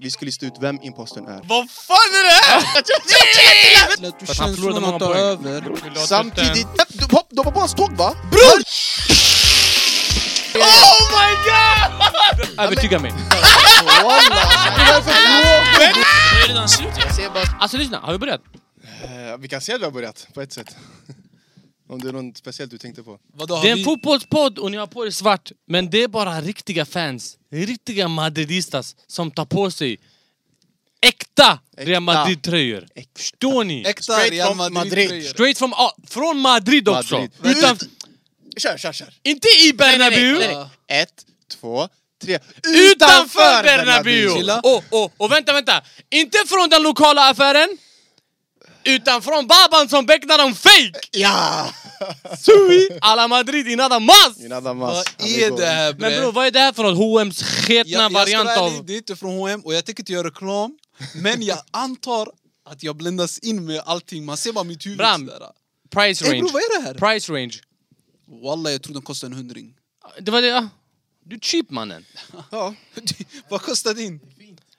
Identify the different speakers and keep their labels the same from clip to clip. Speaker 1: Vi skulle lista ut vem impostern är.
Speaker 2: Vad fan är det här?
Speaker 3: Lät du
Speaker 4: För att han
Speaker 3: känslorna
Speaker 4: förlorade många
Speaker 3: ta
Speaker 4: poäng.
Speaker 3: över?
Speaker 4: Vill du ha
Speaker 1: Samtidigt...
Speaker 4: tutten?
Speaker 1: De hopp- de var på hans tåg va?
Speaker 2: Bror! Oh my god!
Speaker 4: Övertyga mig.
Speaker 1: Walla! Det är därför jag frågar.
Speaker 3: Det är redan slut.
Speaker 1: Jag ser bara...
Speaker 4: Alltså lyssna, har vi börjat?
Speaker 1: Eh, Vi kan se att vi har börjat, på ett sätt. Om det är något speciellt du tänkte på.
Speaker 3: Vadå, har
Speaker 4: Det är
Speaker 3: vi-
Speaker 4: en fotbollspodd och ni har på er svart. Men det är bara riktiga fans, riktiga madridistas som tar på sig äkta
Speaker 1: Äkta.
Speaker 4: Real Madrid-tröjor.
Speaker 1: Äkta.
Speaker 4: Förstår ni?
Speaker 3: Äkta
Speaker 1: Straight
Speaker 3: Real
Speaker 1: from Madrid.
Speaker 3: Madrid-tröjor.
Speaker 4: Straight from, ah, från Madrid också!
Speaker 1: Madrid.
Speaker 4: Utan,
Speaker 1: Kör, kör, kör!
Speaker 4: inte i Bernabéu!
Speaker 3: nej, nej.
Speaker 1: Ett, två, tre.
Speaker 4: Utanför Bernabéu!
Speaker 3: Chilla.
Speaker 4: Och, och, och vänta, vänta! Inte från den lokala affären! Utan från baban som becknar dem fake!
Speaker 1: Ja!
Speaker 4: Sui! Alla Madrid i nada mas!
Speaker 1: Min Adam
Speaker 3: Vad
Speaker 1: Mas,
Speaker 3: är
Speaker 1: amigo.
Speaker 3: det här bre?
Speaker 4: Men bror, vad är det här för något? H&M's
Speaker 3: Jag-
Speaker 4: sketna
Speaker 3: jag ska
Speaker 4: variant
Speaker 3: vara ärlig,
Speaker 4: av...
Speaker 3: Det är inte från H&M och jag tänker inte göra reklam. Men jag antar att jag bländas in med allting. Man ser bara mitt huvud
Speaker 4: Bram.
Speaker 3: sådär.
Speaker 4: Price
Speaker 3: Ey
Speaker 4: range.
Speaker 3: bror, vad är det här?
Speaker 4: Price range.
Speaker 3: Wallah, jag tror den kostar en hundring.
Speaker 4: Det var det, ja. Du är cheap mannen.
Speaker 1: Ja.
Speaker 3: Vad kostar din?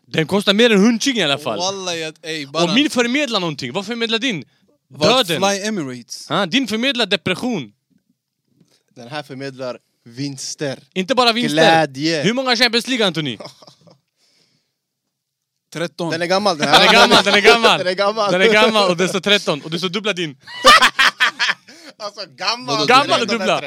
Speaker 4: Den kostar mer än hundking i alla fall.
Speaker 3: Wallah, jag... Ey, bara...
Speaker 4: Och min förmedlar någonting. Vad förmedlar din?
Speaker 3: Vart
Speaker 4: Döden.
Speaker 3: Fly Emirates.
Speaker 4: Ha, din förmedlar depression.
Speaker 1: Den här förmedlar vinster.
Speaker 4: Inte bara vinster.
Speaker 1: Glädje.
Speaker 4: Hur många Champions League Anthony?
Speaker 3: 13.
Speaker 1: Den är gammal den här.
Speaker 4: Den är gammal, den är gammal.
Speaker 1: Den är gammal.
Speaker 4: Den är gammal och den står 13 och du står dubbla din.
Speaker 1: Alltså gammal!
Speaker 4: Gammal och dubbla.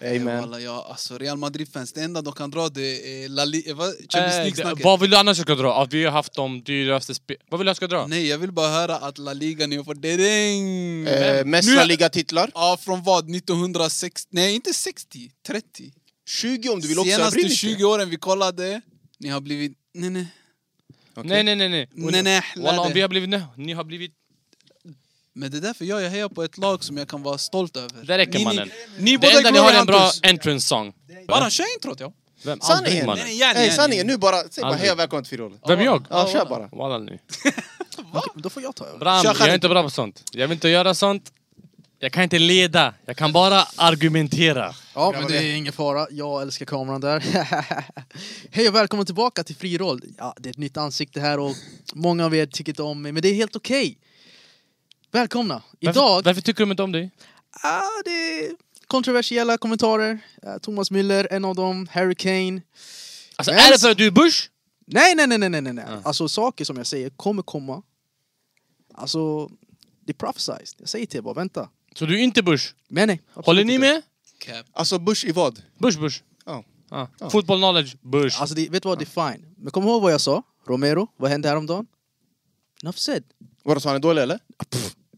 Speaker 1: Amen.
Speaker 3: Wallah, jag, alltså Real Madrid-fans, det enda de kan dra det är La Li- eh, vad? Champions
Speaker 4: Eh,
Speaker 3: League-snacket.
Speaker 4: vad vill du annars jag ska dra? Att vi har haft de dyraste spe... Vad vill du jag ska dra?
Speaker 3: Nej, jag vill bara höra att La Liga ni har fått dering.
Speaker 1: Eh, Mest La Liga-titlar.
Speaker 3: Ja, från vad? 1960? Nej, inte 60. 30.
Speaker 1: 20 om du vill också. Bry dig
Speaker 3: Senaste
Speaker 1: inte.
Speaker 3: 20 åren vi kollade, ni har blivit... Nej, nej.
Speaker 4: Nej, nej, nej. nej.
Speaker 3: Nej, nej,
Speaker 4: Walla, om
Speaker 3: lade.
Speaker 4: vi har blivit... Nej, ni har blivit...
Speaker 3: Men det är därför jag, jag hejar på ett lag som jag kan vara stolt över.
Speaker 4: Det räcker
Speaker 3: ni,
Speaker 4: mannen.
Speaker 3: Ni, ni
Speaker 4: Det
Speaker 3: båda
Speaker 4: enda ni har är en bra
Speaker 3: Hunters.
Speaker 4: entrance song.
Speaker 3: Bara kör introt ja.
Speaker 4: Vem?
Speaker 1: Sanningen.
Speaker 4: Aldrig
Speaker 3: Nej,
Speaker 4: mannen.
Speaker 3: nej, yani,
Speaker 1: Ey,
Speaker 3: yani.
Speaker 1: sanningen, nu bara. Säg bara
Speaker 4: Aldrig.
Speaker 1: hej och välkommen till Fyrhjulet.
Speaker 4: Vem jag?
Speaker 1: Ja, kör bara.
Speaker 4: Walla nu.
Speaker 1: Då får jag ta över.
Speaker 4: Bram,
Speaker 3: Kör
Speaker 4: jag
Speaker 3: själv.
Speaker 4: är inte bra på sånt. Jag vill inte göra sånt. Jag kan inte leda. Jag kan bara argumentera.
Speaker 5: Ja, men det är ingen fara. Jag älskar kameran där. Hej och välkommen tillbaka till Fri Roll. Ja, det är ett nytt ansikte här och många av er tycker inte om mig, men det är helt okej. Välkomna!
Speaker 4: Varför,
Speaker 5: Idag,
Speaker 4: varför tycker de inte om dig?
Speaker 5: ah, det är kontroversiella kommentarer. Eh, Thomas Müller, en av dem, Harry Kane.
Speaker 4: Alltså,
Speaker 5: Men-
Speaker 4: är det för att du är Bush?
Speaker 5: Nej, nej, nej, nej, nej, nej. nej. Alltså saker som jag säger kommer komma. Alltså, det är prophesized. Jag säger till er bara, vänta.
Speaker 4: Så du är inte Bush?
Speaker 5: Men nej. absolut
Speaker 4: Håller ni
Speaker 5: inte.
Speaker 4: med?
Speaker 3: Cap.
Speaker 1: Alltså Bush i vad?
Speaker 4: Bush, Bush.
Speaker 1: Ja.
Speaker 4: Ja. Football knowledge, Bush.
Speaker 5: Alltså, det, vet du vad? Det är fine. Men kom ihåg vad jag sa. Romero, vad hände häromdagen? Enough said.
Speaker 1: Vadå, så han är dålig eller?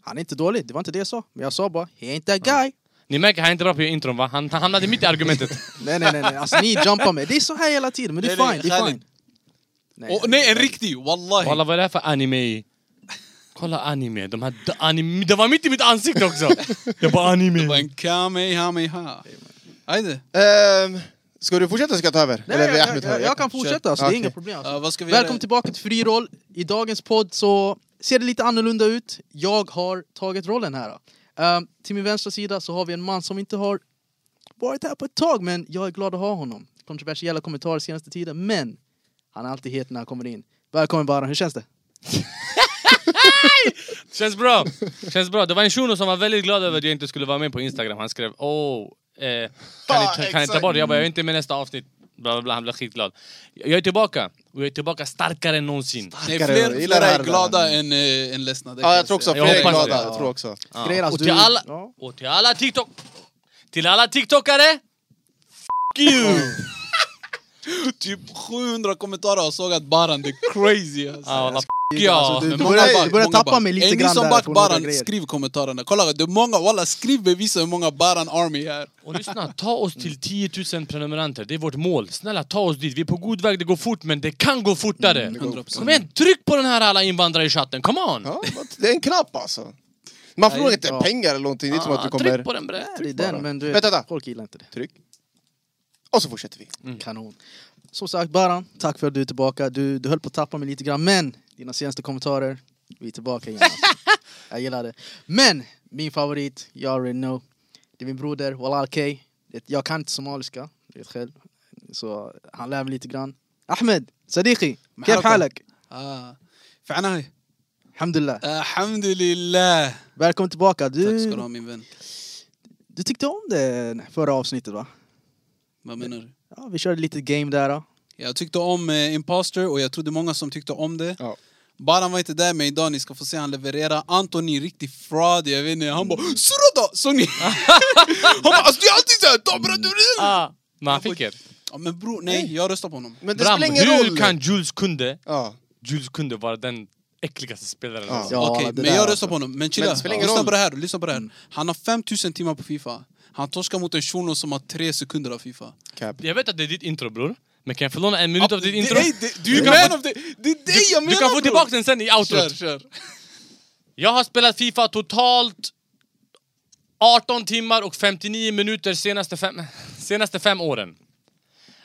Speaker 5: Han är inte dålig, det var inte det jag sa. Men jag sa bara, he ain't that guy.
Speaker 4: Ni märker, han är inte bra på intron va? Han han hamnade mitt i argumentet.
Speaker 5: Nej nej nej, nej. Alltså, ni jumpar mig. Det är så här hela tiden, men det är
Speaker 3: Nej, nej,
Speaker 5: fine. Det är
Speaker 3: Khalid.
Speaker 5: fine. Nej,
Speaker 3: Och, nej, en riktig! Wallahi!
Speaker 4: Walla vad är det här för anime? Kolla anime, de här d- anime, det var mitt i mitt ansikte också! Jag bara
Speaker 3: Det var
Speaker 4: anime!
Speaker 3: en kamehameha. Ajde.
Speaker 1: Ehm, ska du fortsätta ska jag ta över?
Speaker 5: nej,
Speaker 1: Eller
Speaker 5: jag,
Speaker 1: vill
Speaker 5: jag,
Speaker 1: Ahmed ta
Speaker 5: jag,
Speaker 1: över?
Speaker 5: jag kan fortsätta, alltså, det är
Speaker 1: Okej.
Speaker 5: inga problem. Alltså.
Speaker 3: Ja, vad ska vi göra?
Speaker 5: Välkommen tillbaka till Fri Roll. I dagens podd så ser det lite annorlunda ut. Jag har tagit rollen här. Ehm, till min vänstra sida så har vi en man som inte har varit här på ett tag, men jag är glad att ha honom. Kontroversiella kommentarer senaste tiden, men han är alltid het när han kommer in. Välkommen Baran, hur känns det?
Speaker 4: Känns bra! Känns bra, det var en shuno som var väldigt glad över att jag inte skulle vara med på instagram, han skrev åh, eh, kan,
Speaker 1: Ja,
Speaker 4: ni ta, kan ni ta
Speaker 1: exakt.
Speaker 4: bort det? Jag bara, jag är inte med nästa avsnitt, bla bla bla, han blev skitglad. Jag är tillbaka, och jag är tillbaka starkare än någonsin.
Speaker 3: Nej,
Speaker 1: Tackar, jag
Speaker 3: fler,
Speaker 1: gillar
Speaker 3: fler
Speaker 1: det här.
Speaker 3: är glada än, äh, än ledsna. det kan
Speaker 1: Ja, jag tror också
Speaker 3: säga.
Speaker 1: fler är
Speaker 4: hoppas det.
Speaker 1: glada. Jag tror också.
Speaker 4: Ja.
Speaker 5: Grejer, alltså,
Speaker 4: och, till
Speaker 5: du-
Speaker 4: alla,
Speaker 5: ja.
Speaker 4: och till alla TikTok... Till alla TikTokare! Fuck you!
Speaker 3: Typ 700 kommentarer har sågat Baran, det är crazy alltså.
Speaker 4: Ah, walla, fuck
Speaker 5: Alltså,
Speaker 4: ja.
Speaker 5: du, du
Speaker 3: Men
Speaker 5: börjar,
Speaker 3: många
Speaker 5: du börjar
Speaker 3: många
Speaker 5: tappa mig lite
Speaker 3: Ey,
Speaker 5: grann
Speaker 3: Ni som
Speaker 5: där
Speaker 3: back
Speaker 5: på några
Speaker 3: Baran,
Speaker 5: grejer.
Speaker 3: skriv kommentarerna. Kolla, det är många, walla skriv bevisa hur många Baran Army är.
Speaker 4: Och lyssna, ta oss till 10 000 prenumeranter, det är vårt mål. Snälla ta oss dit, vi är på god väg, det går fort men det kan gå fortare.
Speaker 1: Mm,
Speaker 3: 100%.
Speaker 4: Kom igen, tryck på den här alla invandrare i chatten, come on!
Speaker 1: Ja, det är en knapp alltså. Man förlorar
Speaker 3: Ja,
Speaker 1: inte
Speaker 5: ja.
Speaker 1: pengar eller någonting. Det är inte som att du
Speaker 4: Ah, Tryck
Speaker 1: kommer... Mm.
Speaker 4: på den bre.
Speaker 5: Ja, det är den, men du vet,
Speaker 1: Vänta, vänta.
Speaker 5: folk gillar inte det.
Speaker 1: Tryck. Och så fortsätter vi.
Speaker 3: Mm.
Speaker 5: Kanon. Som sagt, Baran, tack för att du är tillbaka. Du, du höll på att tappa mig lite grann, men dina senaste kommentarer, vi är tillbaka igen. alltså. jag gillar det. Men, min favorit, jag already know. Det är min broder, Walal K. Det- Jag kan inte somaliska, du vet själv. Så han lär mig lite grann. Ahmed, Sadiqi,
Speaker 3: Marhaba.
Speaker 5: كيف حالك؟
Speaker 3: Ah. فعناي
Speaker 5: Alhamdulillah.
Speaker 3: الحمد لله
Speaker 5: Välkommen tillbaka.
Speaker 3: Tack ska du
Speaker 5: Du,
Speaker 3: ha min vän.
Speaker 5: du tyckte om det förra avsnittet va?
Speaker 3: Vad menar du?
Speaker 5: Ja, vi körde lite game där. Då.
Speaker 3: Jag tyckte om eh, Imposter och jag trodde många som tyckte om det.
Speaker 1: Ja.
Speaker 3: Baran var inte där men idag ni ska få se han leverera. Anton är riktig fraud, jag vet inte. Han bara “Surata!” såg ni? han bara “Alltså det är alltid såhär, ta bra du
Speaker 4: Ah, men han fick er.
Speaker 3: Ja, Men bror, nej jag röstar på honom.
Speaker 1: Men det
Speaker 4: Bram,
Speaker 1: spelar ingen
Speaker 4: hur
Speaker 1: roll.
Speaker 4: kan Jules kunde,
Speaker 1: Ja.
Speaker 4: Jules kunde vara den äckligaste spelaren?
Speaker 1: Ja.
Speaker 4: alltså?
Speaker 5: Ja,
Speaker 3: Okej,
Speaker 5: det
Speaker 3: men
Speaker 5: där
Speaker 3: jag
Speaker 5: alltså.
Speaker 3: röstar på honom. Men
Speaker 1: Men
Speaker 3: chilla,
Speaker 1: det spelar ingen
Speaker 3: lyssna
Speaker 1: roll.
Speaker 3: på det här. Lyssna på det här. Han har 5000 timmar på Fifa. Han torskar mot en shuno som har 3 sekunder av Fifa.
Speaker 1: Cap.
Speaker 4: Jag vet att det är ditt intro bror, men kan jag få låna en minut av ditt intro?
Speaker 3: Nej, det- du är
Speaker 4: kan
Speaker 3: man
Speaker 4: få-
Speaker 3: of the... Det är dig jag
Speaker 4: Du
Speaker 3: menar
Speaker 4: kan få
Speaker 3: bror.
Speaker 4: tillbaka den sen i
Speaker 3: Kör,
Speaker 4: outrot!
Speaker 3: kör.
Speaker 4: Jag har spelat Fifa totalt 18 timmar och 59 minuter senaste fem, senaste fem åren.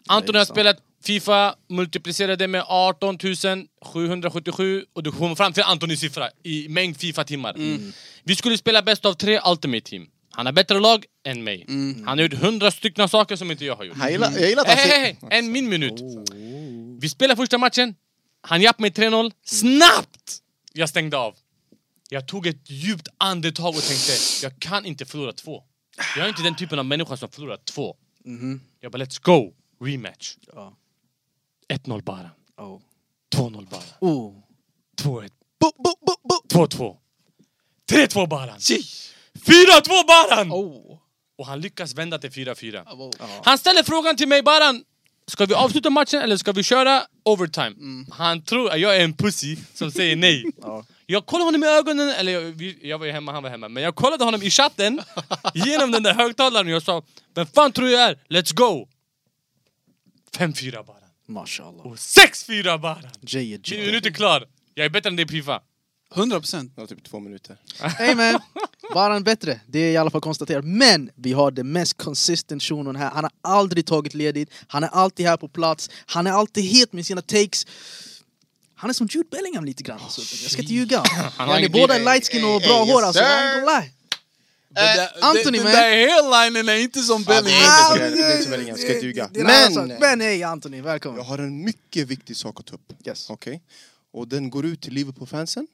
Speaker 4: Anton har
Speaker 5: Jajamensan.
Speaker 4: spelat Fifa, multiplicerade det med 18 777 och du kommer fram till Antonis siffra i mängd Fifa-timmar.
Speaker 3: Mm.
Speaker 4: Vi skulle spela bäst av tre Ultimate Team. Han har bättre lag än mig.
Speaker 3: Mm.
Speaker 4: Han har gjort 100 stycken saker som inte jag har gjort.
Speaker 1: Han gillar, jag gillar att
Speaker 4: Hej,
Speaker 1: han
Speaker 4: hej,
Speaker 1: säger...
Speaker 4: hej! En min minut. Vi spelar första matchen. Han japp mig 3-0. Snabbt! Jag stängde av. Jag tog ett djupt andetag och tänkte, jag kan inte förlora två. Jag är inte den typen av människa som förlorar två. Jag bara, let's go! Rematch.
Speaker 5: Ja.
Speaker 4: 1-0 bara.
Speaker 5: Oh.
Speaker 4: 2-0 bara.
Speaker 5: Oh.
Speaker 4: 2-1.
Speaker 3: Bo, bo, bo, bo.
Speaker 4: 2-2. 3-2 Baran! 4-2 Baran!
Speaker 3: Oh.
Speaker 4: Och han lyckas vända till 4-4.
Speaker 3: Ah, wow.
Speaker 4: Han ställer frågan till mig Baran Ska vi avsluta matchen eller ska vi köra overtime?
Speaker 1: Mm.
Speaker 4: Han tror att jag är en pussy som säger nej
Speaker 5: Ja.
Speaker 4: Jag kollade honom i ögonen, eller jag, vi- jag var ju hemma, han var hemma Men jag kollade honom i chatten Genom den där högtalaren och jag sa Vem fan tror jag är? Let's go! 5-4 Baran
Speaker 5: Mashallah.
Speaker 4: Och 6-4 Baran!
Speaker 5: J.
Speaker 4: Min
Speaker 5: J.
Speaker 4: minut är klar Jag är bättre än dig Pifa
Speaker 3: 100 procent.
Speaker 1: Det var typ två minuter.
Speaker 5: Hey man! Bara en bättre, det är i alla fall konstaterat. Men vi har den mest consistent shunon här. Han har aldrig tagit ledigt, han är alltid här på plats, han är alltid het med sina takes. Han är som Jude Bellingham lite grann. Alltså. Jag ska inte ljuga. Han
Speaker 4: har
Speaker 5: är
Speaker 4: inget
Speaker 5: båda
Speaker 4: liv.
Speaker 5: light skin och
Speaker 1: Ey,
Speaker 5: bra
Speaker 1: ey,
Speaker 5: hår
Speaker 1: yes,
Speaker 5: alltså. I ain't gonna lie. Eh, Anthony,
Speaker 3: den,
Speaker 5: man.
Speaker 3: den där hairlinen är inte som
Speaker 1: Ja, det
Speaker 3: Bellingham.
Speaker 1: är inte så- det är inte så väl ingen, ska inte ljuga.
Speaker 5: Det är en annan
Speaker 1: Men!
Speaker 5: sak. Men hej Anthony, välkommen.
Speaker 1: Jag har en mycket viktig sak att ta upp.
Speaker 5: Yes. Mm.
Speaker 1: Okej? Och den går ut till Liverpool-fansen.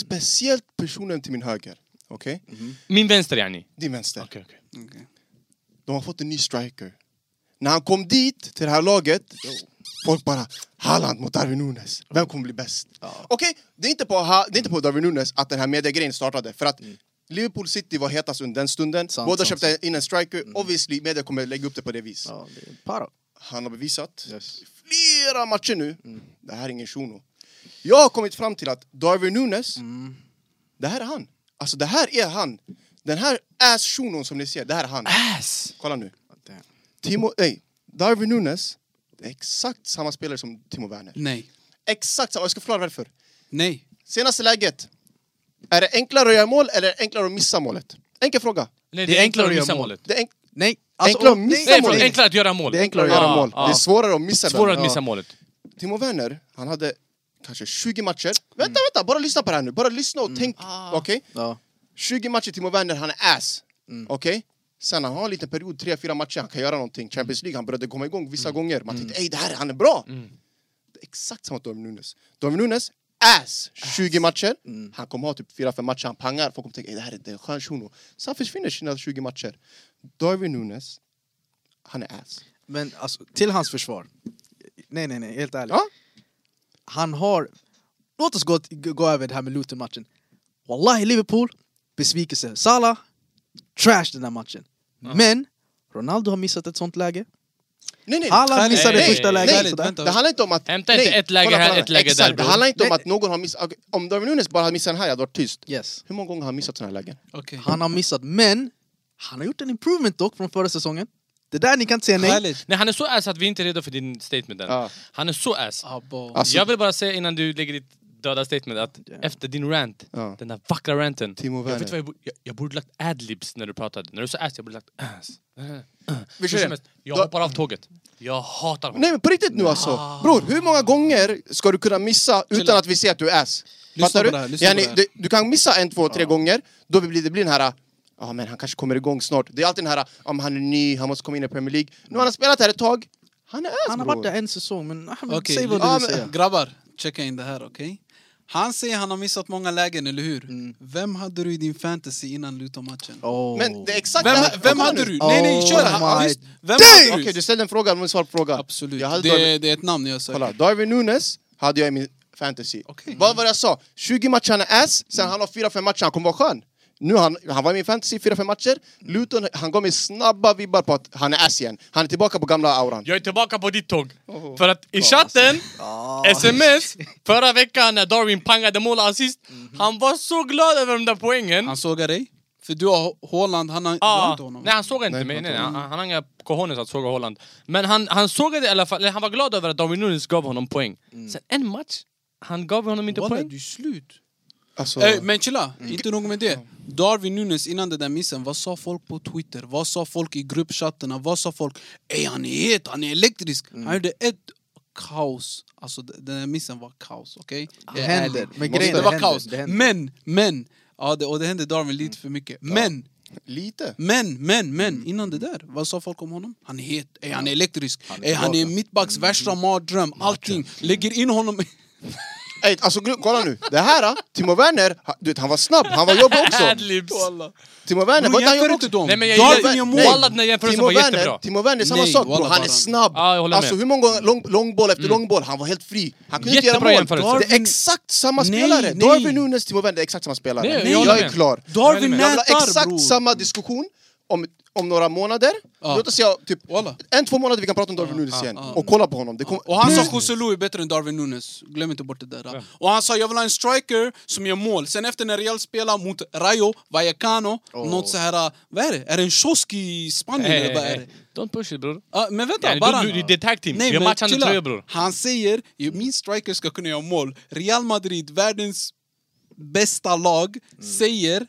Speaker 1: Speciellt personen till min höger. Okej?
Speaker 4: Min vänster yani
Speaker 1: Din vänster.
Speaker 4: Okej okej
Speaker 3: Okej.
Speaker 1: De har fått en ny striker. När han kom dit, till det här laget, folk bara Haaland mot Darwin Nunes, vem kommer bli bäst? Okej, det är inte på, ha- det är inte på Darwin Nunes att den här mediegrejen startade för att Liverpool City var hetast under den stunden,
Speaker 5: Mm. Sant,
Speaker 1: båda
Speaker 5: sant, Mm.
Speaker 1: köpte in en striker, obviously media kommer lägga upp det på det vis.
Speaker 5: Ja, det är para.
Speaker 1: Han har bevisat
Speaker 5: Yes.
Speaker 1: i flera matcher nu, det här är ingen shuno. Jag har kommit fram till att Darwin Nunes, det här är han. Alltså det här är han. Den här ass-shunon som ni ser, det här är han.
Speaker 4: Ass!
Speaker 1: Kolla nu.
Speaker 5: Damn.
Speaker 1: Timo, nej, Darwin Nunes det är exakt samma spelare som Timo Werner.
Speaker 3: Nej.
Speaker 1: Exakt samma, jag ska förklara varför.
Speaker 3: Nej.
Speaker 1: Senaste läget, är det enklare att göra mål eller är det enklare att missa målet? Enkel fråga.
Speaker 4: Nej,
Speaker 5: Det
Speaker 4: det
Speaker 5: är
Speaker 4: är enklare
Speaker 5: enklare
Speaker 4: att
Speaker 5: att
Speaker 4: missa
Speaker 5: göra mål.
Speaker 4: målet
Speaker 1: Det är, enk-
Speaker 5: Nej, alltså,
Speaker 1: Enklare att
Speaker 5: och-
Speaker 1: missa
Speaker 4: Nej
Speaker 5: nej,
Speaker 4: förlåt,
Speaker 1: målet.
Speaker 4: enklare att göra mål
Speaker 1: det är enklare att göra
Speaker 4: Ah,
Speaker 1: mål,
Speaker 4: ah.
Speaker 1: det är svårare att missa ibland.
Speaker 4: Svårare att missa
Speaker 1: Ja.
Speaker 4: målet
Speaker 1: Timo Werner, han hade kanske 20 matcher. Vänta, vänta, bara lyssna på det här nu. Bara lyssna och tänk. Okej?
Speaker 5: Ja.
Speaker 1: 20 matcher Timo Werner, han är ass. Okej? Sen han har en liten period, 3-4 matcher, han kan göra någonting. Champions League, han började komma igång vissa gånger. Man tänkte, ey det här, han är bra! Det är exakt samma Darwin Nunes. Darwin Nunes, ass! 20 matcher. Han kommer ha typ 4-5 matcher, han pangar. Folk kommer tänka, ey det här är det är en skön shuno. Sen försvinner sina 20 matcher. Darwin Nunes, han är ass.
Speaker 5: Men alltså, till hans försvar. Nej, nej, nej, helt ärligt.
Speaker 1: Ja.
Speaker 5: Han har... Låt oss gå, gå över det här med Luton-matchen. Wallahi, Liverpool, besvikelse. Salah, trash den här matchen. Men, Ronaldo har missat ett sånt läge.
Speaker 1: Nej, nej,
Speaker 5: Haaland
Speaker 3: Khalid,
Speaker 5: missade
Speaker 4: nej,
Speaker 5: första
Speaker 4: nej,
Speaker 5: läget.
Speaker 1: nej,
Speaker 5: sådär.
Speaker 3: vänta.
Speaker 1: Det handlar inte om att...
Speaker 4: Hämta inte
Speaker 1: nej,
Speaker 4: ett läger
Speaker 1: kolla på
Speaker 4: här,
Speaker 1: den här.
Speaker 4: ett läger
Speaker 1: Exakt,
Speaker 4: där, bror.
Speaker 1: Det handlar inte om
Speaker 5: Nej.
Speaker 1: att någon har missat... okej, Om Darwin Nunes bara hade missat den här, jag hade varit tyst.
Speaker 5: Yes.
Speaker 1: Hur många gånger har han missat såna här lägen?
Speaker 3: Okej.
Speaker 5: Han har missat, men han har gjort en improvement dock från förra säsongen. Det där ni kan inte säga nej.
Speaker 3: Khalid.
Speaker 4: Nej han är så ass att vi inte är redo för din statement än.
Speaker 1: Ja.
Speaker 4: Han är så ass.
Speaker 3: Ah, bo.
Speaker 1: Alltså-
Speaker 4: jag vill bara säga innan du lägger ditt döda statement att efter din rant,
Speaker 1: Ja.
Speaker 4: den där vackra ranten.
Speaker 1: Timo
Speaker 4: jag, vet
Speaker 1: Werner.
Speaker 4: vad jag, borde- jag, jag borde lagt adlibs när du pratade. När du sa ass, jag borde lagt ass.
Speaker 1: Vi kör
Speaker 4: Hur som
Speaker 1: igen.
Speaker 4: helst, jag
Speaker 1: Då-
Speaker 4: hoppar av tåget. Jag hatar honom.
Speaker 1: Nej men på riktigt nu
Speaker 3: Ah.
Speaker 1: alltså! Bror, hur många gånger ska du kunna missa utan att vi ser att du är ass?
Speaker 3: Lyssna
Speaker 1: Fattar
Speaker 3: på
Speaker 1: du?
Speaker 3: det här, lyssna på
Speaker 1: Yani,
Speaker 3: det här.
Speaker 1: du? Du kan missa en, två, tre gånger, då blir det blir den här... Ja men han kanske kommer igång snart. Det är alltid den här, ah, om han är ny, han måste komma in i Premier League. Nu har han spelat här ett tag, han är ass
Speaker 5: Han har
Speaker 1: bror.
Speaker 5: varit där en säsong, men ah, men
Speaker 3: Okej.
Speaker 5: säg vad du
Speaker 3: Ah,
Speaker 5: vill säga.
Speaker 3: men- Grabbar, checka in det här, okej? Han säger han har missat många lägen, eller hur?
Speaker 5: Mm.
Speaker 3: Vem hade du i din fantasy innan Luton-matchen?
Speaker 5: Oh.
Speaker 1: Men det är exakt det här.
Speaker 3: Vem, vem
Speaker 1: Kolla
Speaker 3: hade
Speaker 1: nu.
Speaker 3: du? Nej, nej, kör!
Speaker 5: Oh
Speaker 3: Han,
Speaker 5: my
Speaker 3: visst, vem hade du?
Speaker 1: Okej, du ställde en fråga, men svar på frågan.
Speaker 3: Absolut.
Speaker 1: Jag hade
Speaker 3: Det,
Speaker 1: Darwin,
Speaker 3: det är ett namn jag söker.
Speaker 1: kolla, Darwin Nunes hade jag i min fantasy.
Speaker 3: Okej. Mm.
Speaker 1: Vad var det jag sa? 20 matcher han är ass, sen han har 4-5 matcher, han kommer vara skön. Nu han, han var i min fantasy 4-5 matcher,
Speaker 3: Mm.
Speaker 1: Luton, han gav mig snabba vibbar på att han är ass igen. Han är tillbaka på gamla auran.
Speaker 4: Jag är tillbaka på ditt tåg.
Speaker 1: Oh.
Speaker 4: För att i chatten,
Speaker 1: Ah.
Speaker 4: sms, förra veckan när Darwin pangade mål och assist,
Speaker 1: Mhm.
Speaker 4: han var så glad över de där poängen.
Speaker 3: Han sågar dig. För du har Haaland, han har du har
Speaker 4: Ah,
Speaker 3: inte honom.
Speaker 4: nej han såg inte mig, nej, nej, han, han har inga cojones att såga Holland. Men han, han sågade i alla fall, eller han var glad över att Darwin Nunes gav honom poäng. Sen en match, han gav honom inte
Speaker 3: Walla,
Speaker 4: poäng.
Speaker 3: du är slut.
Speaker 1: Alltså,
Speaker 3: Eh, men chilla,
Speaker 5: Mm.
Speaker 3: inte nog med det. Darwin Nunes innan den där missen, vad sa folk på Twitter? Vad sa folk i gruppchattarna? Vad sa folk? Ey han är het, han är elektrisk!
Speaker 5: Mm.
Speaker 3: Han gjorde ett kaos. Alltså d- den där missen var kaos, okej?
Speaker 5: Det
Speaker 3: Jag är
Speaker 5: händer.
Speaker 3: ärlig.
Speaker 5: Men
Speaker 3: Det,
Speaker 5: grejen är,
Speaker 3: var
Speaker 5: det
Speaker 3: kaos.
Speaker 5: händer, Mm. det händer.
Speaker 3: men, men! Ja, det, och det hände Darwin lite för mycket. Men,
Speaker 1: lite.
Speaker 3: men, men,
Speaker 4: Mm.
Speaker 3: men! Innan det där, vad sa folk om honom? Han är het, ey han är elektrisk, ey han är mittbacks
Speaker 4: Mm.
Speaker 3: värsta mardröm, allting. Lägger in honom...
Speaker 1: Ey, alltså gl- kolla nu, det här, ah, Timo Werner, han- du vet, han var snabb, han var jobbig också.
Speaker 4: Adlibs!
Speaker 1: Timo Werner,
Speaker 3: Bror
Speaker 1: var inte han
Speaker 3: jämför
Speaker 1: jobbig
Speaker 3: inte
Speaker 1: också?
Speaker 3: dem!
Speaker 4: Nej men jag
Speaker 3: Darwin
Speaker 4: gillar...
Speaker 3: gör
Speaker 1: Nej.
Speaker 3: mål!
Speaker 4: Walla den här jämförelsen
Speaker 1: Timo
Speaker 4: var
Speaker 1: Werner,
Speaker 4: jättebra!
Speaker 1: Timo Werner, samma
Speaker 3: Nej,
Speaker 1: sak bror.
Speaker 3: wallah,
Speaker 1: Han är
Speaker 3: bara.
Speaker 1: snabb.
Speaker 4: Ja, jag håller med. Mm.
Speaker 1: alltså hur många gånger lång, långboll efter långboll, han var helt fri. Han kunde
Speaker 4: Jättebra
Speaker 1: inte göra
Speaker 4: jämförelse.
Speaker 1: mål. Det är exakt samma
Speaker 3: Nej,
Speaker 1: spelare.
Speaker 3: nej.
Speaker 1: Darwin Nunes, Timo Werner, det är exakt samma spelare.
Speaker 4: Nej, jag
Speaker 1: jag,
Speaker 4: håller
Speaker 1: är
Speaker 4: med.
Speaker 1: klar.
Speaker 3: Darwin
Speaker 4: Jag
Speaker 1: Jag vill ha
Speaker 3: nätar
Speaker 1: exakt
Speaker 3: bror!
Speaker 1: samma diskussion om, om några månader.
Speaker 3: Ja.
Speaker 1: Låt oss säga typ
Speaker 3: Wallah.
Speaker 1: en, två månader vi kan prata om Darwin Nunes igen.
Speaker 3: ja.
Speaker 1: Och kolla på honom. Det kommer-
Speaker 3: Och han sa
Speaker 4: Mm.
Speaker 3: José Lu är bättre än Darwin Nunes. Glöm inte bort det där. Och han sa jag vill ha en striker som gör mål. Sen efter när Real spelar mot Rayo Vallecano, något så här... äh, Vad är det? Är det en kiosk i Spanien
Speaker 4: Hey,
Speaker 3: eller vad är det?
Speaker 4: Don't push it bror.
Speaker 3: Ja, men vänta,
Speaker 4: Yani, du-
Speaker 3: bara...
Speaker 4: du- du- det är tag team. Vi har
Speaker 3: men
Speaker 4: matchande
Speaker 3: chilla.
Speaker 4: tröjor, bror.
Speaker 3: Han säger ju, min striker ska kunna göra mål. Real Madrid, världens bästa lag,
Speaker 4: Mm.
Speaker 3: säger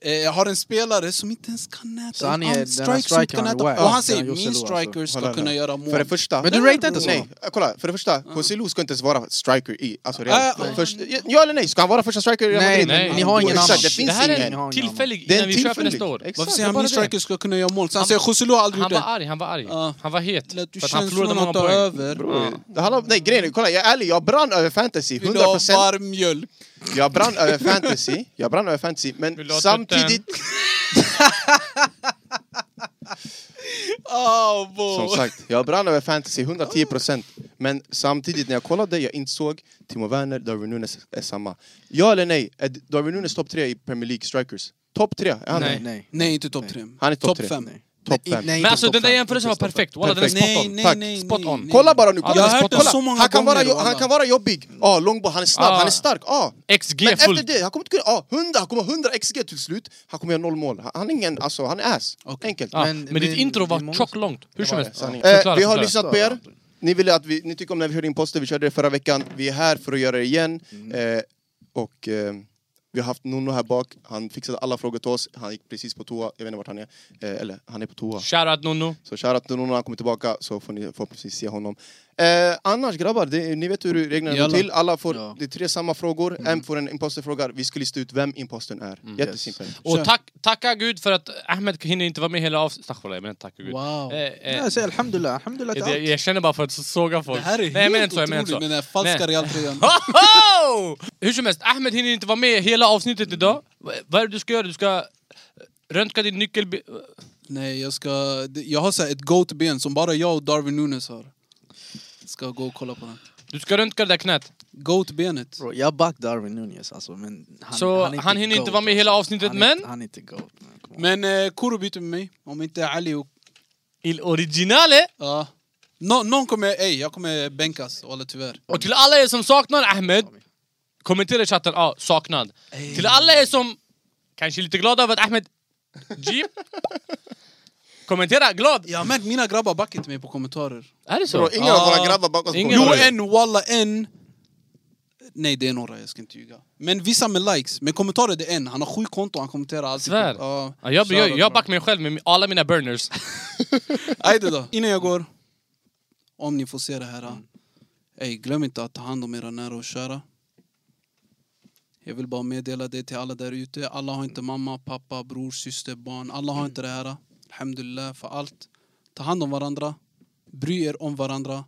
Speaker 3: eh, har en spelare som inte ens kan näta.
Speaker 5: Så han är-
Speaker 3: En annan
Speaker 5: den här
Speaker 3: striker som
Speaker 5: strikern,
Speaker 3: inte kan
Speaker 5: han är
Speaker 3: näta.
Speaker 5: wack.
Speaker 3: Och han
Speaker 5: Ja,
Speaker 3: säger
Speaker 5: Joselu,
Speaker 3: min
Speaker 5: alltså.
Speaker 3: striker ska
Speaker 1: Kolla,
Speaker 3: kunna
Speaker 1: nej.
Speaker 3: göra mål.
Speaker 1: För det första... Mm.
Speaker 5: Men du ratear inte så?
Speaker 1: Nej, kolla. För det första, Joselu ska inte ens vara striker i... Alltså, Real.
Speaker 3: Ah, ah.
Speaker 1: Först, ja eller nej? Ska han vara första striker i Real
Speaker 5: Nej,
Speaker 1: Madrid?
Speaker 5: nej,
Speaker 4: ni
Speaker 5: har ingen
Speaker 1: Exakt,
Speaker 5: annan.
Speaker 1: Det finns
Speaker 4: det här
Speaker 1: ingen.
Speaker 4: är en tillfällig
Speaker 1: Det är
Speaker 4: innan
Speaker 1: en
Speaker 4: vi köper
Speaker 1: tillfällig.
Speaker 4: nästa år.
Speaker 1: Exakt.
Speaker 3: Varför
Speaker 1: Det
Speaker 3: säger
Speaker 1: är
Speaker 3: han
Speaker 1: bara
Speaker 3: min
Speaker 1: det.
Speaker 3: striker ska kunna göra mål? Så han
Speaker 4: Han-
Speaker 3: säger Joselu har aldrig
Speaker 4: Han
Speaker 3: gjort
Speaker 4: var
Speaker 3: det.
Speaker 4: arg, han var arg.
Speaker 3: Ja.
Speaker 4: Han var het.
Speaker 3: Lät du
Speaker 4: För att han
Speaker 3: känslorna
Speaker 4: förlorade många
Speaker 3: ta
Speaker 4: poäng.
Speaker 3: över. Ah,
Speaker 1: Bror, Det handlar om, nej grejen är, kolla jag är ärlig, jag brann över fantasy,
Speaker 3: Vill du ha
Speaker 1: 100%
Speaker 3: varm mjölk?
Speaker 1: Jag brann över fantasy, jag brann över fantasy,
Speaker 4: Vill
Speaker 1: men
Speaker 4: du ha
Speaker 1: samtidigt
Speaker 3: Oh,
Speaker 1: Som sagt, jag brann över fantasy 110% Men samtidigt när jag kollade, jag insåg Timo Werner, Darwin Nunes är samma Ja eller nej? Är Darwin Nunes topp 3 i Premier League strikers? Topp 3? Är han
Speaker 4: Nej.
Speaker 1: det?
Speaker 5: Nej.
Speaker 3: Nej, inte topp tre.
Speaker 1: Han är topp tre.
Speaker 3: fem.
Speaker 5: Nej.
Speaker 1: Topp 5?
Speaker 5: Nej,
Speaker 4: Men
Speaker 5: inte
Speaker 4: alltså
Speaker 5: topp
Speaker 4: den där
Speaker 5: fem.
Speaker 4: jämförelsen var
Speaker 1: Inte topp
Speaker 4: perfekt. Walla den är
Speaker 1: Perfekt.
Speaker 4: spot
Speaker 3: Nej,
Speaker 4: on.
Speaker 3: nej,
Speaker 1: Tack.
Speaker 3: nej.
Speaker 4: Spot on.
Speaker 3: nej.
Speaker 1: Kolla bara nu,
Speaker 4: Jag
Speaker 1: kolla!
Speaker 4: har hört det
Speaker 1: kolla.
Speaker 3: så många
Speaker 1: han, kan vara,
Speaker 3: gånger,
Speaker 1: jo- han
Speaker 3: wallah.
Speaker 1: kan vara jobbig, ah, långboll, han är snabb,
Speaker 4: Ah.
Speaker 1: han är stark, ah. Men
Speaker 4: XG
Speaker 1: efter
Speaker 4: fullt.
Speaker 1: det, han kommer inte kunna... Ah, 100, han kommer ha 100 XG till slut Han kommer göra noll mål, han, han är ingen, alltså han är ass
Speaker 3: Okej.
Speaker 1: Enkelt
Speaker 4: Ja,
Speaker 5: Men-
Speaker 4: men,
Speaker 5: men-
Speaker 4: ditt intro
Speaker 5: det är
Speaker 4: var
Speaker 5: många-
Speaker 4: tjocklångt. Hur som helst.
Speaker 1: Sanningen.
Speaker 4: Förklara,
Speaker 1: Eh, vi har
Speaker 4: förklara.
Speaker 1: lyssnat på er. Ni, ville att vi, ni tycker om när vi körde imposter, vi körde det förra veckan. Vi är här för att göra det igen.
Speaker 4: Mm.
Speaker 1: Eh, och eh, vi har haft Nono här bak, han fixade alla frågor till oss. Han gick precis på toa, jag vet inte vart han är. Eh, eller, han är på toa.
Speaker 4: Shoutout Nonno.
Speaker 1: Så shoutout till Nono när han kommer tillbaka så får ni förhoppningsvis se honom. Eh, annars grabbar, det, ni vet hur reglerna går
Speaker 3: Jalla.
Speaker 1: till. Alla får,
Speaker 5: Ja.
Speaker 1: det är tre samma frågor. En får en imposterfråga, vi ska lista ut vem impostern är. Jättesimpelt.
Speaker 4: Och
Speaker 3: Kör.
Speaker 4: tack, tacka gud för att Ahmed hinner inte vara med hela avsnittet. Astaghfirullah, jag menar inte tacka gud.
Speaker 3: Wow.
Speaker 4: Eh, eh,
Speaker 5: Nej, säg alhamdulillah, alhamdulillah till
Speaker 4: jag,
Speaker 5: allt.
Speaker 4: jag känner bara för att såga folk.
Speaker 3: Det här är
Speaker 4: Nej, jag menar
Speaker 3: helt
Speaker 4: inte så, jag menar inte
Speaker 3: otroligt
Speaker 4: så.
Speaker 3: med den här falska
Speaker 4: Nej.
Speaker 3: realtröjan.
Speaker 4: Hoho! Hur som helst, Ahmed hinner inte vara med hela avsnittet idag. V- Vad är det du ska göra? Du ska eh, röntga din nyckel...
Speaker 3: Nej, jag ska... Jag har så här ett goat-ben som bara jag och Darwin Nunes har. Ska gå och kolla på den.
Speaker 4: Du ska röntga det där knät.
Speaker 3: Goat-benet.
Speaker 5: Bro, jag back Darwin Nunez alltså, men han,
Speaker 4: Så
Speaker 5: är
Speaker 4: han hinner inte
Speaker 5: goat,
Speaker 4: vara med hela
Speaker 5: alltså.
Speaker 4: avsnittet,
Speaker 5: han är
Speaker 4: men-
Speaker 5: inte- Han är inte goat. men come on.
Speaker 3: Men eh, Kuro byter med mig, om inte Ali och...
Speaker 4: Il originale!
Speaker 3: Ja. Nå- någon kommer... Ej, jag kommer bänkas, alla tyvärr.
Speaker 4: Och till alla er som saknar Ahmed, kommentera i chatten, ja, saknad. Till alla er som kanske är lite glada över att Ahmed... Jeep. kommentera, glad!
Speaker 3: Jag har märkt mina grabbar backar till mig på kommentarer.
Speaker 4: Är det så?
Speaker 1: Bro, ingen av våra grabbar bakom oss
Speaker 4: Ingen
Speaker 1: kommer-
Speaker 3: Jo,
Speaker 4: av er.
Speaker 3: en, walla, en. Nej, det är några, jag ska inte ljuga. Men vissa med likes. Men kommentarer, det är en. Han har sju konton, han kommenterar alltid.
Speaker 4: Svär.
Speaker 3: Ja.
Speaker 4: Ja, jag, jag,
Speaker 3: Shoutout,
Speaker 4: jag
Speaker 3: bro.
Speaker 4: backar mig själv med alla mina burners.
Speaker 3: Ajde då. Innan jag går, om ni får se det
Speaker 4: Mm.
Speaker 3: här. eh. Ey, glöm inte att ta hand om era nära och kära. Jag vill bara meddela det till alla där ute. Alla har inte mamma, pappa, bror, syster, barn. Alla har inte det här. Alhamdulillah för allt. Ta hand om varandra. Bry er om varandra.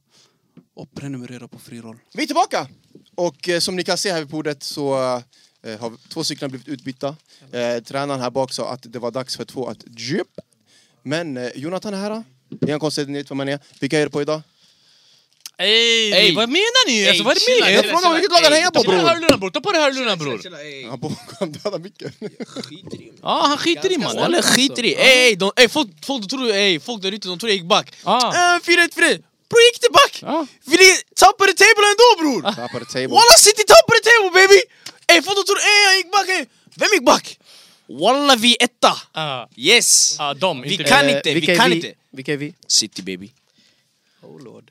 Speaker 3: Och prenumerera på Friroll.
Speaker 1: Vi är tillbaka! Och eh, som ni kan se här vid bordet så eh, har två stycken blivit utbytta. Eh, tränaren här bak sa att det var dags för två att djup. Men eh, Jonathan är här. Det är en konstig nyhet för man är. Vilka är det på idag?
Speaker 4: Ey,
Speaker 2: Ey.
Speaker 4: vad menar ni? alltså, vad är det
Speaker 2: chilla,
Speaker 4: med
Speaker 1: Jag
Speaker 4: er?
Speaker 2: chilla.
Speaker 1: frågar vilket lag han hejar på
Speaker 4: Ta på dig
Speaker 1: bror!
Speaker 4: hörlurarna bror, ta på dig hörlurarna bror.
Speaker 1: Han bakom döda micken.
Speaker 6: Skiter i
Speaker 4: Ja, han skiter i mannen.
Speaker 2: Walla skiter i. Ey, de, ey, folk, folk, de tror, ey, folk där ute de tror jag gick back.
Speaker 4: Ah.
Speaker 2: Äh, 4-1 för dig. Bror gick det back?
Speaker 4: Ja.
Speaker 2: Vi lig- tappade table ändå bror!
Speaker 1: Tappade table.
Speaker 2: Walla City tappade table baby! Ey, folk de tror ey, han gick back. Ey. Vem gick back? Walla vi är etta!
Speaker 4: Ah,
Speaker 2: Yes!
Speaker 4: ah, de,
Speaker 2: Vi
Speaker 4: inte
Speaker 2: kan
Speaker 4: vi.
Speaker 2: inte. vi
Speaker 6: vilka är
Speaker 2: kan inte.
Speaker 6: Vilka är vi?
Speaker 2: City baby.
Speaker 6: Oh lord.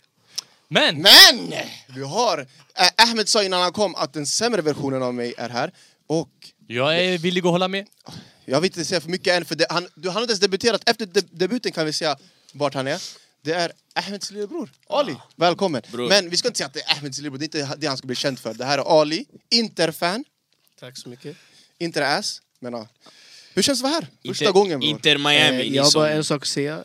Speaker 4: Men,
Speaker 1: Men! Vi har... Eh, Ahmed sa innan han kom att den sämre versionen av mig är här. Och
Speaker 4: jag är villig att hålla med. Eh,
Speaker 1: Jag vill inte säga för mycket än, för det, han, du, han har inte ens debuterat. Efter de, debuten kan vi säga vart han är. Det är Ahmeds lillebror, Ali. Välkommen.
Speaker 2: Bror.
Speaker 1: Men vi ska inte säga att det är Ahmeds lillebror, det är inte det han ska bli känd för. Det här är Ali, Inter-fan.
Speaker 6: Tack så mycket.
Speaker 1: Inter är ass, men ja. Hur känns det att vara här? Första
Speaker 2: Inter-
Speaker 1: gången bror.
Speaker 2: Inter Miami.
Speaker 6: Eh, jag har
Speaker 2: liksom.
Speaker 6: bara en sak att säga. Eh,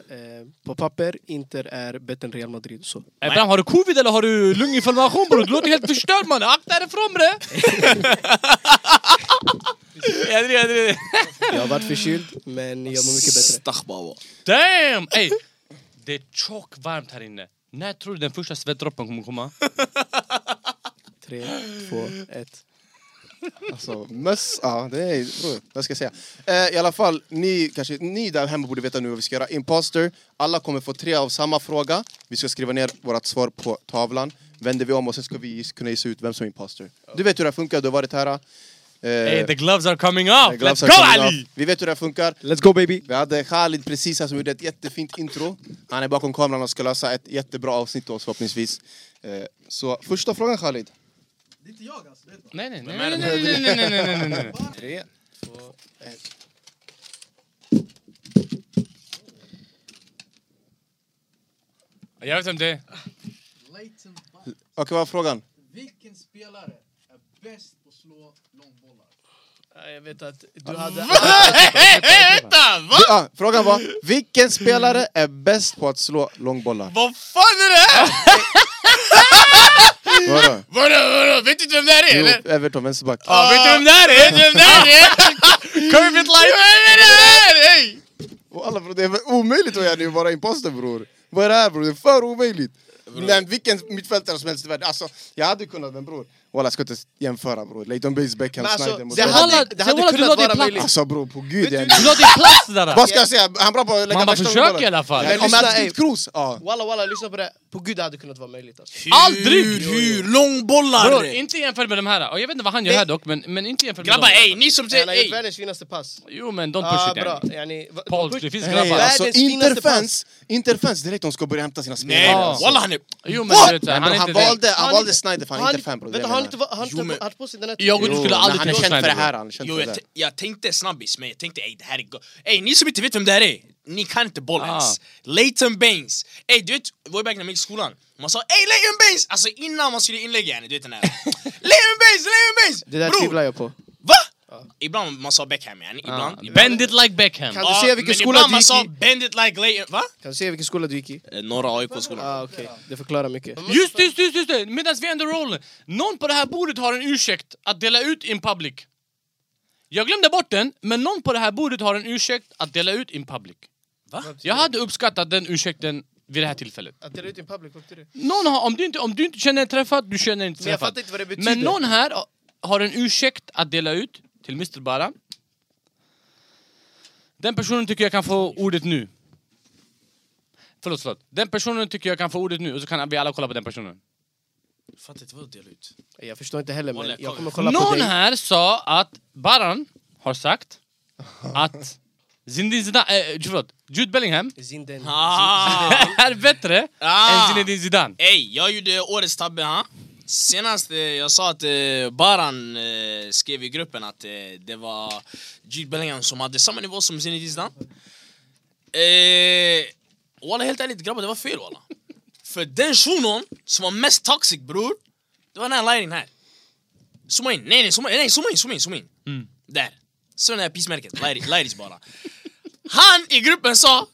Speaker 6: på papper, Inter är bättre än Real Madrid och så.
Speaker 4: Bram, har du covid eller har du lunginflammation bror? Du låter helt förstörd mannen. Akta dig ifrån bre! Jag driver, jag driver.
Speaker 6: Jag har varit förkyld, men jag mår mycket bättre.
Speaker 2: Stakhbaba.
Speaker 4: Damn! Ey, det är tjock varmt här inne. När tror du den första svettdroppen kommer komma?
Speaker 6: Tre, två, ett.
Speaker 1: Alltså, möss, ja, det är, bror, vad ska jag säga? Eh, I alla fall, ni, kanske, ni där hemma borde veta nu vad vi ska göra. Imposter, alla kommer få tre av samma fråga. Vi ska skriva ner vårt svar på tavlan. Vänder vi om och sen ska vi gis- kunna gissa ut vem som är imposter. Du vet hur det här funkar, du har varit här. Eh,
Speaker 4: Ey, the gloves are coming off!
Speaker 1: gloves
Speaker 4: Let's
Speaker 1: are
Speaker 4: go
Speaker 1: coming
Speaker 4: Ali!
Speaker 1: off. Vi vet hur det här funkar.
Speaker 6: Let's go baby!
Speaker 1: Vi hade Khalid precis här som gjorde ett jättefint intro. Han är bakom kameran och ska lösa ett jättebra avsnitt åt oss förhoppningsvis. Eh, så första frågan Khalid.
Speaker 5: Det är inte jag alltså. Det
Speaker 4: Nej, nej, nej, nej, nej, nej, nej, nej, nej, nej.
Speaker 1: Tre, två, ett.
Speaker 4: Jag vet vem det är.
Speaker 5: Leighton Baines.
Speaker 1: Okej, vad var frågan?
Speaker 5: Vilken spelare är bäst på att slå långbollar?
Speaker 6: Jag vet att du hade...
Speaker 4: Vänta! Va?
Speaker 1: Vi- ah, frågan var, vilken spelare är bäst på att slå långbollar?
Speaker 4: Vad fan är det här?
Speaker 1: Vadå?
Speaker 4: Vadå, vadå? Vet du inte vem det här är eller?
Speaker 1: Jo, Everton, vänsterback.
Speaker 4: Ja, vet du vem det här är? Vet du vem det här är? Curved life! Vem är det här? Ey!
Speaker 1: Och alla, bror, det är väl omöjligt att göra det, vara imposter bror. Vad är det här bror? Det är för omöjligt. Men vilken mittfältare som helst i världen. Alltså, jag hade kunnat men bror. Walla, jag ska inte jämföra bror. Leighton Baines, Beckham,
Speaker 6: Men alltså,
Speaker 1: Snyder mot
Speaker 6: det
Speaker 1: Everton.
Speaker 6: hade- det hade kunnat vara möjligt.
Speaker 1: Alltså bror, på gud jag är
Speaker 4: Du la din plats där!
Speaker 1: Vad ska jag säga? Han är bra på att lägga
Speaker 4: Man bara
Speaker 1: värsta
Speaker 4: försöker
Speaker 1: bollen.
Speaker 4: i alla fall.
Speaker 1: Men
Speaker 6: Lyssna,
Speaker 1: Om jag hade
Speaker 6: ey.
Speaker 1: skrivit Kroos, ja.
Speaker 6: Walla walla, lyssna på det. här. På gud det hade kunnat vara möjligt alltså.
Speaker 4: Aldrig!
Speaker 2: Hur, hur? Långbollar!
Speaker 4: Bror, inte jämfört med de här. Och jag vet inte vad han gör här dock, men, men inte jämfört med
Speaker 2: Grabbar
Speaker 4: dem.
Speaker 2: ey, ni som säger
Speaker 6: Han har gjort
Speaker 2: ey!
Speaker 6: världens finaste pass.
Speaker 4: Jo men don't push
Speaker 6: Ah,
Speaker 4: it
Speaker 6: bra.
Speaker 4: Danny.
Speaker 6: Yani, va-
Speaker 4: Paul, det finns
Speaker 1: Hey,
Speaker 4: grabbar.
Speaker 1: alltså,
Speaker 6: Världens finaste
Speaker 1: Interfans, Interfans direkt de ska börja hämta sina spelare.
Speaker 2: Nej,
Speaker 4: Ja.
Speaker 2: walla han är...
Speaker 4: Jo men du vet,
Speaker 1: Nej,
Speaker 4: han är
Speaker 1: men
Speaker 4: inte
Speaker 1: han,
Speaker 4: det.
Speaker 1: valde, han
Speaker 6: Han-
Speaker 1: valde Snyder för han är
Speaker 6: Han-
Speaker 1: inte fan bror. det jag
Speaker 6: Vänta, har han
Speaker 1: menar.
Speaker 6: inte va- har inte
Speaker 2: Jo, men-
Speaker 6: haft på sig den här
Speaker 4: Jag och du
Speaker 1: Jo,
Speaker 4: skulle
Speaker 1: men
Speaker 4: aldrig
Speaker 1: han är
Speaker 4: tro
Speaker 1: känd för
Speaker 4: Snyder.
Speaker 1: det här. Han är känd
Speaker 2: Jo,
Speaker 1: för
Speaker 2: jag,
Speaker 1: det
Speaker 2: t- jag tänkte snabbis, men jag tänkte ey det här är go- Ey, ni som inte vet vem det här är, ni kan inte boll
Speaker 4: Ah.
Speaker 2: ens. Leighton Baines. Ey, du vet, way back när man gick i skolan, man sa ey Leighton Baines! Alltså innan man skulle inlägga henne, du vet den här. Leighton Baines, Leighton Baines!
Speaker 6: Det där
Speaker 2: Bror,
Speaker 6: tvivlar Ah, jag på.
Speaker 2: Va? Ibland man sa Beckham, yani. Ibland. ibland.
Speaker 4: Bend it like Beckham.
Speaker 6: Kan- du se vilken skola
Speaker 2: ibland
Speaker 6: du
Speaker 2: man
Speaker 6: gick
Speaker 2: sa
Speaker 6: i?
Speaker 2: bend it like Leighton... Va?
Speaker 6: Kan du se vilken skola du gick i?
Speaker 2: Norra AIK-skolan.
Speaker 6: Ah, okej. Det förklarar mycket.
Speaker 4: Just just just, just det! Medan vi ändå rollen. Någon på det här bordet har en ursäkt att dela ut in public. Jag glömde bort den, men någon på det här bordet har en ursäkt att dela ut in public.
Speaker 2: Va?
Speaker 4: Jag hade uppskattat den ursäkten vid det här tillfället.
Speaker 6: Att dela ut i en public, vad betyder det?
Speaker 4: Någon har, om, du inte, om du inte känner en träffad, du känner inte
Speaker 6: Men jag
Speaker 4: träffad.
Speaker 6: fattar inte vad det betyder.
Speaker 4: Men någon här har en ursäkt att dela ut till Mr Bara. Den personen tycker jag kan få ordet nu. Förlåt, förlåt. Den personen tycker jag kan få ordet nu och så kan vi alla kolla på den personen.
Speaker 2: Fattar inte vad du delar ut.
Speaker 6: Jag förstår inte heller,
Speaker 2: Walla,
Speaker 6: men
Speaker 2: jag
Speaker 6: jag kommer
Speaker 2: kollar.
Speaker 6: kolla på
Speaker 4: Någon
Speaker 6: dig.
Speaker 4: här sa att Baran har sagt att Zinedine Zidane, eh, förlåt, Jude Bellingham
Speaker 6: Zinden.
Speaker 2: Ah.
Speaker 4: är bättre än
Speaker 2: Ah.
Speaker 4: Zinedine Zidane.
Speaker 2: Ey, jag gjorde årets tabbe ha. Senast eh, jag sa att eh, Baran eh, skrev i gruppen att eh, det var Jude Bellingham som hade samma nivå som Zinedine Zidane. Eh, walla helt ärligt grabbar, det var fel walla. För den shunon som var mest toxic bror, det var den här linjen här. Zooma in, nej nej zooma in, nej, zooma in, zooma in, zooma in.
Speaker 4: Mm.
Speaker 2: Där. Så det här peace-märket, Lairis- Lairis bara. Han i gruppen sa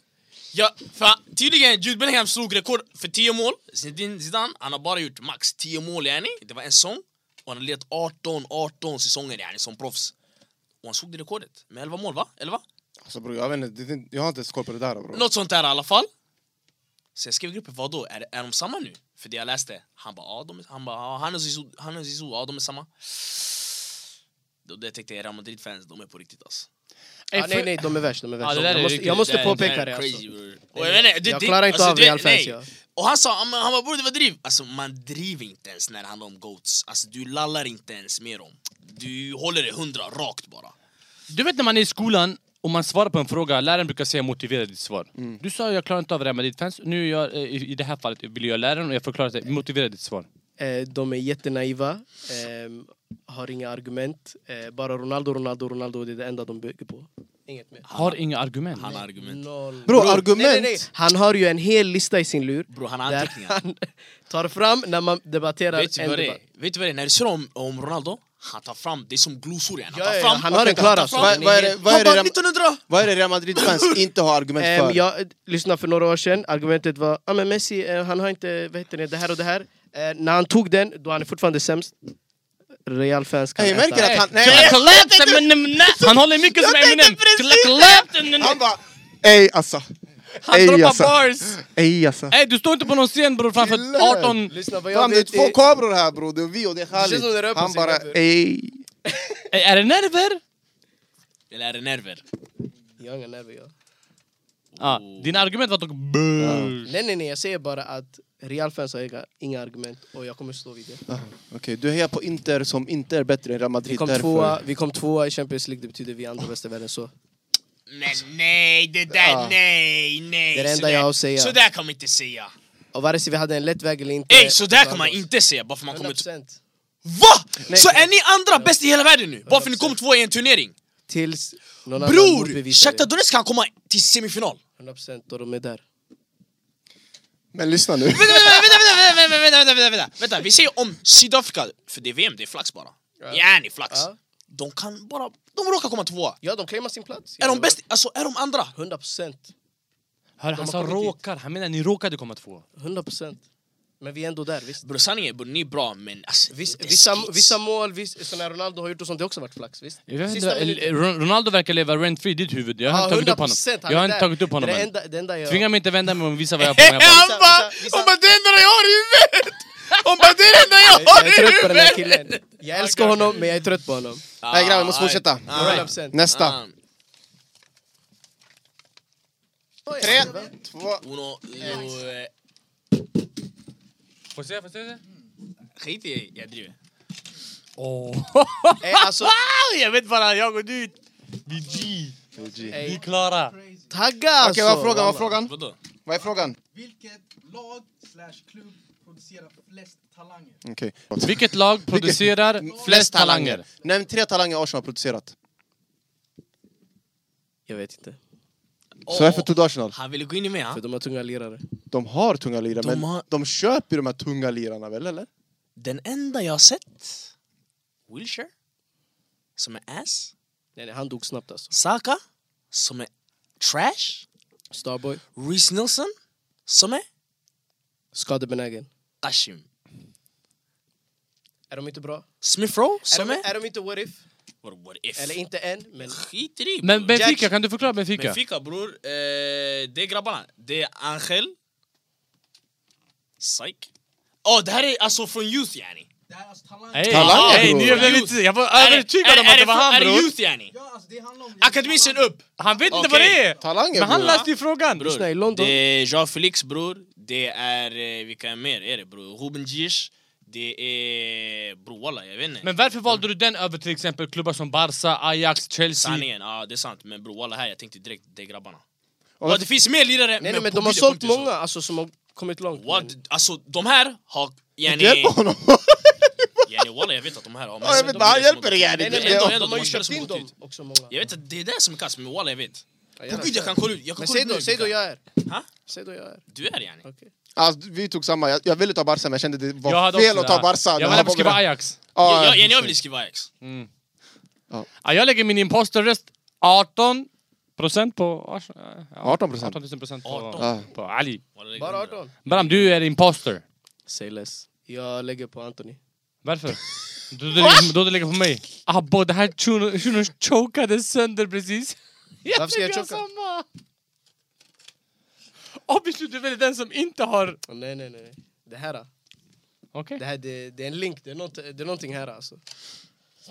Speaker 2: Ja, för tydligen Jude Bellingham slog rekord för 10 mål. Zinedine Zidane, han har bara gjort max 10 mål yani. Det var en säsong. Och han har lett 18, 18 säsonger yani, som proffs. Och han slog det rekordet med 11 mål va? 11?
Speaker 1: Alltså bror, jag vet inte, det är inte- jag har inte ens koll på det där bror.
Speaker 2: Något sånt där i alla fall. Så jag skrev i gruppen, vadå? Är, är de samma nu? För det jag läste. Han bara, ja, de är, han, bara, ja, han och Zizou, han och Zizou, ja, de är samma. Då det tänkte jag, Real Madrid-fans, de är på riktigt alltså.
Speaker 6: Ja, nej, nej, de är värst. De är
Speaker 4: Ja,
Speaker 6: värst.
Speaker 4: det där är
Speaker 6: jag måste,
Speaker 4: riktigt-
Speaker 6: jag måste
Speaker 2: är-
Speaker 6: påpeka
Speaker 2: är
Speaker 6: det.
Speaker 2: crazy,
Speaker 6: Alltså.
Speaker 2: bror. Och jag, menar, det,
Speaker 6: Jag
Speaker 2: det-
Speaker 6: klarar inte
Speaker 2: alltså,
Speaker 6: av
Speaker 2: det-
Speaker 6: Real-fans,
Speaker 2: nej.
Speaker 6: jag.
Speaker 2: Och han sa, han, han bara bror det var driv. Alltså man driver inte ens när det handlar om goats. Alltså du lallar inte ens med dem. Du håller det hundra rakt bara.
Speaker 4: Du vet när man är i skolan och man svarar på en fråga, läraren brukar säga motivera ditt svar. Du sa jag klarar inte av Real Madrid-fans, nu är jag, eh, i, i det här fallet vill jag läraren och jag förklarar det, motivera ditt svar.
Speaker 6: Eh, de är jättenaiva, ehm, har inga argument. Eh, bara Ronaldo, Ronaldo, Ronaldo, det är det enda de bygger på. Inget mer.
Speaker 4: Har inga argument.
Speaker 2: Han har argument.
Speaker 6: Noll.
Speaker 1: Bro,
Speaker 6: Nej, nej, nej.
Speaker 1: argument!
Speaker 6: Han har ju en hel lista i sin lur.
Speaker 2: Bror han har
Speaker 6: Där
Speaker 2: anteckningar.
Speaker 6: han tar fram när man debatterar.
Speaker 2: Vet du
Speaker 6: en
Speaker 2: vad det är?
Speaker 6: debatt.
Speaker 2: Vet du vad det är? När du ser om, om Ronaldo, han tar fram, det är som glosor igen. Han
Speaker 6: Ja,
Speaker 2: tar
Speaker 6: ja,
Speaker 2: fram,
Speaker 6: han har en klar alltså.
Speaker 1: Vad- vad är det- vad är
Speaker 2: han bara
Speaker 1: det-
Speaker 2: 1900!
Speaker 1: Vad är det Real Madrid-fans inte har argument
Speaker 6: Ehm,
Speaker 1: för?
Speaker 6: jag eh, lyssnade för några år sedan, argumentet var ah, men Messi, eh, han har inte vad heter det, det här och det här. Eh, när han tog den, då han är fortfarande sämst. Real-fans kan
Speaker 1: Hey,
Speaker 6: äta.
Speaker 1: märker att han...
Speaker 4: Clap,
Speaker 1: Nej,
Speaker 4: clap, Eminem, nej. Han håller mycket som Eminem! Clap, clap, Eminem.
Speaker 1: han bara... Ey asså!
Speaker 4: Han
Speaker 1: Ey,
Speaker 4: droppar
Speaker 1: alltså.
Speaker 4: bars!
Speaker 1: Ey alltså. asså!
Speaker 4: Ey du står inte på någon scen bror
Speaker 1: Chilla.
Speaker 4: framför 18...
Speaker 6: Lyssna vad jag
Speaker 1: Fan det är
Speaker 6: vet.
Speaker 1: två
Speaker 6: är-
Speaker 1: kameror här bror, det är vi och det är
Speaker 6: känns som det
Speaker 1: Khalid.
Speaker 6: rör på
Speaker 1: Han
Speaker 6: sig,
Speaker 1: bara
Speaker 6: grabbar.
Speaker 1: ey...
Speaker 4: Ey är det nerver?
Speaker 2: Eller är det nerver?
Speaker 6: Jag har inga nerver jag.
Speaker 4: Ja, dina Ah, argument var dock böööööööööööööööööööööööööööööööööööööö
Speaker 6: Nej nej nej, jag säger bara att Real-fans har inga, inga argument och jag kommer stå vid det.
Speaker 1: Ah, Okej, du hejar på Inter som inte är bättre än Real
Speaker 6: Vi
Speaker 1: Madrid
Speaker 6: kom,
Speaker 1: därför.
Speaker 6: tvåa, vi kom tvåa i Champions League, det betyder vi är andra bästa i världen så.
Speaker 2: Men nej, det där,
Speaker 6: Ja.
Speaker 2: nej, nej.
Speaker 6: Det är det enda
Speaker 2: Sådär-
Speaker 6: jag har att säga.
Speaker 2: Sådär kan man inte säga.
Speaker 6: Och vare sig vi hade en lätt väg eller inte...
Speaker 2: Ey, sådär kan man inte säga bara för man kommer
Speaker 6: 100%
Speaker 2: VA?
Speaker 6: Nej.
Speaker 2: Så är ni andra bäst i hela världen nu? Bara för ni kom två i en turnering?
Speaker 6: tills någon annan
Speaker 2: Bror!
Speaker 6: motbevisar
Speaker 2: Shakhtar
Speaker 6: det.
Speaker 2: Donetsk kan komma till semifinal!
Speaker 6: 100% och de är där.
Speaker 1: Men lyssna nu.
Speaker 2: Vänta, vänta, vänta, vänta, vänta, vänta, vänta, vänta, vänta, vi säger om Sydafrika, för det är VM, det är flax bara. Yani flax.
Speaker 6: Ja.
Speaker 2: De kan bara, de råkar komma tvåa.
Speaker 6: Ja, de claimar sin plats.
Speaker 2: Är de bäst, alltså är de andra?
Speaker 6: 100%.
Speaker 4: Han sa
Speaker 6: kommit dit.
Speaker 4: råkar, han menar ni råkade komma två
Speaker 6: 100%. Men vi är ändå där, visst.
Speaker 2: Bror sanningen är, bror, ni är bra men alltså,
Speaker 6: Viss,
Speaker 2: det är
Speaker 6: vissa,
Speaker 2: skits.
Speaker 6: vissa mål, viss, som när Ronaldo har gjort och sånt, det har också varit flax, visst?
Speaker 4: Jag vet
Speaker 6: Sista
Speaker 4: inte,
Speaker 6: minuten.
Speaker 4: eh, Ron- Ronaldo verkar leva rent free i ditt huvud, jag har inte tagit upp honom
Speaker 6: 100%, han
Speaker 4: Jag har
Speaker 6: är
Speaker 4: inte
Speaker 6: där.
Speaker 4: tagit upp honom
Speaker 6: Det är det
Speaker 4: än
Speaker 6: enda, det enda jag...
Speaker 4: Tvinga mig inte vända mig och visa vad jag har på mig
Speaker 2: Han
Speaker 4: jag
Speaker 2: bara,
Speaker 6: Vissa- vissa-
Speaker 2: hon bara det är det enda jag har i huvudet! Hon bara det är det enda
Speaker 4: Eh,
Speaker 2: jag har
Speaker 6: Jag
Speaker 2: i huvudet!
Speaker 6: är trött på den här killen. Jag älskar honom, men jag är trött på honom.
Speaker 1: Nej grabbar, vi
Speaker 6: Ah,
Speaker 1: måste fortsätta.
Speaker 2: All right.
Speaker 6: 100%.
Speaker 1: Nästa.
Speaker 2: Ah.
Speaker 1: Tre, två...
Speaker 2: Uno, uno, eh,
Speaker 4: bara Får se, får se
Speaker 2: skit i, jag driver.
Speaker 4: Åh,
Speaker 6: Eh, alltså,
Speaker 4: jag vet bara, jag går dit Vi G, vi
Speaker 6: eh,
Speaker 4: klara
Speaker 6: tagga
Speaker 1: Okej,
Speaker 6: alltså!
Speaker 1: vad är frågan? Vad är frågan?
Speaker 2: Vadå?
Speaker 1: Vad är frågan?
Speaker 7: Vilket lag slash klubb producerar flest talanger?
Speaker 1: Okej.
Speaker 4: Vilket lag producerar flest talanger?
Speaker 1: Nämn tre talanger Arsenal har producerat.
Speaker 6: Jag vet inte,
Speaker 1: Så varför tog du Arsenal?
Speaker 2: Han ville gå in i mig,
Speaker 6: för
Speaker 2: han.
Speaker 6: de har tunga lirare.
Speaker 1: De har tunga lirare,
Speaker 2: De
Speaker 1: men
Speaker 2: har-
Speaker 1: de köper ju de här tunga lirarna väl, eller?
Speaker 2: Den enda jag har sett, Wilshire, som är ass.
Speaker 6: Nej, nej, han dog snabbt alltså.
Speaker 2: Saka, som är trash.
Speaker 6: Starboy,
Speaker 2: Reece Nilsson, som är
Speaker 6: skadebenägen.
Speaker 2: Kashim.
Speaker 6: Är de inte bra?
Speaker 2: Smith Rowe,
Speaker 6: Är
Speaker 2: som
Speaker 6: de,
Speaker 2: är...
Speaker 6: är de inte what if?
Speaker 2: What, what if?
Speaker 6: Eller inte än, men...
Speaker 2: Skit i det,
Speaker 4: Men
Speaker 2: bror.
Speaker 4: Benfica, kan du förklara Benfica?
Speaker 2: Benfica bror, eh, det är grabbarna. Det är Angel. Psych. Åh, det här är alltså från Youth yani.
Speaker 7: Det här är alltså talanger.
Speaker 4: Ey,
Speaker 1: Talanger,
Speaker 4: ey,
Speaker 1: bror.
Speaker 4: nu blev lite... Jag var övertygad om
Speaker 2: är
Speaker 4: att det var
Speaker 2: från-
Speaker 4: han
Speaker 2: Är det
Speaker 4: bror
Speaker 2: Youth yani?
Speaker 7: Ja, alltså det handlar om...
Speaker 2: Akademin sen upp.
Speaker 4: Han vet inte
Speaker 2: Okej.
Speaker 4: vad det är!
Speaker 1: Talanger,
Speaker 4: Men han
Speaker 1: bror.
Speaker 4: läste ju frågan!
Speaker 6: Lyssna, i London-
Speaker 2: det är Jean Felix bror. Det är, eh, vilka mer är det bror? Ruben Gish. Det är, bror walla jag vet inte.
Speaker 4: Men varför valde du den över till exempel klubbar som Barca, Ajax, Chelsea?
Speaker 2: Sanningen, ja det är sant. Men bror walla här jag tänkte direkt, det är grabbarna.
Speaker 1: Och
Speaker 2: Ja, det finns mer lirare
Speaker 6: Nej, nej, men
Speaker 2: på
Speaker 6: de har
Speaker 2: bilden
Speaker 6: sålt
Speaker 2: kom inte så.
Speaker 6: många alltså, som har kommit långt.
Speaker 2: Walla,
Speaker 6: Men-
Speaker 2: d- Alltså de här har, yani,
Speaker 1: Hjälp honom!
Speaker 2: yani walla jag vet att de här har
Speaker 1: Ja, jag vet bara, han hjälper dig yani!
Speaker 6: Nej, nej,
Speaker 2: Det är ändå-
Speaker 6: men
Speaker 2: ändå
Speaker 6: de, de har ju
Speaker 2: de spelare
Speaker 6: köpt
Speaker 2: som
Speaker 6: in
Speaker 2: har gått
Speaker 6: dem
Speaker 2: ut.
Speaker 6: också, många.
Speaker 2: Jag vet att det är det som är kass, men walla jag vet.
Speaker 6: Ja,
Speaker 2: På
Speaker 6: jag
Speaker 2: gud jag kan
Speaker 6: vet.
Speaker 2: kolla ut, jag kan
Speaker 6: Men
Speaker 2: kolla
Speaker 6: säg
Speaker 2: ut
Speaker 6: då,
Speaker 2: nu
Speaker 6: säg då
Speaker 2: vilka-
Speaker 6: jag är.
Speaker 2: Ha?
Speaker 6: Säg då jag är.
Speaker 2: Du är yani.
Speaker 6: Okej.
Speaker 1: Alltså, vi tog samma, jag, jag ville ta Barca men jag kände det var
Speaker 4: Jag hade
Speaker 1: fel
Speaker 4: också
Speaker 1: att ta
Speaker 4: det.
Speaker 1: Barca. Det
Speaker 4: Jag
Speaker 1: här
Speaker 4: ville skriva
Speaker 1: var-
Speaker 4: Ajax.
Speaker 1: Ja,
Speaker 2: Jag, jag, jag
Speaker 1: precis.
Speaker 2: vill skriva Ajax.
Speaker 4: Ja, jag lägger min imposterröst 18 procent på... Ars- ja,
Speaker 1: 18 procent.
Speaker 4: 18 000 procent på,
Speaker 2: 18.
Speaker 4: på Ali.
Speaker 2: Walla, det är
Speaker 6: Bara
Speaker 2: hundra.
Speaker 6: 18?
Speaker 4: Bram, du är imposter.
Speaker 6: Say less. Jag lägger på Anthony.
Speaker 4: Varför? Då du, lägger- då du lägger på mig. Abbo, det här shunon shunon chokade sönder precis. Jag
Speaker 6: Varför ska jag
Speaker 4: fick göra
Speaker 6: choka?
Speaker 4: samma! Obviously, du är väl den som inte har...
Speaker 6: Nej, nej, nej. Det här,
Speaker 4: Okej.
Speaker 6: det, här det, det är en link. Det är, något, det är någonting här alltså.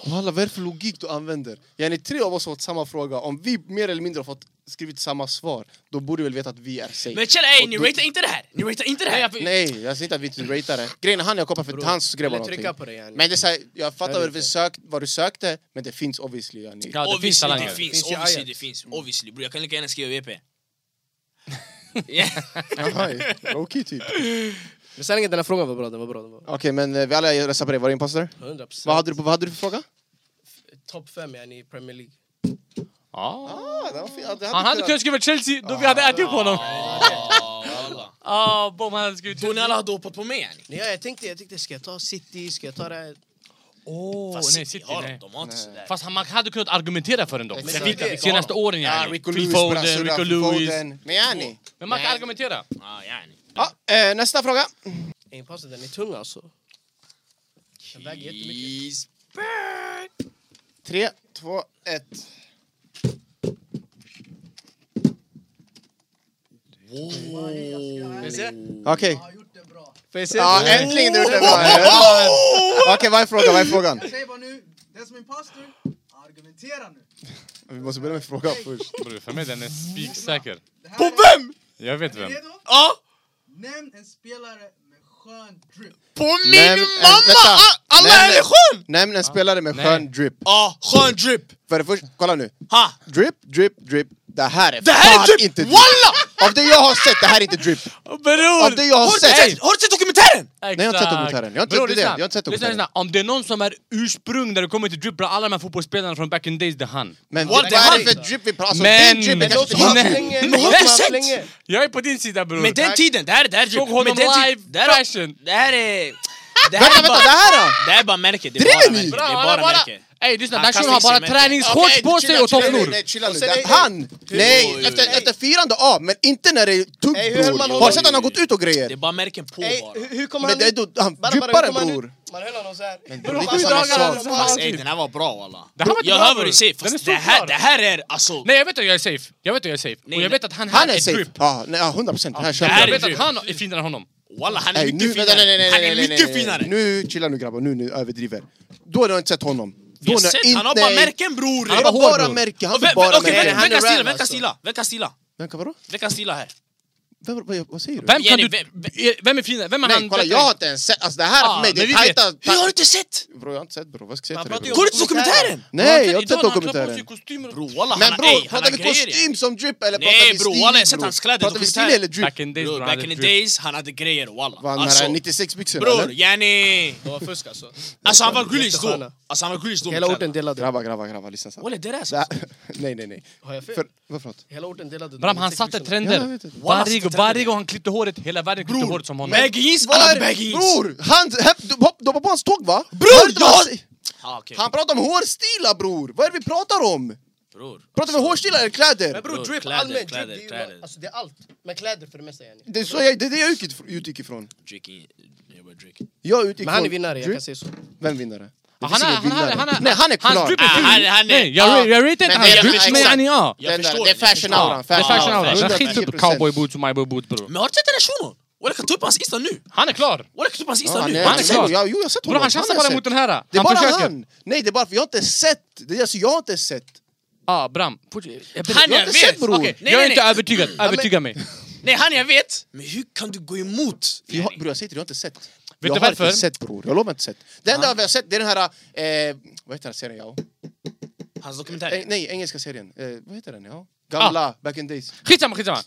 Speaker 1: Walla, vad är det för logik du använder? Yani, tre av oss har fått samma fråga. Om vi mer eller mindre har fått skrivit samma svar, då borde vi väl veta att vi är safe.
Speaker 2: Men chilla ey, ni
Speaker 1: Och du-
Speaker 2: ratear inte det här! Ni ratear inte det här!
Speaker 1: Nej, jag säger inte att vi inte ratear det. Grejen är han jag kopplar för hans skrev
Speaker 6: Eller
Speaker 1: någonting.
Speaker 6: trycka på det. Yani.
Speaker 1: Men det är så här, jag fattar
Speaker 6: Jag
Speaker 1: vad
Speaker 6: vet
Speaker 1: du,
Speaker 6: inte.
Speaker 1: sökt, vad du sökte, men det finns obviously. Yani.
Speaker 4: Ja, det finns
Speaker 2: obviously det
Speaker 4: talanger.
Speaker 2: finns,
Speaker 6: Finns i
Speaker 2: obviously
Speaker 6: Ajax.
Speaker 2: det finns, obviously bror jag kan lika gärna skriva VP. Yeah.
Speaker 1: Jaha, Okej, typ. Okej,
Speaker 6: Men sanningen, den här frågan var bra. Den var bra. Den var
Speaker 1: men eh, vi alla röstar på dig. Var det imposter?
Speaker 6: 100
Speaker 1: Vad hade, du, på- vad hade du för fråga?
Speaker 6: Topp fem yani, i Premier League.
Speaker 4: Ah.
Speaker 1: Ah, det var fint. Ja, det
Speaker 4: Han hade kunnat skriva Chelsea då vi hade ätit upp honom.
Speaker 2: Ah, Oh,
Speaker 4: Ah, bom, han hade skrivit
Speaker 2: Tror ni
Speaker 4: Chelsea.
Speaker 2: alla hade hoppat på mig yani?
Speaker 6: Nej, jag, tänkte, jag tänkte, ska jag ta City? Ska jag ta det här?
Speaker 4: Åh,
Speaker 2: Fast
Speaker 4: nej,
Speaker 2: City
Speaker 4: City,
Speaker 2: har
Speaker 4: nej.
Speaker 2: de har inte sådär.
Speaker 4: Fast han, man hade kunnat argumentera för den dock.
Speaker 1: Exakt.
Speaker 4: Sen
Speaker 1: Men det är
Speaker 4: vi,
Speaker 1: det.
Speaker 4: senaste åren
Speaker 1: Ja,
Speaker 4: yani.
Speaker 1: Rico
Speaker 4: Phil
Speaker 1: Lewis,
Speaker 4: Foden,
Speaker 1: Brassura,
Speaker 4: Rico
Speaker 1: Phil
Speaker 4: Lewis.
Speaker 1: Foden. Men yani.
Speaker 4: Men man kan argumentera.
Speaker 2: Ah, yani.
Speaker 1: Ja, eh, nästa fråga.
Speaker 6: Impulsen, den är tung alltså. Den väger jättemycket.
Speaker 2: Cheese.
Speaker 1: Tre, två, ett.
Speaker 6: Får jag se?
Speaker 1: Okej.
Speaker 7: Jag har gjort det bra.
Speaker 6: Får jag se?
Speaker 1: Ja, äntligen du gjorde det bra. Okej, vad är frågan? Vad är frågan?
Speaker 7: Jag säger bara nu, den som är imposter, argumentera nu.
Speaker 1: Vi måste börja med frågan först.
Speaker 4: Bror, för mig den är spiksäker.
Speaker 7: Det här är-
Speaker 2: vem?
Speaker 4: Jag vet
Speaker 7: Är
Speaker 4: vem.
Speaker 7: ni redo?
Speaker 2: Ja!
Speaker 7: Nämn en spelare med skön drip.
Speaker 2: På min
Speaker 1: Nämn en-
Speaker 2: mamma!
Speaker 1: eh, vänta.
Speaker 2: Ah, Alla
Speaker 1: Nämn
Speaker 2: här är
Speaker 1: en-
Speaker 2: skön!
Speaker 1: Nämn en spelare med
Speaker 4: Nej.
Speaker 1: skön drip.
Speaker 2: Ja, skön Ah, drip!
Speaker 1: För det första, kolla nu.
Speaker 2: Ha!
Speaker 1: Drip, drip, drip. Det här är
Speaker 2: Det här
Speaker 1: fan
Speaker 2: är drip!
Speaker 1: inte drip.
Speaker 2: Walla!
Speaker 1: Av det jag har sett, det här är inte drip. Av det
Speaker 4: Bror!
Speaker 1: jag har
Speaker 2: Har du
Speaker 1: sett!
Speaker 2: sett- Har du sett dokumentären?
Speaker 1: Nej, jag har inte sett dokumentären. Jag har inte
Speaker 4: Bror,
Speaker 1: sett det.
Speaker 4: lyssna.
Speaker 1: Jag har inte sett
Speaker 4: Lyssna,
Speaker 1: dokumentären.
Speaker 4: lyssna. Om det är någon som är ursprung när det kommer till drip, bror, alla de här fotbollsspelarna från back in days, det är han.
Speaker 1: Men
Speaker 2: What
Speaker 1: vad
Speaker 2: the
Speaker 1: är det
Speaker 2: hell?
Speaker 1: för drip vi pratar om?
Speaker 4: Men-
Speaker 1: Din drip
Speaker 4: Men
Speaker 1: är
Speaker 4: låt
Speaker 1: kanske
Speaker 4: honom-
Speaker 1: inte hans.
Speaker 4: Nej.
Speaker 6: Länge,
Speaker 2: Men
Speaker 6: låt
Speaker 2: har du
Speaker 6: mig
Speaker 2: sett?
Speaker 6: länge.
Speaker 4: Jag är på din sida bror.
Speaker 2: Men den tiden, det här är drip.
Speaker 4: Såg honom
Speaker 2: Men den
Speaker 4: live,
Speaker 2: tiden- det här-
Speaker 4: fashion.
Speaker 2: Det här är... Det här
Speaker 1: Vänta,
Speaker 2: är bara-
Speaker 1: vänta, det här då?
Speaker 2: Det här är bara märke, det är
Speaker 1: Driver
Speaker 2: bara
Speaker 1: ni?
Speaker 2: märke. Det
Speaker 4: Bra,
Speaker 2: är
Speaker 4: han har
Speaker 2: bara
Speaker 4: bara...
Speaker 2: märke.
Speaker 4: Ey lyssna,
Speaker 2: Han
Speaker 4: den
Speaker 2: kastar
Speaker 4: har bara
Speaker 2: sig med-
Speaker 4: träningsshorts
Speaker 1: Okej,
Speaker 4: på sig
Speaker 1: chilla,
Speaker 4: och
Speaker 1: chilla nu,
Speaker 4: tofflor.
Speaker 1: Nej, chilla nu.
Speaker 6: Och sen
Speaker 1: Det-
Speaker 6: är-
Speaker 1: Han!
Speaker 2: Oj, oj,
Speaker 1: Nej,
Speaker 2: oj.
Speaker 1: efter, efter firande, ja. Men inte när det är tugg,
Speaker 6: Ey, hur höll
Speaker 1: bror. Har
Speaker 6: man honom?
Speaker 1: du sett att han har gått ut och
Speaker 2: Det är
Speaker 1: grejer?
Speaker 2: bara märken på
Speaker 6: Ey,
Speaker 2: bara.
Speaker 6: hur, hur kom
Speaker 1: Men
Speaker 6: han
Speaker 1: det är
Speaker 6: ut?
Speaker 1: då, han
Speaker 6: Bara, bara, hur
Speaker 1: djupare
Speaker 6: kom han ut?
Speaker 1: bror.
Speaker 6: Man höll honom såhär.
Speaker 1: Bror, det är
Speaker 6: han-
Speaker 1: samma
Speaker 6: han-
Speaker 4: dagar,
Speaker 6: han-
Speaker 4: alltså.
Speaker 6: han-
Speaker 2: Fast ey, den här var bra walla.
Speaker 4: Det här var inte
Speaker 2: Jag
Speaker 4: bra,
Speaker 2: hör vad
Speaker 4: bror.
Speaker 2: du säger,
Speaker 4: Den är
Speaker 2: fast det här,
Speaker 4: solklar.
Speaker 2: det här är alltså...
Speaker 4: Nej jag vet att jag är safe. Jag vet att jag är safe.
Speaker 2: Nej,
Speaker 4: och jag
Speaker 2: nej.
Speaker 4: vet att han här
Speaker 1: Han
Speaker 4: är,
Speaker 1: är safe.
Speaker 4: drip.
Speaker 1: Ja, nej, ja, 100 procent.
Speaker 2: det här
Speaker 4: Jag
Speaker 2: är
Speaker 4: vet att
Speaker 2: drip.
Speaker 4: han är finare än honom.
Speaker 2: Walla, han är
Speaker 1: Nej, nu,
Speaker 2: mycket
Speaker 1: vänta, nej, nej,
Speaker 2: finare.
Speaker 1: nej,
Speaker 2: Han
Speaker 1: nej,
Speaker 2: är
Speaker 1: nej,
Speaker 2: mycket
Speaker 1: nej, nej.
Speaker 2: finare.
Speaker 1: Nu, chilla nu grabbar, nu, nu överdriver. Då har du inte sett honom. Då
Speaker 2: Jag har
Speaker 1: när-
Speaker 2: sett, han har
Speaker 1: inte-
Speaker 2: bara märken bror.
Speaker 1: Han
Speaker 4: bara
Speaker 1: har
Speaker 4: hår,
Speaker 1: bara
Speaker 4: bror.
Speaker 1: märke, han
Speaker 2: Och vä-
Speaker 1: har bara
Speaker 2: vä- Okej,
Speaker 1: märke.
Speaker 6: han är
Speaker 2: vem kan
Speaker 6: ram,
Speaker 2: stila? Vem kan
Speaker 6: alltså.
Speaker 2: stila? Vem kan stila?
Speaker 1: Vem kan vadå?
Speaker 2: Vem kan stila här?
Speaker 1: Vem, vad, vad säger du?
Speaker 4: Vem, kan
Speaker 2: Jenny,
Speaker 4: du,
Speaker 2: vem-
Speaker 4: vem är finare? Vem är
Speaker 1: Nej,
Speaker 4: han?
Speaker 1: kolla
Speaker 4: bättre?
Speaker 1: jag har inte ens sett, alltså det här
Speaker 4: Ah,
Speaker 1: för mig, det
Speaker 4: men vi
Speaker 1: är tajta...
Speaker 2: Hur har du
Speaker 1: ta-
Speaker 2: inte sett?
Speaker 1: Bror jag har inte sett bror, vad ska jag
Speaker 6: Man
Speaker 1: säga
Speaker 6: pratar
Speaker 1: till
Speaker 6: ju
Speaker 1: dig?
Speaker 6: om
Speaker 1: bror?
Speaker 2: Kolla inte dokumentären!
Speaker 1: Nej, jag har
Speaker 4: Idag
Speaker 1: inte sett
Speaker 4: när han klär på sig
Speaker 1: dokumentären.
Speaker 4: kostymer och-
Speaker 2: Bror walla, han
Speaker 1: Men
Speaker 2: har-
Speaker 1: bror,
Speaker 2: ey, han
Speaker 1: pratar
Speaker 2: har
Speaker 1: vi
Speaker 2: grejer.
Speaker 1: kostym som drip eller
Speaker 2: Nej,
Speaker 1: pratar vi
Speaker 2: bror, alla, jag har
Speaker 1: stil
Speaker 2: sett hans kläder,
Speaker 1: Pratar vi stil
Speaker 2: dokumentär.
Speaker 1: eller drip?
Speaker 4: Back in days
Speaker 2: Bror,
Speaker 4: bror.
Speaker 2: back in the days, han hade grejer
Speaker 1: Var
Speaker 2: walla.
Speaker 1: han alltså,
Speaker 2: Alltså,
Speaker 1: 96 byxorna
Speaker 2: bror,
Speaker 1: eller?
Speaker 2: yani...
Speaker 6: Det var fusk alltså.
Speaker 2: Alltså han var grillish då.
Speaker 6: Jättesköna.
Speaker 2: Alltså han var grillish då.
Speaker 6: Hela orten delade.
Speaker 1: Grabbar, grabbar, grabbar, lyssna snabbt.
Speaker 2: Walla, det där är
Speaker 1: Det här- Nej, nej, nej.
Speaker 6: Har jag fel?
Speaker 1: För, vad för något?
Speaker 6: Hela orten delade.
Speaker 4: Bram han satte
Speaker 1: Ja, jag
Speaker 4: trender.
Speaker 1: vet inte.
Speaker 4: Varje,
Speaker 2: Walla,
Speaker 4: varje gång han klippte håret, hela världen klippte håret som honom.
Speaker 2: Baggy jeans, alla hade baggy jeans.
Speaker 1: Bror! Han hepp- hopp- hoppade på hans tåg va?
Speaker 2: Bror,
Speaker 1: Hörde man-
Speaker 2: Ah, okej.
Speaker 1: Han pratar om hårstilar bror! Vad är det vi pratar om?
Speaker 2: Bror.
Speaker 1: Pratar vi hårstilar eller kläder?
Speaker 6: Men bror,
Speaker 2: Bror,
Speaker 6: drip,
Speaker 2: kläder,
Speaker 6: allmänt drip,
Speaker 2: kläder,
Speaker 6: det är ju
Speaker 2: kläder.
Speaker 6: bara- alltså, det är allt. Men kläder för det mesta yani.
Speaker 1: Det är, så jag, det är det jag utgick, utgick ifrån.
Speaker 2: Drinking, jag bara drink.
Speaker 1: Jag utgick
Speaker 6: Men han är
Speaker 1: från-
Speaker 6: vinnare, jag
Speaker 1: drip.
Speaker 6: kan säga så.
Speaker 1: Vem vinnare? Det
Speaker 4: Ah, Han
Speaker 1: finns
Speaker 4: är,
Speaker 1: ingen
Speaker 4: han är,
Speaker 1: vinnare.
Speaker 4: han är,
Speaker 1: Nej, han är klar!
Speaker 4: Hans drip är
Speaker 2: Ah,
Speaker 4: ful.
Speaker 2: han- han är-
Speaker 4: Nej, jag,
Speaker 1: ah.
Speaker 4: ra- jag ratear inte
Speaker 1: Men
Speaker 4: hans
Speaker 1: det-
Speaker 4: drip,
Speaker 1: exakt.
Speaker 4: men han är ja.
Speaker 2: Jag
Speaker 1: Den där-
Speaker 2: förstår
Speaker 1: det är
Speaker 2: det, jag
Speaker 1: fashion
Speaker 2: förstår.
Speaker 1: auran,
Speaker 4: Det är fashion
Speaker 1: Ja,
Speaker 4: hour. Den
Speaker 1: 110%.
Speaker 4: skiter på cowboy boots och my boy boots bror.
Speaker 2: Men har du sett den här shunon? Walla, jag kan ta upp hans Insta nu.
Speaker 4: Han är klar!
Speaker 2: Walla, jag kan ta upp hans
Speaker 1: Ja,
Speaker 2: Insta
Speaker 1: han
Speaker 2: nu.
Speaker 1: är,
Speaker 4: Han är klar.
Speaker 1: jo, jag har sett
Speaker 4: Bror
Speaker 1: honom.
Speaker 4: han chansar
Speaker 1: har jag
Speaker 4: bara mot
Speaker 1: sett.
Speaker 4: den här.
Speaker 1: Det är bara
Speaker 4: försöker.
Speaker 1: han! Nej, det är bara för jag har inte sett. Det är alltså, jag har inte sett.
Speaker 4: Ah, Bram. forts- Jag ber-
Speaker 2: Han
Speaker 1: Jag
Speaker 2: jag
Speaker 1: har inte sett
Speaker 2: vet!
Speaker 1: bror.
Speaker 4: Okej,
Speaker 2: Nej,
Speaker 4: jag är
Speaker 2: nej,
Speaker 4: inte
Speaker 2: nej.
Speaker 4: övertygad. Övertyga mig.
Speaker 2: Nej, han jag vet. Men hur kan du gå emot?
Speaker 1: Jag, har- bror jag säger till dig, jag har inte sett. jag
Speaker 4: du
Speaker 1: har
Speaker 4: varför? Ah.
Speaker 1: inte sett bror, jag lovar inte sett. Det enda vi har sett det är den här, eh, vad heter den här serien? Ja.
Speaker 2: Hans
Speaker 1: Eh,
Speaker 2: dokumentär.
Speaker 1: nej, engelska serien. Eh, vad heter den? Ja. Gamla, back in days.
Speaker 4: Skitsamma, skitsamma.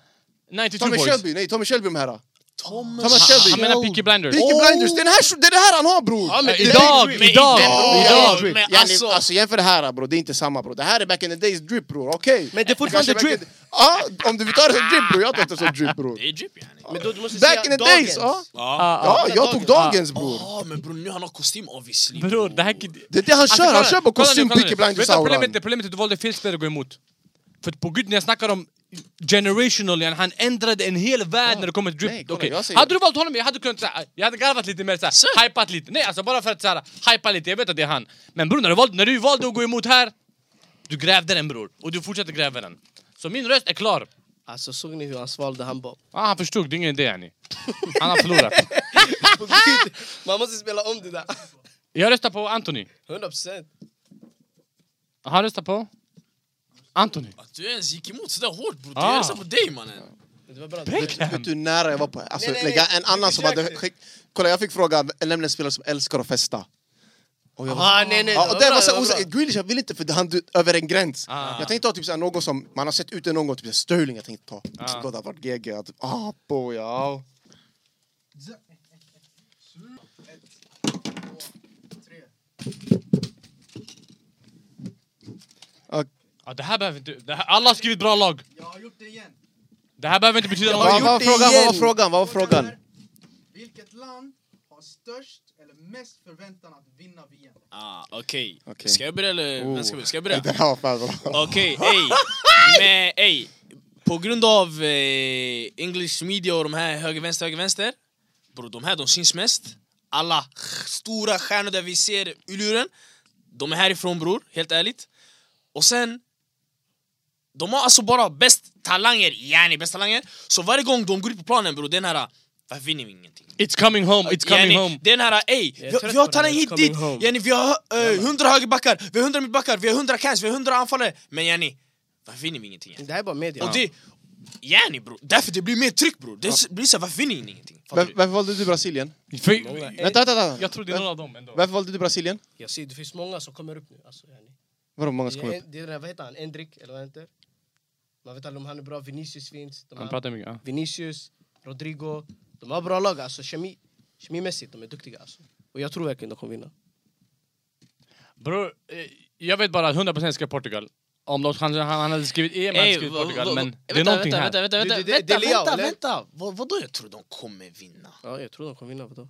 Speaker 4: 92
Speaker 1: Tommy
Speaker 4: Ah. boys. Ah,
Speaker 1: Shelby, nej Tommy Shelby de här.
Speaker 2: Thomas
Speaker 1: Thomas
Speaker 4: Han-
Speaker 1: Shelby.
Speaker 4: Han menar Peaky Blinders.
Speaker 1: Peaky Blinders, den här, det är det här han har bror!
Speaker 6: Ja, men
Speaker 4: Eh,
Speaker 6: det-
Speaker 4: Idag,
Speaker 2: Men
Speaker 4: idag,
Speaker 1: bror,
Speaker 4: idag.
Speaker 1: jag-
Speaker 2: Men
Speaker 1: Yani, alltså,
Speaker 2: alltså-
Speaker 1: jämför det här bror, det är inte samma bror. Det här är back in the days drip bror, okej.
Speaker 6: Men det är fortfarande
Speaker 1: Kanske back in-
Speaker 6: drip.
Speaker 1: Ja, om du vill ta det som drip bror, jag tar inte som drip bror.
Speaker 2: Det är drip yani.
Speaker 6: Men då, du måste
Speaker 1: Back
Speaker 6: säga
Speaker 1: in the
Speaker 6: dagens.
Speaker 1: days! Ja,
Speaker 2: Ja.
Speaker 1: ja jag tog dagens bror.
Speaker 2: Ah, men bror nu han har kostym obviously.
Speaker 4: Bror, det här kid...
Speaker 1: Det är det han
Speaker 4: Alltså,
Speaker 1: kör, han
Speaker 4: kolla-
Speaker 1: kör på
Speaker 4: kolla nu,
Speaker 1: kostym
Speaker 4: kolla nu.
Speaker 1: Peaky
Speaker 4: Vet
Speaker 1: Blinders
Speaker 4: du vad problemet
Speaker 1: auran.
Speaker 4: är? Problemet är att du valde fel spel att gå emot. För på gud, när jag snackar om generational, yani han ändrade en hel värld när det kommer till drift.
Speaker 1: nej, kolla,
Speaker 4: Okej.
Speaker 1: jag säger-
Speaker 4: Hade du valt honom, jag hade kunnat såhär, jag hade garvat lite mer såhär, hypat lite. Nej alltså bara för att såhär, hypa lite, jag vet att det är han. Men bror, när du, valde, när du valde att gå emot här, du grävde den bror. Och du fortsätter gräva den. Så min röst är klar.
Speaker 6: Alltså såg ni hur han svalde? Han bara...
Speaker 4: Ah, han förstod, det är ingen idé yani. Han har förlorat.
Speaker 6: På Gud, man måste spela om det där.
Speaker 4: Jag röstar på Anthony.
Speaker 6: 100 procent.
Speaker 4: Han röstar på? Anthony.
Speaker 2: Att Alltså, du ens gick emot sådär hårt bror,
Speaker 4: Ah.
Speaker 2: jag röstar alltså på dig mannen.
Speaker 6: Det var bra.
Speaker 1: Vet du hur nära jag var på alltså,
Speaker 6: Nej, nej,
Speaker 1: lägga
Speaker 6: nej.
Speaker 1: en annan som hade skick... Kolla jag fick fråga, nämn en spelare som älskar att festa. Och jag var
Speaker 6: Ah, nej, nej,
Speaker 1: Ja, och det var så
Speaker 6: bra.
Speaker 1: osäkert. Grealish, jag vill inte för han dö- över en gräns. Jag tänkte ta typ såhär, någon som man har sett ute någon gång, typ såhär, Sterling jag tänkte ta. Ah. Då hade det varit GG. att- Ah, boy, ja.
Speaker 4: Ja, det här behöver inte... Det här, alla har skrivit bra lag.
Speaker 7: Jag har gjort det igen.
Speaker 4: Det här behöver inte betyda
Speaker 1: Vad vad
Speaker 4: någonting.
Speaker 1: var frågan? Vad var frågan? Vad var frågan?
Speaker 7: är, vilket land har störst eller mest förväntan att vinna VM?
Speaker 2: Ah, Okej,
Speaker 1: Okej.
Speaker 2: ska jag börja eller vem ska börja? Ska jag börja?
Speaker 1: Den här var fan bra.
Speaker 2: Okej, ey. Men ey, på grund av eh, English media och de här höger, vänster, höger, vänster. Bro, de här de syns mest. Alla stora stjärnor där vi ser i luren. De är härifrån bror, helt ärligt. Och sen, de har alltså bara bäst talanger, yani bäst talanger. Så varje gång de går ut på planen bror, den här, varför vinner vi ingenting?
Speaker 4: It's coming home, it's coming
Speaker 2: Yani,
Speaker 4: home.
Speaker 2: Den här, ey,
Speaker 6: Jag är
Speaker 2: vi,
Speaker 6: trött
Speaker 2: vi har
Speaker 6: på den här,
Speaker 2: talang hit
Speaker 6: it's
Speaker 2: dit,
Speaker 6: coming home.
Speaker 2: yani, vi har eh, 100 högerbackar, vi har 100 mittbackar, vi har 100 cans, vi har 100 anfallare Men yani, varför vinner vi ingenting? yani?
Speaker 6: Det här är bara media.
Speaker 2: Och det, yani bro, därför det blir mer tryck bro, det s- blir såhär, varför vinner ni ingenting? Fattar
Speaker 1: Var-
Speaker 2: du?
Speaker 1: Varför valde du Brasilien?
Speaker 4: För,
Speaker 1: Vänta, vänta, vänta.
Speaker 4: jag tror det är någon av dem ändå.
Speaker 1: Varför valde du Brasilien?
Speaker 6: Jag ser, det finns många som kommer upp nu. Alltså, yani.
Speaker 1: Vadå många som kom
Speaker 6: det,
Speaker 1: upp?
Speaker 6: är, det är den där, vad heter han? Endrick, eller vad han heter? Man vet aldrig om han är bra. Vinicius finns. De
Speaker 4: Han
Speaker 6: här,
Speaker 4: pratar mycket. ja.
Speaker 6: Vinicius, Rodrigo. De har bra lag. Alltså, kemi, kemimässigt, de är duktiga. Alltså. Och jag tror verkligen de kommer vinna.
Speaker 4: Bror, eh, jag vet bara att 100% ska Portugal. Om de, han, han hade skrivit E EM hade han skrivit Portugal, men det är någonting
Speaker 2: vänta,
Speaker 4: här.
Speaker 2: vänta, vänta,
Speaker 6: Det-
Speaker 2: vänta,
Speaker 6: det- det-
Speaker 2: vänta,
Speaker 6: det är Leao,
Speaker 2: vänta,
Speaker 6: eller?
Speaker 2: vänta. Vad, vadå jag tror de kommer vinna?
Speaker 6: Ja, jag tror de kommer vinna. Vadå?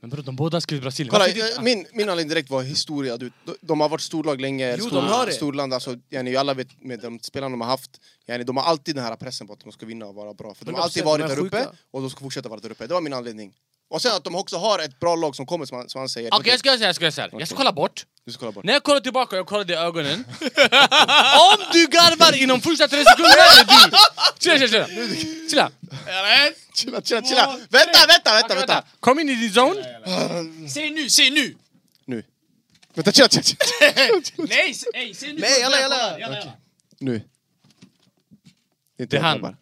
Speaker 4: Men bror, de båda har skrivit Brasilien.
Speaker 1: Kolla,
Speaker 4: Varför inte-
Speaker 1: eh, min, min anledning direkt var historia. Du, de- de har varit storlag länge,
Speaker 6: Jo,
Speaker 1: stor,
Speaker 6: de har det.
Speaker 1: storland. Alltså, yani, alla vet med de spelarna de har haft. Yani, de har alltid den här pressen på att de ska vinna och vara bra. För de har
Speaker 6: 100%,
Speaker 1: alltid varit
Speaker 6: de är
Speaker 1: där uppe
Speaker 6: sjuka.
Speaker 1: och de ska fortsätta vara där uppe. Det var min anledning. Och sen att de också har ett bra lag som kommer, som han, som han säger.
Speaker 4: Okej, jag ska göra så här, jag ska göra så här. Jag ska kolla bort.
Speaker 1: Du ska kolla bort.
Speaker 4: När jag kollar tillbaka, jag kollar dig i ögonen. Om du garvar inom första tre sekunderna är det du! Chilla, chilla, chilla. chilla.
Speaker 1: Chilla, chilla, chilla! Vänta, vänta, vänta!
Speaker 4: Okej,
Speaker 1: Vänta,
Speaker 4: vänta. Kom in i din zone.
Speaker 2: Säg nu, säg nu!
Speaker 1: nu. Vänta, chilla, chilla, chilla.
Speaker 2: Nej, s- ey, säg nu!
Speaker 6: Nej, jalla, jalla!
Speaker 1: Nu. Det är, inte
Speaker 4: Det är
Speaker 1: jag,
Speaker 4: han.
Speaker 1: grabbar.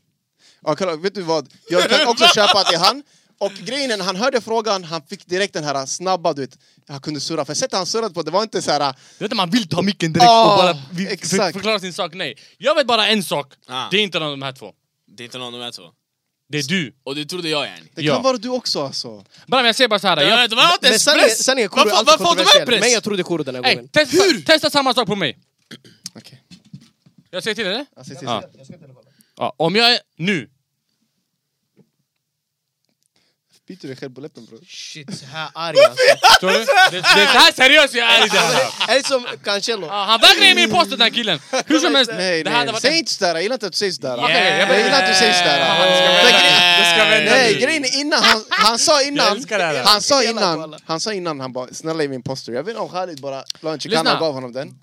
Speaker 1: Ja, kolla, vet du vad? Jag kan också köpa att det är han. Och grejen är, när han hörde frågan, han fick direkt den här snabba, du vet, han kunde surra. För sättet han surrade på, det var inte så här...
Speaker 4: Du vet att man vill ta micken direkt
Speaker 1: Ah,
Speaker 4: och bara vi-
Speaker 1: exakt.
Speaker 4: för, förklara sin sak, nej. Jag vet bara en sak.
Speaker 2: Ah.
Speaker 4: Det är inte någon av de här två.
Speaker 2: Det är inte någon av de här två.
Speaker 4: Det är du.
Speaker 2: Och det trodde jag yani.
Speaker 1: Det
Speaker 4: Ja.
Speaker 1: kan vara du också alltså.
Speaker 4: Bara men jag säger bara så här.
Speaker 2: Jag
Speaker 4: Jag,
Speaker 2: vet, de har inte
Speaker 6: Men
Speaker 2: ens
Speaker 6: sanningen,
Speaker 2: press!
Speaker 6: sanningen Koro är
Speaker 2: Varför
Speaker 6: alltid
Speaker 2: varför har de här
Speaker 6: kontroversiell.
Speaker 2: press?
Speaker 6: Men jag trodde Koro den här
Speaker 4: ey,
Speaker 6: gången.
Speaker 4: testa, testa samma sak på mig.
Speaker 1: Okej.
Speaker 4: Jag säger till dig.
Speaker 1: Alltså, till-
Speaker 4: Ja. Ja, om jag är nu.
Speaker 1: Biter dig själv på läppen bror.
Speaker 6: Shit, så här arg alltså.
Speaker 4: Förstår du? Det, det är så här seriöst jag är i det här.
Speaker 6: Är det som Cancelo?
Speaker 2: Ah,
Speaker 4: Ja, han vägrar ge mig posten den här killen. Hur som helst.
Speaker 1: Nej,
Speaker 4: det här hade
Speaker 1: nej.
Speaker 4: varit
Speaker 1: Säg inte sådär, jag gillar inte att du säger sådär.
Speaker 4: Okej, jag
Speaker 1: Jag gillar att du säger sådär. Det är grej-
Speaker 4: Det ska vända
Speaker 1: Nej,
Speaker 4: nu.
Speaker 1: grejen är innan, han, han sa innan,
Speaker 4: älskar det här.
Speaker 1: han sa
Speaker 6: Jävlar,
Speaker 1: innan,
Speaker 6: kolla.
Speaker 1: han sa innan, han bara snälla ge mig en poster. Jag vet inte om Khalid bara la en chicana
Speaker 4: Lyssna.
Speaker 1: och gav honom den.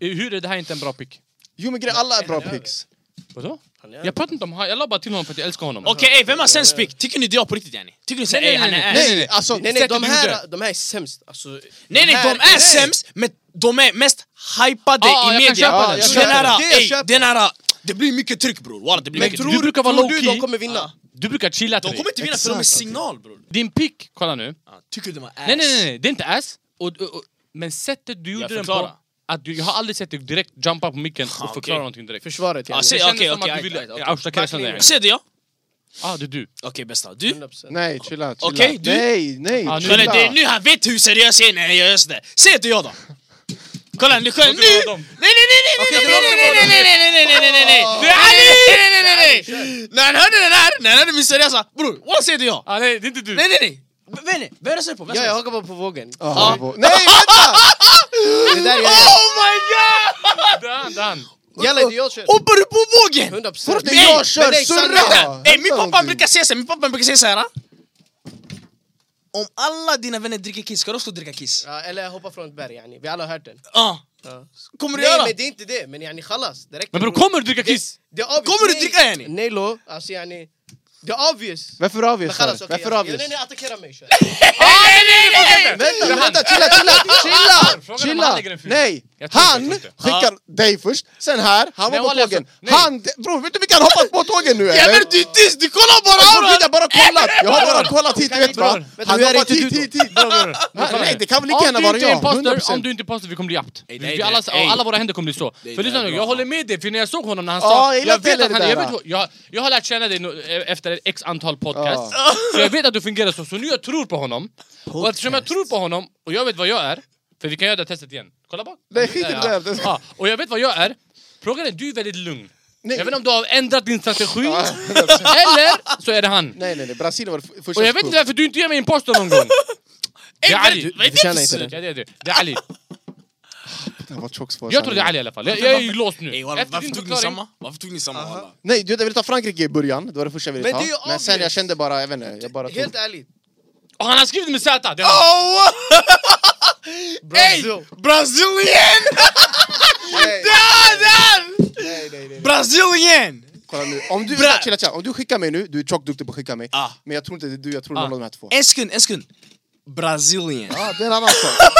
Speaker 4: Hur är det här inte en bra pick?
Speaker 1: Jo men grejen, alla är bra picks.
Speaker 4: Vadå?
Speaker 6: Han är-
Speaker 4: Jag pratar inte om honom, jag la bara till honom för att jag älskar honom.
Speaker 2: Okej, ey, vem har sämst pick? Tycker ni det är på riktigt yani? Tycker ni såhär,
Speaker 4: Nej,
Speaker 2: ey
Speaker 4: nej,
Speaker 2: han
Speaker 4: nej,
Speaker 2: är ass?
Speaker 1: Nej, nej, alltså,
Speaker 6: Nej, nej, de
Speaker 4: Sättet du
Speaker 6: här,
Speaker 4: gjorde.
Speaker 6: de här är sämst. Alltså,
Speaker 2: Nej nej, de är sämst, men de är mest hypade
Speaker 4: Ja,
Speaker 2: i
Speaker 4: jag kan
Speaker 2: media.
Speaker 4: köpa
Speaker 1: det. Jag
Speaker 2: den
Speaker 1: köper
Speaker 2: här,
Speaker 6: det. Det jag
Speaker 2: ey,
Speaker 6: köper.
Speaker 2: den här, det blir mycket tryck bror. Walla, det blir
Speaker 4: Men
Speaker 2: mycket
Speaker 4: tror
Speaker 2: tryck.
Speaker 4: du brukar vara
Speaker 6: tror du
Speaker 4: low-key.
Speaker 6: de kommer
Speaker 2: Ah.
Speaker 6: vinna?
Speaker 4: Du brukar chilla till
Speaker 2: De kommer
Speaker 4: dig.
Speaker 2: inte vinna för de är
Speaker 1: Exakt.
Speaker 2: signal bror.
Speaker 4: Din pick, kolla nu.
Speaker 2: Ja, Tycker de är ass?
Speaker 4: Nej, nej, nej, nej, det är inte ass. Och, och, och, men sättet du gjorde den på...
Speaker 2: förklarar.
Speaker 4: Att du, jag har aldrig sett dig direkt jumpa på micken
Speaker 2: Ah,
Speaker 4: och
Speaker 2: okej.
Speaker 4: förklara någonting direkt.
Speaker 6: Försvaret,
Speaker 2: Ah, Ja,
Speaker 4: Det
Speaker 2: säg-
Speaker 6: yani.
Speaker 4: kändes
Speaker 2: okej,
Speaker 4: som
Speaker 2: okej,
Speaker 4: att du
Speaker 2: okej,
Speaker 4: ville...
Speaker 2: okej.
Speaker 4: Austa Kressan där.
Speaker 2: Ser du jag?
Speaker 4: Ah, det är du.
Speaker 2: Okej bästa, du?
Speaker 6: 100%.
Speaker 1: Nej, chilla, chilla.
Speaker 2: Okej, du-
Speaker 1: Nej, nej,
Speaker 4: Ja, nu-
Speaker 2: Kolla
Speaker 1: chilla.
Speaker 2: det är nu han vet hur seriös jag är när jag gör just det. Säg inte jag då. Kolla nu, kolla nu! Nej nej nej nej nej nej nej nej nej nej nej nej nej nej nej nej Det är Ali! nej nej nej nej När han hörde det där, när han hörde min seriösa, bror walla säg inte jag.
Speaker 4: Ah, nej, det är inte du.
Speaker 2: Nej nej nej. Vem är det? Vem röstar du på? Vem
Speaker 6: Ja,
Speaker 2: röstar
Speaker 6: jag
Speaker 2: du på?
Speaker 6: hakar bara på vågen.
Speaker 1: Ah, vad- Nej, vänta!
Speaker 6: Det där är...
Speaker 2: Oh my god!
Speaker 4: Det är han, det är han.
Speaker 6: Jalla det är
Speaker 2: Oh.
Speaker 6: jag kör!
Speaker 2: Hoppar du på vågen?
Speaker 6: 100 procent!
Speaker 1: För att det är jag kör,
Speaker 2: nej,
Speaker 1: surra!
Speaker 2: vänta. Nej, min
Speaker 1: Hämta
Speaker 2: pappa
Speaker 1: någonting.
Speaker 2: brukar säga så här, min pappa brukar säga så här. Om alla dina vänner dricker kiss, ska du också dricka kiss?
Speaker 6: Ja, eller hoppa från ett berg yani, vi alla har hört den.
Speaker 2: Ja.
Speaker 6: Ja.
Speaker 2: Kommer du
Speaker 6: Nej
Speaker 2: göra?
Speaker 6: men det är inte det, men yani khalas, det räcker.
Speaker 4: Men bror, kommer du dricka kiss?
Speaker 6: Det är obvious.
Speaker 2: Kommer du
Speaker 6: Nej.
Speaker 2: dricka, yani?
Speaker 6: Nej lo, alltså yani, det är يعني obvious. يعني
Speaker 1: Varför har vi
Speaker 6: Men
Speaker 1: oss? här?
Speaker 6: khalas okej,
Speaker 1: Varför
Speaker 6: jag-
Speaker 1: har
Speaker 6: jag-
Speaker 1: vi oss?
Speaker 6: nej, nej, attackera mig kör.
Speaker 1: Vänta, vänta, chilla, chilla, chilla!
Speaker 4: Frågan om han lägger
Speaker 1: chilla.
Speaker 4: en fyr.
Speaker 1: Nej!
Speaker 4: Jag tror
Speaker 1: Han
Speaker 4: inte.
Speaker 1: skickar dig först, sen här, han
Speaker 4: Nej,
Speaker 1: var på
Speaker 4: Olle,
Speaker 1: tågen.
Speaker 4: så- nej.
Speaker 1: Han, bror vet du vilka han hoppas på tågen nu eller?
Speaker 2: Jävlar du är tyst, du kollar bara!
Speaker 1: Bror, jag har bara kollat! Jag har bara kollat hit, du vet
Speaker 4: Bror,
Speaker 1: va?
Speaker 4: vänta,
Speaker 1: Han
Speaker 4: nu är det
Speaker 1: hoppat hit, hit, hit!
Speaker 4: Bror, bror, bror.
Speaker 1: Nej, nej, det kan väl lika
Speaker 4: Om
Speaker 1: gärna
Speaker 4: du
Speaker 1: vara
Speaker 4: inte är
Speaker 1: jag,
Speaker 4: imposter, om
Speaker 1: 100%!
Speaker 4: du inte är imposter, vi kommer bli apt.
Speaker 2: Ey,
Speaker 4: Vi,
Speaker 2: nej,
Speaker 4: vi
Speaker 2: nej,
Speaker 4: alla,
Speaker 2: ey.
Speaker 4: alla våra händer kommer bli så.
Speaker 2: Nej,
Speaker 4: För lyssna nu,
Speaker 2: nej, bra.
Speaker 4: jag håller med dig, för när jag såg honom när han
Speaker 1: Ja,
Speaker 4: sa...
Speaker 1: jag gillar
Speaker 4: Jag vet
Speaker 1: inte
Speaker 4: att han...
Speaker 1: det
Speaker 4: Jag,
Speaker 1: där.
Speaker 4: vet, jag, jag har lärt känna dig nu, eh, efter x antal podcasts. Så jag vet att du fungerar så, så nu jag tror på honom. Och eftersom jag tror på honom, och jag vet vad jag är, för vi kan göra det här testet igen. Kolla bak.
Speaker 1: Nej, skit i det där.
Speaker 4: Ja. Ja, och jag vet vad jag är. Frågan är, du är väldigt lugn.
Speaker 1: Nej.
Speaker 4: Jag vet inte om du har ändrat din strategi, eller så är det han.
Speaker 1: Nej nej nej, Brasilien var det f- första
Speaker 4: Och jag vet inte varför du inte ger mig imposter någon gång. Det är Ali.
Speaker 2: Vad är det för
Speaker 4: Ja,
Speaker 2: syn?
Speaker 4: det är det. Det är Ali.
Speaker 1: Det var tjockt svar.
Speaker 4: Jag tror det är Ali i alla fall. Jag, jag är ju låst nu.
Speaker 2: Ey, walla,
Speaker 4: Efter
Speaker 2: varför
Speaker 4: din
Speaker 2: tog ni
Speaker 4: förklaring...
Speaker 2: samma? Varför tog ni samma? walla?
Speaker 1: Nej, du vet, jag ville ta Frankrike i början, det var det första jag ville
Speaker 6: Men
Speaker 1: ta.
Speaker 6: det är ju
Speaker 1: Men sen jag
Speaker 6: obvious.
Speaker 1: kände bara, jag vet inte, jag bara tog...
Speaker 6: Helt ärligt.
Speaker 4: Och han har skrivit med Z! Det är han.
Speaker 2: Oh! Ey!
Speaker 6: Brazil.
Speaker 2: Brazilian! Där, där! Brazilian!
Speaker 1: Kolla nu, om du,
Speaker 2: Bra.
Speaker 1: chilla, chilla. om du skickar mig nu, du är tjockt duktig på att skicka mig.
Speaker 2: Ah.
Speaker 1: Men jag tror inte det är du, jag tror det är någon av de här två.
Speaker 2: En sekund, en sekund. Brazilian.
Speaker 1: Ja, det är en annan sak.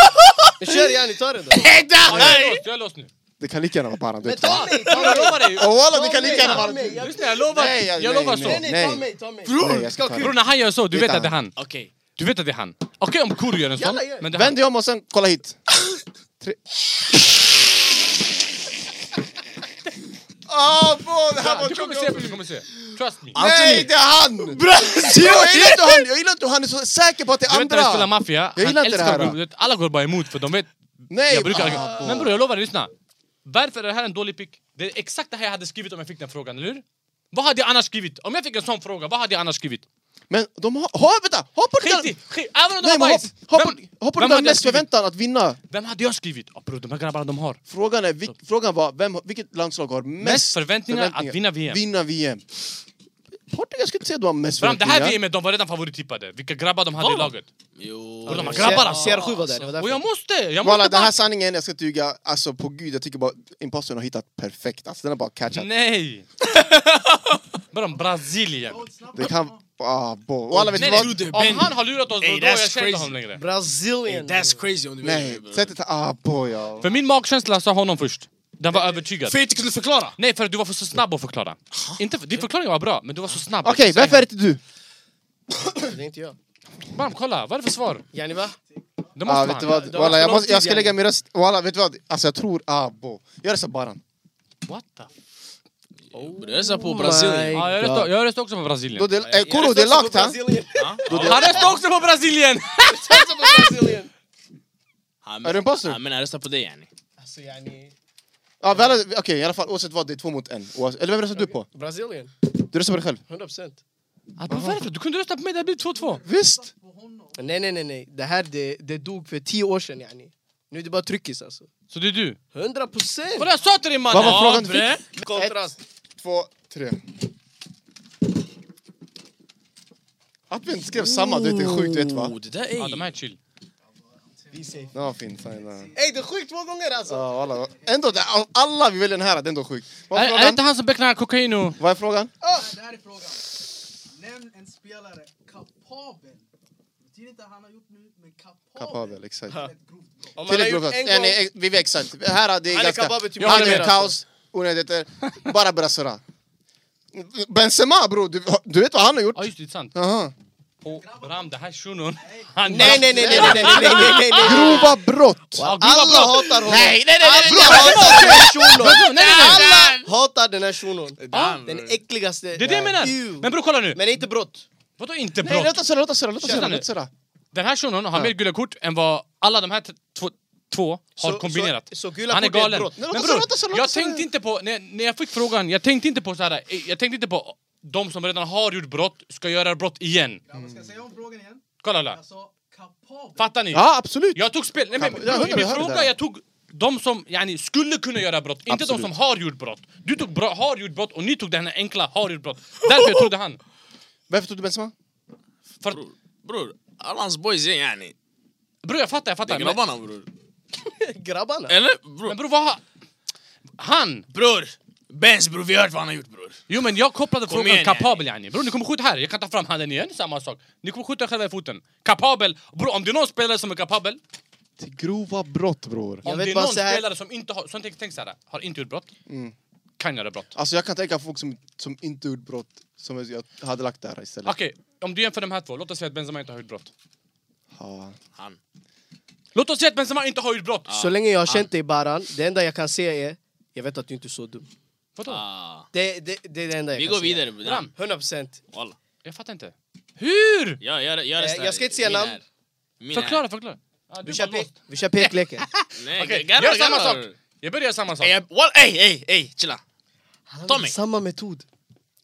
Speaker 6: Men kör yani, ta den då.
Speaker 2: Ey,
Speaker 4: Ja, Jag är
Speaker 2: där!
Speaker 4: låst, jag är låst nu.
Speaker 1: Det kan lika gärna vara Paran, du vet.
Speaker 6: Ta mig, ta
Speaker 4: Jag lovar dig.
Speaker 1: Och walla, det kan lika gärna vara...
Speaker 6: mig. Jag-
Speaker 4: Lyssna, jag lovar.
Speaker 1: Nej, jag-
Speaker 4: Jag lovar
Speaker 1: nej,
Speaker 4: så.
Speaker 6: Nej nej, ta
Speaker 1: Nej.
Speaker 6: mig, ta mig.
Speaker 1: Nej,
Speaker 6: Bror!
Speaker 1: jag ska ta
Speaker 4: Bror, när han gör så, du vet
Speaker 1: är
Speaker 4: att det är han.
Speaker 2: Okej.
Speaker 4: Du vet att det är han. Okej om Kuru gör en sån,
Speaker 6: Jalla, gör.
Speaker 4: men det är han.
Speaker 1: Vänd dig om och sen kolla hit. Tre... Ah, fan, det här var
Speaker 4: Du kommer
Speaker 1: tjockt.
Speaker 4: se, du kommer se. Trust me.
Speaker 1: Nej, det är han! Alltså, Jag gillar inte han, jag gillar inte han är så säker på att det är
Speaker 4: Du vet när de spelar
Speaker 1: andra.
Speaker 4: maffia,
Speaker 1: Jag gillar
Speaker 4: han
Speaker 1: inte det här.
Speaker 4: älskar att gå- du vet, alla går bara emot för de vet...
Speaker 1: Nej,
Speaker 4: jag brukar...
Speaker 1: ah,
Speaker 4: men bror jag lovar dig, lyssna. Varför är det här en dålig pick? Det är exakt det här jag hade skrivit om jag fick den frågan, eller hur? Vad hade jag annars skrivit? Om jag fick en sån fråga, vad hade jag annars skrivit?
Speaker 1: Men de har... Ha, vänta! Ha på det
Speaker 4: Skit i!
Speaker 1: där!
Speaker 4: Skit, även om de
Speaker 1: Nej,
Speaker 4: har
Speaker 1: men
Speaker 4: bajs!
Speaker 1: ha- ha på-
Speaker 4: Vem-
Speaker 1: ha på det
Speaker 4: vem
Speaker 1: där
Speaker 4: hade jag
Speaker 1: mest
Speaker 4: skrivit?
Speaker 1: förväntan att vinna.
Speaker 4: Vem hade jag skrivit? Oh, bror, de här grabbarna de har.
Speaker 1: Frågan, är, vil- frågan var, vem, vilket landslag har mest,
Speaker 4: Mest förväntningar att vinna VM?
Speaker 1: Vinna VM. Portugal skulle inte säga att de har mest
Speaker 4: Fram det
Speaker 1: förväntningar.
Speaker 4: här VMet, de var redan favorittippade. Vilka grabbar de hade i
Speaker 2: Var de?
Speaker 4: laget.
Speaker 2: Jo.
Speaker 4: Och de har grabbar alltså.
Speaker 6: CR7 var där, det var
Speaker 4: Och
Speaker 6: därför.
Speaker 4: jag måste! Jag måste
Speaker 1: Walla, den
Speaker 4: bara...
Speaker 1: här sanningen, jag ska inte ljuga, alltså på gud, jag tycker bara impostorn har hittat perfekt. Alltså den har bara catchat.
Speaker 4: Nej! Bara om Brasilien.
Speaker 1: Det kan... Ah, bo. Och alla vet
Speaker 4: Nej,
Speaker 1: vad?
Speaker 4: nej,
Speaker 2: Ben.
Speaker 4: om han har lurat oss, då
Speaker 2: Ey,
Speaker 4: då har jag
Speaker 2: that's
Speaker 4: känt
Speaker 2: crazy.
Speaker 4: honom längre.
Speaker 6: Brazilian.
Speaker 2: That's crazy om du
Speaker 1: Nej,
Speaker 2: vill.
Speaker 1: sättet... Ah, bo ja.
Speaker 4: För min magkänsla sa honom först. Den var övertygad.
Speaker 2: För jag inte kunde förklara.
Speaker 4: Nej, för att du var för så snabb att förklara. Inte för, din förklaring var bra, men du var så snabb.
Speaker 1: Okej, varför är det inte du?
Speaker 6: Det är inte jag.
Speaker 4: Bam, kolla, vad är det för svar?
Speaker 6: Yani va?
Speaker 4: Det måste
Speaker 1: Ah,
Speaker 4: man.
Speaker 1: vet du vad?
Speaker 6: det har
Speaker 1: Walla,
Speaker 6: varit
Speaker 1: jag,
Speaker 6: för
Speaker 1: måste,
Speaker 6: lång
Speaker 1: jag
Speaker 6: tid,
Speaker 1: ska lägga
Speaker 6: yani.
Speaker 1: min röst... Walla, vet du vad? Alltså jag tror... Ah, bo. Jag röstar Baran.
Speaker 4: What the f-
Speaker 2: Rösta på Brasilien.
Speaker 4: Ja, jag röstar- jag röstar också på
Speaker 1: Då
Speaker 4: Brasilien.
Speaker 1: det...
Speaker 6: يعني
Speaker 1: Eh, Koro, det är lagt ha?
Speaker 4: Han röstar också på Brasilien!
Speaker 2: Han-
Speaker 1: Är du en pastor?
Speaker 2: Han menar rösta på dig yani.
Speaker 6: Alltså yani...
Speaker 1: Ja, väl, okej i alla fall oavsett vad, det är två mot en. Oavs- eller vem röstar du på?
Speaker 6: Brazilian.
Speaker 1: Du röstar på dig själv?
Speaker 6: 100%.
Speaker 4: Ah, men Varför? Du kunde rösta på mig, det hade blivit 2-2.
Speaker 1: Visst!
Speaker 6: Nej nej nej nej, det här det, det dog för tio år sedan yani. Nu är det bara tryckis alltså.
Speaker 4: Så det är du.
Speaker 6: 100 procent!
Speaker 4: Kolla, jag sa till dig mannen!
Speaker 1: Vad var frågan du
Speaker 4: bre.
Speaker 1: fick? Två, tre. Att vi inte skrev samma, du vet, det är sjukt, du vet va?
Speaker 2: Oh, det där
Speaker 4: Ja, de
Speaker 2: är...
Speaker 4: här är chill.
Speaker 1: Det var fint. fan, ja.
Speaker 6: Ey det är sjukt två gånger alltså!
Speaker 1: Ja, alla, ändå, det- av alla vi väljer den här, det är ändå sjukt. Vad
Speaker 4: Är,
Speaker 1: är
Speaker 4: är det inte
Speaker 1: frågan?
Speaker 4: han som becknar kokain och...
Speaker 1: Vad är frågan?
Speaker 7: Det här är frågan. Nämn en spelare kapabel. Det betyder inte att han har gjort nu, men kapabel.
Speaker 1: Kapabel, exakt.
Speaker 7: till Ett grovt brott.
Speaker 6: Om man har
Speaker 1: Tillräckligt
Speaker 6: gjort
Speaker 1: bra.
Speaker 6: en
Speaker 1: Ja,
Speaker 6: gång...
Speaker 1: nej, Vi vet exakt. Här är det
Speaker 6: Han är
Speaker 1: ganska...
Speaker 6: kapabel till- alltså.
Speaker 1: Han
Speaker 6: Jag håller
Speaker 1: är
Speaker 6: med,
Speaker 1: kaos, onödigheter. Bara Brasura. Benzema bror, du, du vet vad han har gjort?
Speaker 4: Ja just det, det är sant.
Speaker 1: Aha.
Speaker 4: Och Bram, det här shunon... Han
Speaker 6: Nej nej nej nej nej nej nej nej nej nej!
Speaker 1: Grova brott!
Speaker 4: Ja, grova
Speaker 6: Alla
Speaker 4: brott.
Speaker 6: hatar honom!
Speaker 2: Nej, nej, nej, nej,
Speaker 6: Alla hatar den här shunon!
Speaker 4: Nej, nej, nej!
Speaker 6: Alla hatar den här shunon!
Speaker 2: Damn.
Speaker 6: Den äckligaste!
Speaker 4: Det är det jag menar!
Speaker 6: Ew.
Speaker 4: Men bror kolla nu!
Speaker 6: Men inte brott!
Speaker 4: Vadå inte
Speaker 1: Nej,
Speaker 4: brott?
Speaker 1: låt oss höra, låt oss höra, låt oss
Speaker 4: Kör
Speaker 1: höra,
Speaker 4: nu.
Speaker 1: låt oss höra.
Speaker 4: Den här shunon har
Speaker 1: Ja.
Speaker 4: mer gula kort än vad alla de här t- två, två har
Speaker 6: Så-
Speaker 4: kombinerat.
Speaker 6: så- så gula
Speaker 4: han är
Speaker 6: kort är ett
Speaker 4: galen.
Speaker 6: brott.
Speaker 4: Men
Speaker 1: Nej, låt oss- låt oss-
Speaker 4: bror,
Speaker 1: låt
Speaker 4: jag
Speaker 1: oss-
Speaker 4: tänkte inte på... När, när jag fick frågan, jag tänkte inte på så här. eh, Jag tänkte inte på de som redan har gjort brott ska göra brott igen.
Speaker 7: Grabbar, ska jag säga om frågan igen?
Speaker 4: Kolla alla.
Speaker 7: Jag sa kapabel.
Speaker 4: Fattar ni?
Speaker 1: Ja, absolut!
Speaker 4: Jag tog spel... Nej, men,
Speaker 1: Ja, jag hörde det,
Speaker 4: min
Speaker 1: jag hörde
Speaker 4: fråga,
Speaker 1: det.
Speaker 4: jag tog de som yani, skulle kunna göra brott, inte de
Speaker 1: Absolut.
Speaker 4: som har gjort brott. Du tog bra, har gjort brott och ni tog den här enkla har gjort brott. Därför jag trodde han.
Speaker 1: Varför tog du Benzema?
Speaker 4: För, att-
Speaker 2: Bror, alla hans boys är yani.
Speaker 4: bror jag fattar, jag
Speaker 2: Det är
Speaker 4: fattar. Men,
Speaker 2: grabbarna bror.
Speaker 6: Grabbarna?
Speaker 2: Eller? Bror.
Speaker 4: men bror vad har... Han!
Speaker 2: Bror! Benz bror, vi har hört vad han har gjort bror.
Speaker 4: Jo men jag kopplade
Speaker 2: Kom
Speaker 4: frågan
Speaker 2: igen, yani.
Speaker 4: kapabel yani. Bror ni kommer skjuta här, jag kan ta fram handen igen, samma sak. Ni kommer skjuta er själva i foten. Kapabel! Bror om det är någon spelare som är kapabel,
Speaker 1: Till grova brott bror.
Speaker 6: Jag
Speaker 4: om
Speaker 6: vet
Speaker 4: det är
Speaker 6: bara
Speaker 4: någon
Speaker 6: så här- Mm.
Speaker 4: spelare som inte har... Som tänk, tänk såhär, har inte gjort brott, kan göra brott.
Speaker 1: Alltså jag kan tänka på folk som, som inte gjort brott, som jag hade lagt där istället.
Speaker 4: Okej, om du jämför de här två, låt oss säga att Benzema inte har gjort brott.
Speaker 1: Ja.
Speaker 2: Han.
Speaker 4: Låt oss säga att Benzema inte har gjort brott!
Speaker 6: Så länge jag har känt dig Baran, det enda jag kan säga är jag vet att du inte är så dum.
Speaker 4: Vadå?
Speaker 2: Ah.
Speaker 6: Det, det, det är det enda jag
Speaker 2: Vi
Speaker 6: kan
Speaker 2: går
Speaker 6: säga.
Speaker 2: vidare bror.
Speaker 4: Bram.
Speaker 6: 100 procent.
Speaker 2: Walla.
Speaker 4: Jag fattar inte. Hur?
Speaker 2: Jag, jag, jag,
Speaker 6: Eh,
Speaker 2: röstar-
Speaker 6: jag ska inte säga
Speaker 2: min
Speaker 6: namn.
Speaker 2: är- Min
Speaker 4: Förklara, förklara. Ja, du
Speaker 6: Vi
Speaker 4: är
Speaker 6: kör,
Speaker 4: bara
Speaker 6: pe-
Speaker 4: låst.
Speaker 6: vi kör pekleken.
Speaker 2: är- Nej,
Speaker 4: Okej,
Speaker 2: garva,
Speaker 4: gör samma
Speaker 2: garva.
Speaker 4: sak. Jag börjar göra samma sak.
Speaker 2: Ey, Eh, jag- walla, ey, ey, ey, chilla.
Speaker 6: Han
Speaker 2: Tommy.
Speaker 6: använder Samma metod.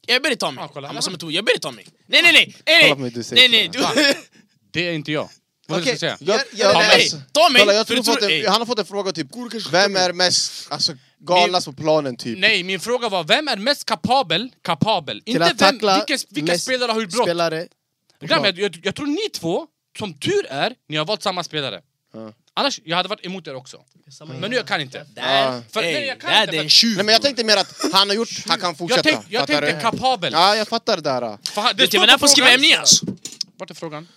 Speaker 2: Jag ber dig Tommy.
Speaker 4: Ah, kolla,
Speaker 2: Han
Speaker 4: han
Speaker 2: måste
Speaker 4: har-
Speaker 2: med to. Jag ber dig Tommy. Nej, nej, nej! Nej,
Speaker 1: Kolla på
Speaker 2: nej!
Speaker 1: mig, du säger
Speaker 2: Nej, nej! Du...
Speaker 1: så
Speaker 4: Det är inte jag. Vad okay.
Speaker 6: Okej,
Speaker 4: ska jag säga?
Speaker 6: jag, jag,
Speaker 4: Tommy.
Speaker 6: jag,
Speaker 2: Tommy! Tommy!
Speaker 1: alltså, Kolla, jag
Speaker 2: för
Speaker 1: tror
Speaker 2: du
Speaker 1: fått
Speaker 2: tror-
Speaker 1: en,
Speaker 2: ey.
Speaker 1: han har fått en fråga typ, vem är mest alltså, galnast på planen typ?
Speaker 4: Nej, min fråga var vem är mest kapabel? Kapabel. Inte
Speaker 6: att
Speaker 4: vem,
Speaker 6: tackla
Speaker 4: vilken, vilken
Speaker 6: mest
Speaker 4: spelare har gjort brott?
Speaker 6: Spelare.
Speaker 4: Gram, jag, jag, jag tror ni två, som tur är, ni har valt samma spelare.
Speaker 1: Ja.
Speaker 4: Annars, jag hade varit emot er också. Men nu jag kan inte.
Speaker 2: Där,
Speaker 4: För-
Speaker 2: ey,
Speaker 4: nej, jag kan
Speaker 2: där
Speaker 4: inte,
Speaker 2: det är
Speaker 4: för-
Speaker 2: en tjuv.
Speaker 1: Nej men jag
Speaker 2: bror.
Speaker 1: tänkte mer att han har gjort, han kan
Speaker 4: Jag,
Speaker 1: fortsätta.
Speaker 4: tänk, jag
Speaker 1: Fattar
Speaker 4: tänkte
Speaker 1: du?
Speaker 4: kapabel.
Speaker 1: Ja, jag fattar det där. ah.
Speaker 4: För han-
Speaker 2: Det är
Speaker 4: står
Speaker 2: till och med
Speaker 4: på
Speaker 2: därför hon skriver
Speaker 4: frågan.
Speaker 2: ämnen alltså.
Speaker 4: Vart är frågan?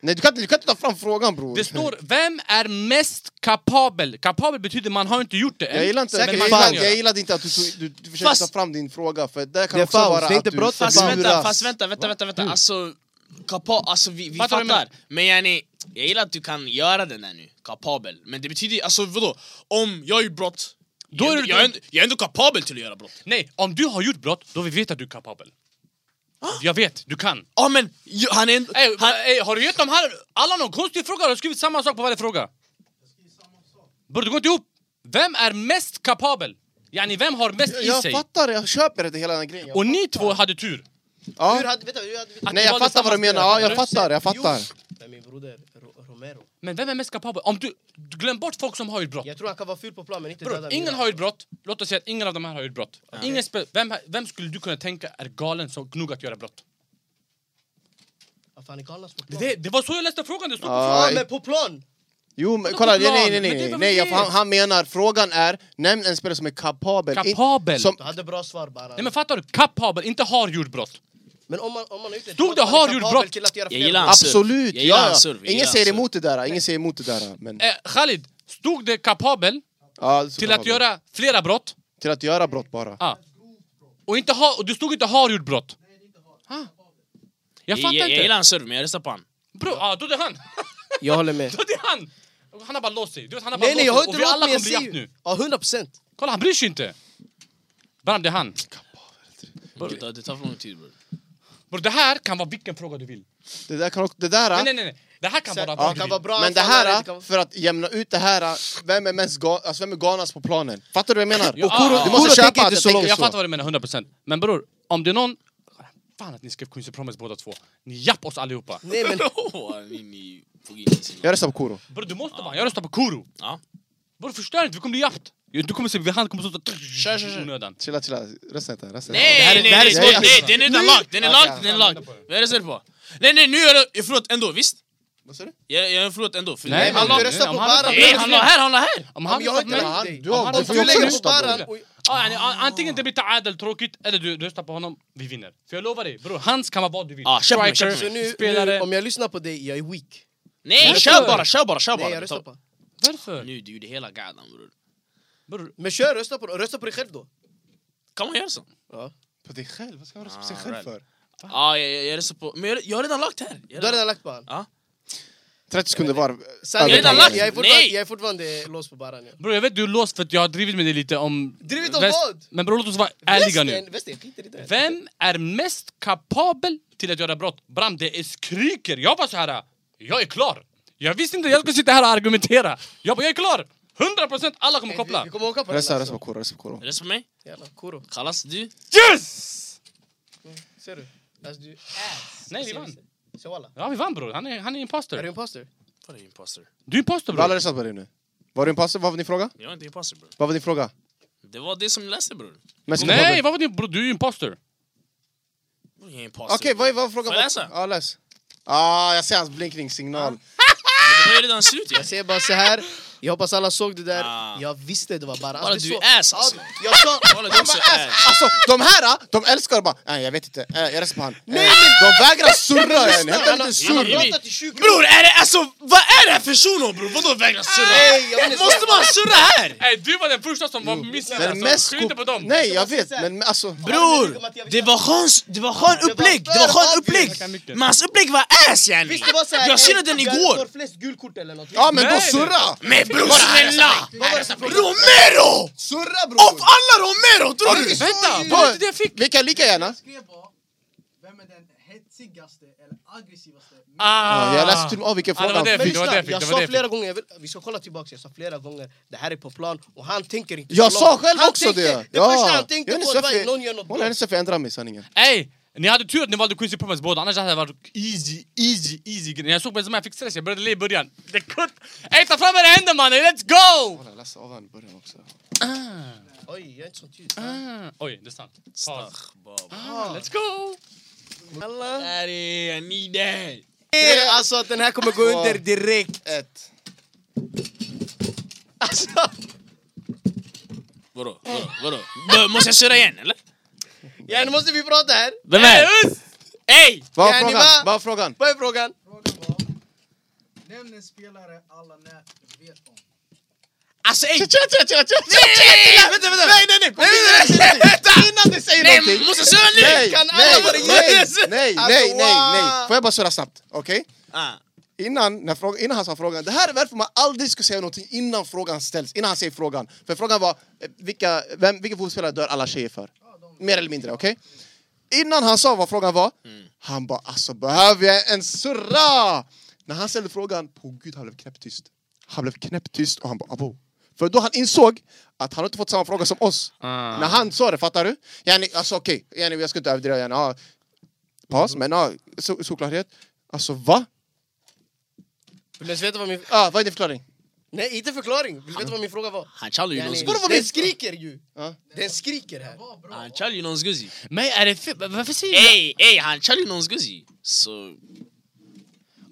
Speaker 1: Nej, du kan, inte- du kan inte ta fram frågan bror.
Speaker 4: Det står vem är mest kapabel? Kapabel betyder man har inte gjort det än.
Speaker 1: Jag gillar inte, jag
Speaker 4: men man
Speaker 1: gillar,
Speaker 4: kan göra.
Speaker 1: jag gillade inte att du, tog- du, du försökte
Speaker 2: Fast-
Speaker 1: ta fram din fråga, för där kan
Speaker 6: Det är
Speaker 1: också
Speaker 6: fouls,
Speaker 1: vara
Speaker 6: det är inte
Speaker 1: att du
Speaker 6: brott,
Speaker 2: Fast
Speaker 1: luras.
Speaker 2: Alltså, vänta, fast vänta, vänta, vänta,
Speaker 1: Mm.
Speaker 2: vänta. Alltså, kapa, alltså vi, vi
Speaker 4: Fattar du
Speaker 2: fattar.
Speaker 4: vad jag
Speaker 2: Men yani, jag gillar att du kan göra den där nu, kapabel. Men det betyder, alltså vadå? Om jag gör brott,
Speaker 4: Då
Speaker 2: jag,
Speaker 4: är du-
Speaker 2: är ändå, jag, är ändå, jag är ändå kapabel till att göra brott.
Speaker 4: Nej, om du har gjort brott, då vi vet att du är kapabel.
Speaker 1: Ah!
Speaker 4: Jag vet, du kan.
Speaker 2: Ja men, ju- han är ändå...
Speaker 4: Ey,
Speaker 2: han,
Speaker 4: han, ey, har du gett dem här alla någon konstig fråga? Har du skrivit samma sak på varje fråga? Bror, det går inte ihop! Vem är mest kapabel? Yani, vem har mest i
Speaker 1: Jag
Speaker 4: sig?
Speaker 1: fattar, jag köper det hela den här grejen.
Speaker 4: Och ni två hade tur.
Speaker 1: Ja.
Speaker 6: Hur hade, vänta, hur hade vi...
Speaker 4: Att
Speaker 1: Nej
Speaker 4: ni
Speaker 1: jag
Speaker 4: valde
Speaker 1: fattar vad
Speaker 4: samma
Speaker 1: du menar,
Speaker 4: spelare.
Speaker 1: ja, jag fattar, jag fattar.
Speaker 6: Men min broder, Ro- Romero.
Speaker 4: Men vem är mest kapabel? Om du, du glöm bort folk som har gjort brott.
Speaker 6: Jag tror han kan vara ful på plan men inte
Speaker 4: Bror,
Speaker 6: döda
Speaker 4: ingen
Speaker 6: mina.
Speaker 4: har gjort brott. Låt oss säga att ingen av de här har gjort brott. Ingen spel, vem, vem skulle du kunna tänka är galen som nog att göra brott?
Speaker 6: Varför han är galnast på plan?
Speaker 4: Det, det var så jag läste frågan, det stod på
Speaker 1: Ja,
Speaker 6: Ja, men på plan!
Speaker 1: Jo men
Speaker 4: Vadå
Speaker 1: kolla,
Speaker 4: på
Speaker 1: nej
Speaker 4: plan?
Speaker 1: nej nej,
Speaker 4: Men det är
Speaker 1: nej,
Speaker 4: vad
Speaker 1: nej
Speaker 4: vi
Speaker 1: jag,
Speaker 4: vet.
Speaker 1: han, han menar, frågan är, nämn en spelare som är kapabel. In-
Speaker 4: Kapabel?
Speaker 1: Som,
Speaker 6: Du hade bra svar bara.
Speaker 4: Nej men fattar du? Kapabel, inte har gjort brott.
Speaker 6: Men om man, om man har gjort ett
Speaker 4: Stod
Speaker 6: brott,
Speaker 4: det
Speaker 6: man är
Speaker 4: har gjort
Speaker 6: kapabel
Speaker 4: brott?
Speaker 6: Till att göra
Speaker 2: Jag
Speaker 6: fler
Speaker 2: gillar
Speaker 6: brott.
Speaker 2: han surf.
Speaker 1: absolut,
Speaker 2: Jag gillar
Speaker 1: ja,
Speaker 2: han
Speaker 1: ja.
Speaker 2: surf, jag
Speaker 1: Ingen
Speaker 2: gillar
Speaker 1: säger
Speaker 2: han surf.
Speaker 1: emot det där, ingen säger emot det där. Men,
Speaker 4: Eh, Khalid, stod det kapabel
Speaker 1: ja, så
Speaker 4: till
Speaker 1: kapabel.
Speaker 4: att göra flera brott?
Speaker 1: till att göra brott bara.
Speaker 4: Ah. Och, inte ha, och du stod inte har gjort brott? Nej, inte har. Ah. Jag
Speaker 2: jag,
Speaker 4: fattar
Speaker 2: jag, jag gillar
Speaker 4: inte.
Speaker 2: han serve, men jag röstar på han.
Speaker 4: Bro, ah, då är det han.
Speaker 6: Jag håller med.
Speaker 4: Då är det han. Han har bara låst sig. Du vet, han har bara
Speaker 6: Nej nej jag har
Speaker 4: låst sig. Och vi
Speaker 6: inte låtit
Speaker 4: alla
Speaker 6: mig,
Speaker 4: kommer
Speaker 6: jag
Speaker 4: bli
Speaker 6: ser
Speaker 4: japp nu.
Speaker 6: ju. Ja, 100 procent.
Speaker 4: Kolla, han bryr sig inte. Bram, det är han.
Speaker 2: Det tar, det tar för lång tid bror.
Speaker 4: Bro, det här kan vara vilken fråga du vill.
Speaker 1: Det där kan också, det där...
Speaker 4: Nej, nej, nej. Det här kan
Speaker 6: Sen-
Speaker 4: vara
Speaker 6: Ja,
Speaker 4: vad du
Speaker 6: kan
Speaker 4: vill.
Speaker 6: vara bra
Speaker 1: men det
Speaker 6: anfallare,
Speaker 1: här,
Speaker 6: det kan vara-
Speaker 1: för att jämna ut det här, vem är mest ga, alltså vem är galnast på planen? Fattar du vad jag menar?
Speaker 4: Ja, ah, ah.
Speaker 1: Du måste
Speaker 6: Kuro
Speaker 1: köpa
Speaker 6: tänker
Speaker 1: att
Speaker 6: inte
Speaker 1: jag
Speaker 6: så
Speaker 1: tänker
Speaker 4: Jag
Speaker 1: så.
Speaker 4: fattar vad du menar, 100%. Men bror, om det är någon... Fan att ni skrev Quincy Promise båda två. Ni japp oss allihopa.
Speaker 6: Nej men
Speaker 2: Åh, ni- ni tog in sina-
Speaker 1: Jag röstar på Kuro.
Speaker 4: Bror, du måste bara. Jag röstar på Kuro.
Speaker 2: Ja.
Speaker 4: Bror, förstör inte. Vi kommer bli jappt. Du kommer se, han kommer stå...
Speaker 2: Kör, kör, kör.
Speaker 4: Onödan.
Speaker 1: Chilla, chilla. Rösta inte. Rösta inte.
Speaker 2: Nej, nej,
Speaker 1: här är
Speaker 2: nej,
Speaker 1: svårt.
Speaker 2: nej, nej, den är redan lagd, den är
Speaker 1: Okej,
Speaker 2: lagd, den är lagd. Vad är det på? Nej, nej, nu är det, förlåt ändå, visst?
Speaker 1: Vad sa du?
Speaker 2: Jag, jag är förlåt ändå. För
Speaker 4: Nej,
Speaker 2: nej, han
Speaker 4: men-
Speaker 2: la,
Speaker 6: du röstar
Speaker 4: om
Speaker 6: på
Speaker 4: han-
Speaker 6: Baran.
Speaker 2: nej, han la här, han la här!
Speaker 4: Om han
Speaker 6: jag har
Speaker 4: röstar på
Speaker 6: inte
Speaker 4: mig...
Speaker 6: lagt-
Speaker 1: Han,
Speaker 6: dig.
Speaker 1: du har,
Speaker 4: Han
Speaker 1: du
Speaker 4: hade
Speaker 1: får
Speaker 6: Du
Speaker 1: ju också
Speaker 4: fel.
Speaker 6: lägger på
Speaker 1: rösta på
Speaker 6: Baran
Speaker 1: honom.
Speaker 6: och...
Speaker 4: Ja, yani, an- antingen det blir Taadel tråkigt, eller du röstar på honom, vi vinner. För jag lovar dig, bror, hans kan vara vad du vill.
Speaker 2: Ah, köp mig, köp mig.
Speaker 6: Så nu,
Speaker 4: spelare...
Speaker 6: nu, om jag lyssnar på dig, jag är weak.
Speaker 2: Nej,
Speaker 4: Varför?
Speaker 2: kör bara, kör bara, kör bara.
Speaker 6: Nej jag röstar på
Speaker 4: Varför?
Speaker 2: Nu, du gjorde hela gadan bror.
Speaker 4: Bror,
Speaker 6: Men kör, rösta på Rösta på dig själv då.
Speaker 2: Kan man göra så?
Speaker 6: Ja.
Speaker 1: På dig själv? Vad ska man rösta på
Speaker 2: Ah,
Speaker 1: sig själv
Speaker 2: right.
Speaker 1: för?
Speaker 2: Ja, ah, jag, jag, jag röstar på... Men jag, jag har redan lagt här. Jag
Speaker 6: Du har redan lagt på han.
Speaker 1: 30 sekunder var.
Speaker 6: Sen,
Speaker 2: Jag har redan lagt.
Speaker 6: jag, är fortfarande,
Speaker 2: Nej.
Speaker 6: jag är fortfarande låst på Baran. Ja.
Speaker 4: bror, jag vet du är låst för att jag har drivit med dig lite om...
Speaker 6: Drivit om
Speaker 4: väst-
Speaker 6: vad?
Speaker 4: Men bror, låt oss vara ärliga nu.
Speaker 6: Västen, västen, jag skiter i det.
Speaker 4: Vem är mest kapabel till att göra brott? Bram, det är skriker! Jag var så här. jag är klar! Jag visste inte jag skulle sitta här och argumentera. Jag bara, jag är klar! 100% alla kommer
Speaker 6: Vi,
Speaker 4: koppla.
Speaker 6: vi kommer åka på den
Speaker 1: Rösta,
Speaker 6: alltså.
Speaker 1: rösta på Kuro. Rösta på Kuro.
Speaker 2: Rösta på mig.
Speaker 6: Jävla koro.
Speaker 2: Kallas du?
Speaker 4: Yes!
Speaker 6: Ser du? Alltså du... Ass.
Speaker 4: Nej, vi
Speaker 6: Ser-
Speaker 4: vann.
Speaker 6: ser- ser walla.
Speaker 4: Ja, vi vann bror. Han är, han är
Speaker 6: Är du
Speaker 4: imposter.
Speaker 6: imposter?
Speaker 2: Vadå imposter?
Speaker 4: Du är imposter
Speaker 1: Har alla
Speaker 4: bror.
Speaker 1: röstat på dig nu? Var det en pass? Vad var din fråga?
Speaker 2: Jag är inte imposter bror.
Speaker 1: Vad var din fråga?
Speaker 2: Det var det som ni läste bror.
Speaker 1: Men ska-
Speaker 4: Nej, vad var din bror? Du är ju imposter.
Speaker 2: Jag är imposter.
Speaker 1: Okej, vad är- vad var frågan?
Speaker 2: Får jag läsa?
Speaker 1: Ja, läs. Ah, jag ser hans blinkningssignal.
Speaker 2: Det var ju redan slut
Speaker 1: Alltså,
Speaker 2: ju.
Speaker 6: Jag säger bara så här. jag hoppas alla såg det där.
Speaker 2: Ah.
Speaker 6: Jag visste det var bara...
Speaker 2: Bara
Speaker 6: det
Speaker 2: du
Speaker 6: så-
Speaker 2: är ass
Speaker 6: Ja,
Speaker 2: alltså.
Speaker 6: Jag sa...
Speaker 2: Kolla du också är ass.
Speaker 1: Alltså, de här, de älskar bara Nej, jag vet inte, Eh, jag röstar på han. Nej, de vägrar surra en, hämta lite
Speaker 2: Han har
Speaker 1: surr.
Speaker 2: pratat i 20 år. Bror är det alltså, vad är det här för shuno bror? Vadå vägrar surra? Måste man surra här?
Speaker 4: Nej, du var den första som var missnöjd.
Speaker 1: Men
Speaker 4: Alltså.
Speaker 1: mest...
Speaker 4: Skyll inte på dem.
Speaker 1: Nej, jag vet, men alltså...
Speaker 2: Bror, det var skön, det var skön upplägg, det var skön upplägg! Men hans upplägg var ass yani!
Speaker 6: Visst, det var så här,
Speaker 2: Jag synade
Speaker 6: en-
Speaker 2: den
Speaker 6: Jag
Speaker 2: igår!
Speaker 6: får flest gulkort eller något.
Speaker 1: Ja, men då
Speaker 4: Nej.
Speaker 1: surra!
Speaker 2: Men bror snälla! Romero!
Speaker 1: Surra bror!
Speaker 2: Av alla Romero tror du?
Speaker 4: Vänta, var det inte det jag fick?
Speaker 1: Vi kan lika gärna...
Speaker 7: Jag skrev bara, vem är den hetsigaste eller aggressivaste?
Speaker 4: Ah.
Speaker 1: Jag läste till och med av vilken
Speaker 4: Ja, det
Speaker 1: fråga
Speaker 4: var
Speaker 1: han
Speaker 4: det jag
Speaker 1: fick.
Speaker 4: fick. Det var det jag
Speaker 6: jag,
Speaker 4: fick. Det var det
Speaker 6: sa
Speaker 4: jag fick.
Speaker 6: flera gånger, jag vill, vi ska kolla tillbaka, jag sa flera gånger det här är på plan och han tänker inte
Speaker 1: Jag
Speaker 6: så
Speaker 1: sa
Speaker 6: långt.
Speaker 1: själv
Speaker 6: han
Speaker 1: också
Speaker 6: tänkte,
Speaker 1: det!
Speaker 6: Det första han tänkte på var att någon gör något
Speaker 1: Håll
Speaker 6: bra.
Speaker 1: hennes jag ändrar mig sanningen.
Speaker 4: Ey, ni hade tur att ni valde Quincy Pummels båda, annars hade det varit easy, easy, easy grej. När jag såg Benzema jag fick stress, jag började le i början. Det kutt... Ey, ta fram era händer mannen, let's go!
Speaker 1: Jag läste av honom i början också.
Speaker 6: Oj, jag är inte sånt ljud.
Speaker 4: Ah, Oj, det är sant. Paus. Ah, let's go!
Speaker 6: Alla.
Speaker 2: Där är ni där!
Speaker 6: Alltså att den här kommer gå under direkt.
Speaker 1: Ett.
Speaker 6: Alltså,
Speaker 2: Vadå? Vadå? Vadå? Bör- Måste jag surra igen eller?
Speaker 6: ja, nu måste vi prata här.
Speaker 2: Vem är Ey!
Speaker 1: Vad var
Speaker 6: Ja, ni
Speaker 1: frågan?
Speaker 6: var-
Speaker 1: Vad var frågan?
Speaker 6: Vad är frågan?
Speaker 7: Frågan var, nämn en spelare alla nät vet om.
Speaker 2: Alltså ey! Nej, Vänta, vänta! Nej, nej, nej!
Speaker 1: Innan du säger
Speaker 2: Nej,
Speaker 1: någonting!
Speaker 2: måste jag surra nu?
Speaker 1: Nej,
Speaker 6: Kan alla
Speaker 1: nej,
Speaker 6: vara
Speaker 1: nej,
Speaker 6: överens?
Speaker 1: nej,
Speaker 6: Alltså,
Speaker 1: nej, nej, nej.
Speaker 6: wow.
Speaker 1: Får jag bara surra snabbt? Okej?
Speaker 2: Ah.
Speaker 1: Innan, när fråga, innan han sa frågan, det här är varför man aldrig ska säga någonting innan frågan ställs, innan han säger frågan. För frågan var, eh, vilka, vem, vilken fotbollsspelare dör alla tjejer för? Mer eller mindre, okej? Innan han sa vad frågan var,
Speaker 6: Mm.
Speaker 1: han bara alltså behöver jag en surra? När han ställde frågan, på gud han blev knäpptyst. Han blev knäpptyst och han bara abo. För då han insåg att han inte fått samma fråga som oss.
Speaker 6: Ah.
Speaker 1: När han sa det, fattar du? Yani, alltså okej, yani, jag ska inte överdriva, yani, ja, pass, men ja, so- såklarhet. Alltså va?
Speaker 6: Vill du ens veta vad min...
Speaker 1: Ah, vad är din förklaring?
Speaker 6: Nej, inte förklaring. Vill du veta vad min fråga var?
Speaker 2: Han kallar ju någons
Speaker 6: Yani,
Speaker 2: guzzi.
Speaker 1: vad
Speaker 6: Den
Speaker 1: vi-
Speaker 6: skriker ju.
Speaker 1: Ja.
Speaker 6: Den skriker här.
Speaker 2: Han kallar ju någons guzzi.
Speaker 4: Men är det fel? Varför säger du
Speaker 2: Ey, ey, han kallar ju någons guzzi. Så...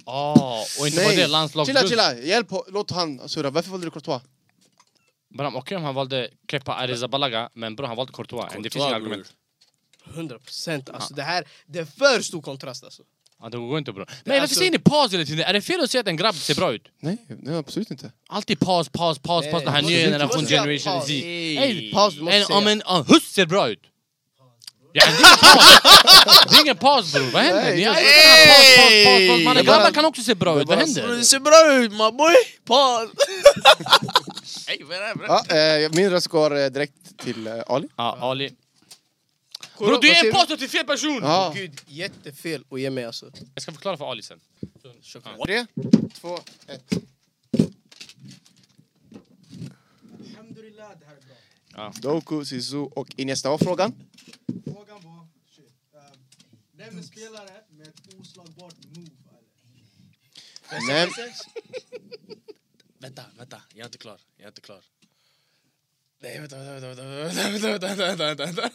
Speaker 4: Ah, och inte bara det, landslagsguld.
Speaker 1: Chilla, chilla. Hjälp, ho- låt han surra. Varför valde du Courtois?
Speaker 4: Bram, okej om han valde Kepa Arrizabalaga, men bror han valde Courtois. det finns inga
Speaker 2: Courtois,
Speaker 4: argument.
Speaker 6: 100 procent. Alltså det här, det är för stor kontrast alltså.
Speaker 4: Ja, det går inte bror. Men varför
Speaker 6: alltså-
Speaker 4: säger ni paus hela tiden? Är det fel att säga att en grabb ser bra ut?
Speaker 1: Nej, nej absolut inte.
Speaker 4: Alltid paus, paus, paus, paus,
Speaker 6: Nej,
Speaker 4: den här
Speaker 6: du
Speaker 4: nya
Speaker 6: måste-
Speaker 4: generationen,
Speaker 6: du måste säga
Speaker 4: generation
Speaker 6: paus.
Speaker 4: Z.
Speaker 2: Ey.
Speaker 4: Ey,
Speaker 6: Paus, du måste
Speaker 4: en,
Speaker 6: säga.
Speaker 4: om en om huss ser bra ut! Ja, det, är ingen paus. det är ingen paus bror, vad händer? Ni har paus, paus, paus, paus. Mannen,
Speaker 2: Jag bara-
Speaker 4: grabbar kan också se bra ut, vad
Speaker 2: Bror,
Speaker 4: händer?
Speaker 2: det ser bra ut my boy! Paul! Ey, vad är det här, bror?
Speaker 1: Ja, eh, min röst går eh, direkt till eh, Ali.
Speaker 4: Ja, Ali.
Speaker 6: Kolla,
Speaker 4: Bror du
Speaker 6: vad
Speaker 4: är
Speaker 6: ser
Speaker 4: en pastor till fel person!
Speaker 1: Ja.
Speaker 6: Gud, jättefel att ge mig alltså.
Speaker 4: Jag ska förklara för Ali sen.
Speaker 1: Tre, två, ett.
Speaker 7: Alhamdulillah, det här är bra.
Speaker 1: Doku, Sisu och Iniesta. Vad var frågan?
Speaker 7: Frågan var, shit, ehm, nämn en spelare med ett oslagbart move. Eller?
Speaker 1: Nej.
Speaker 2: Vänta, vänta, jag är inte klar. Jag är inte klar. Nej, vänta, vänta, vänta, vänta, vänta, vänta, vänta, vänta, vänta.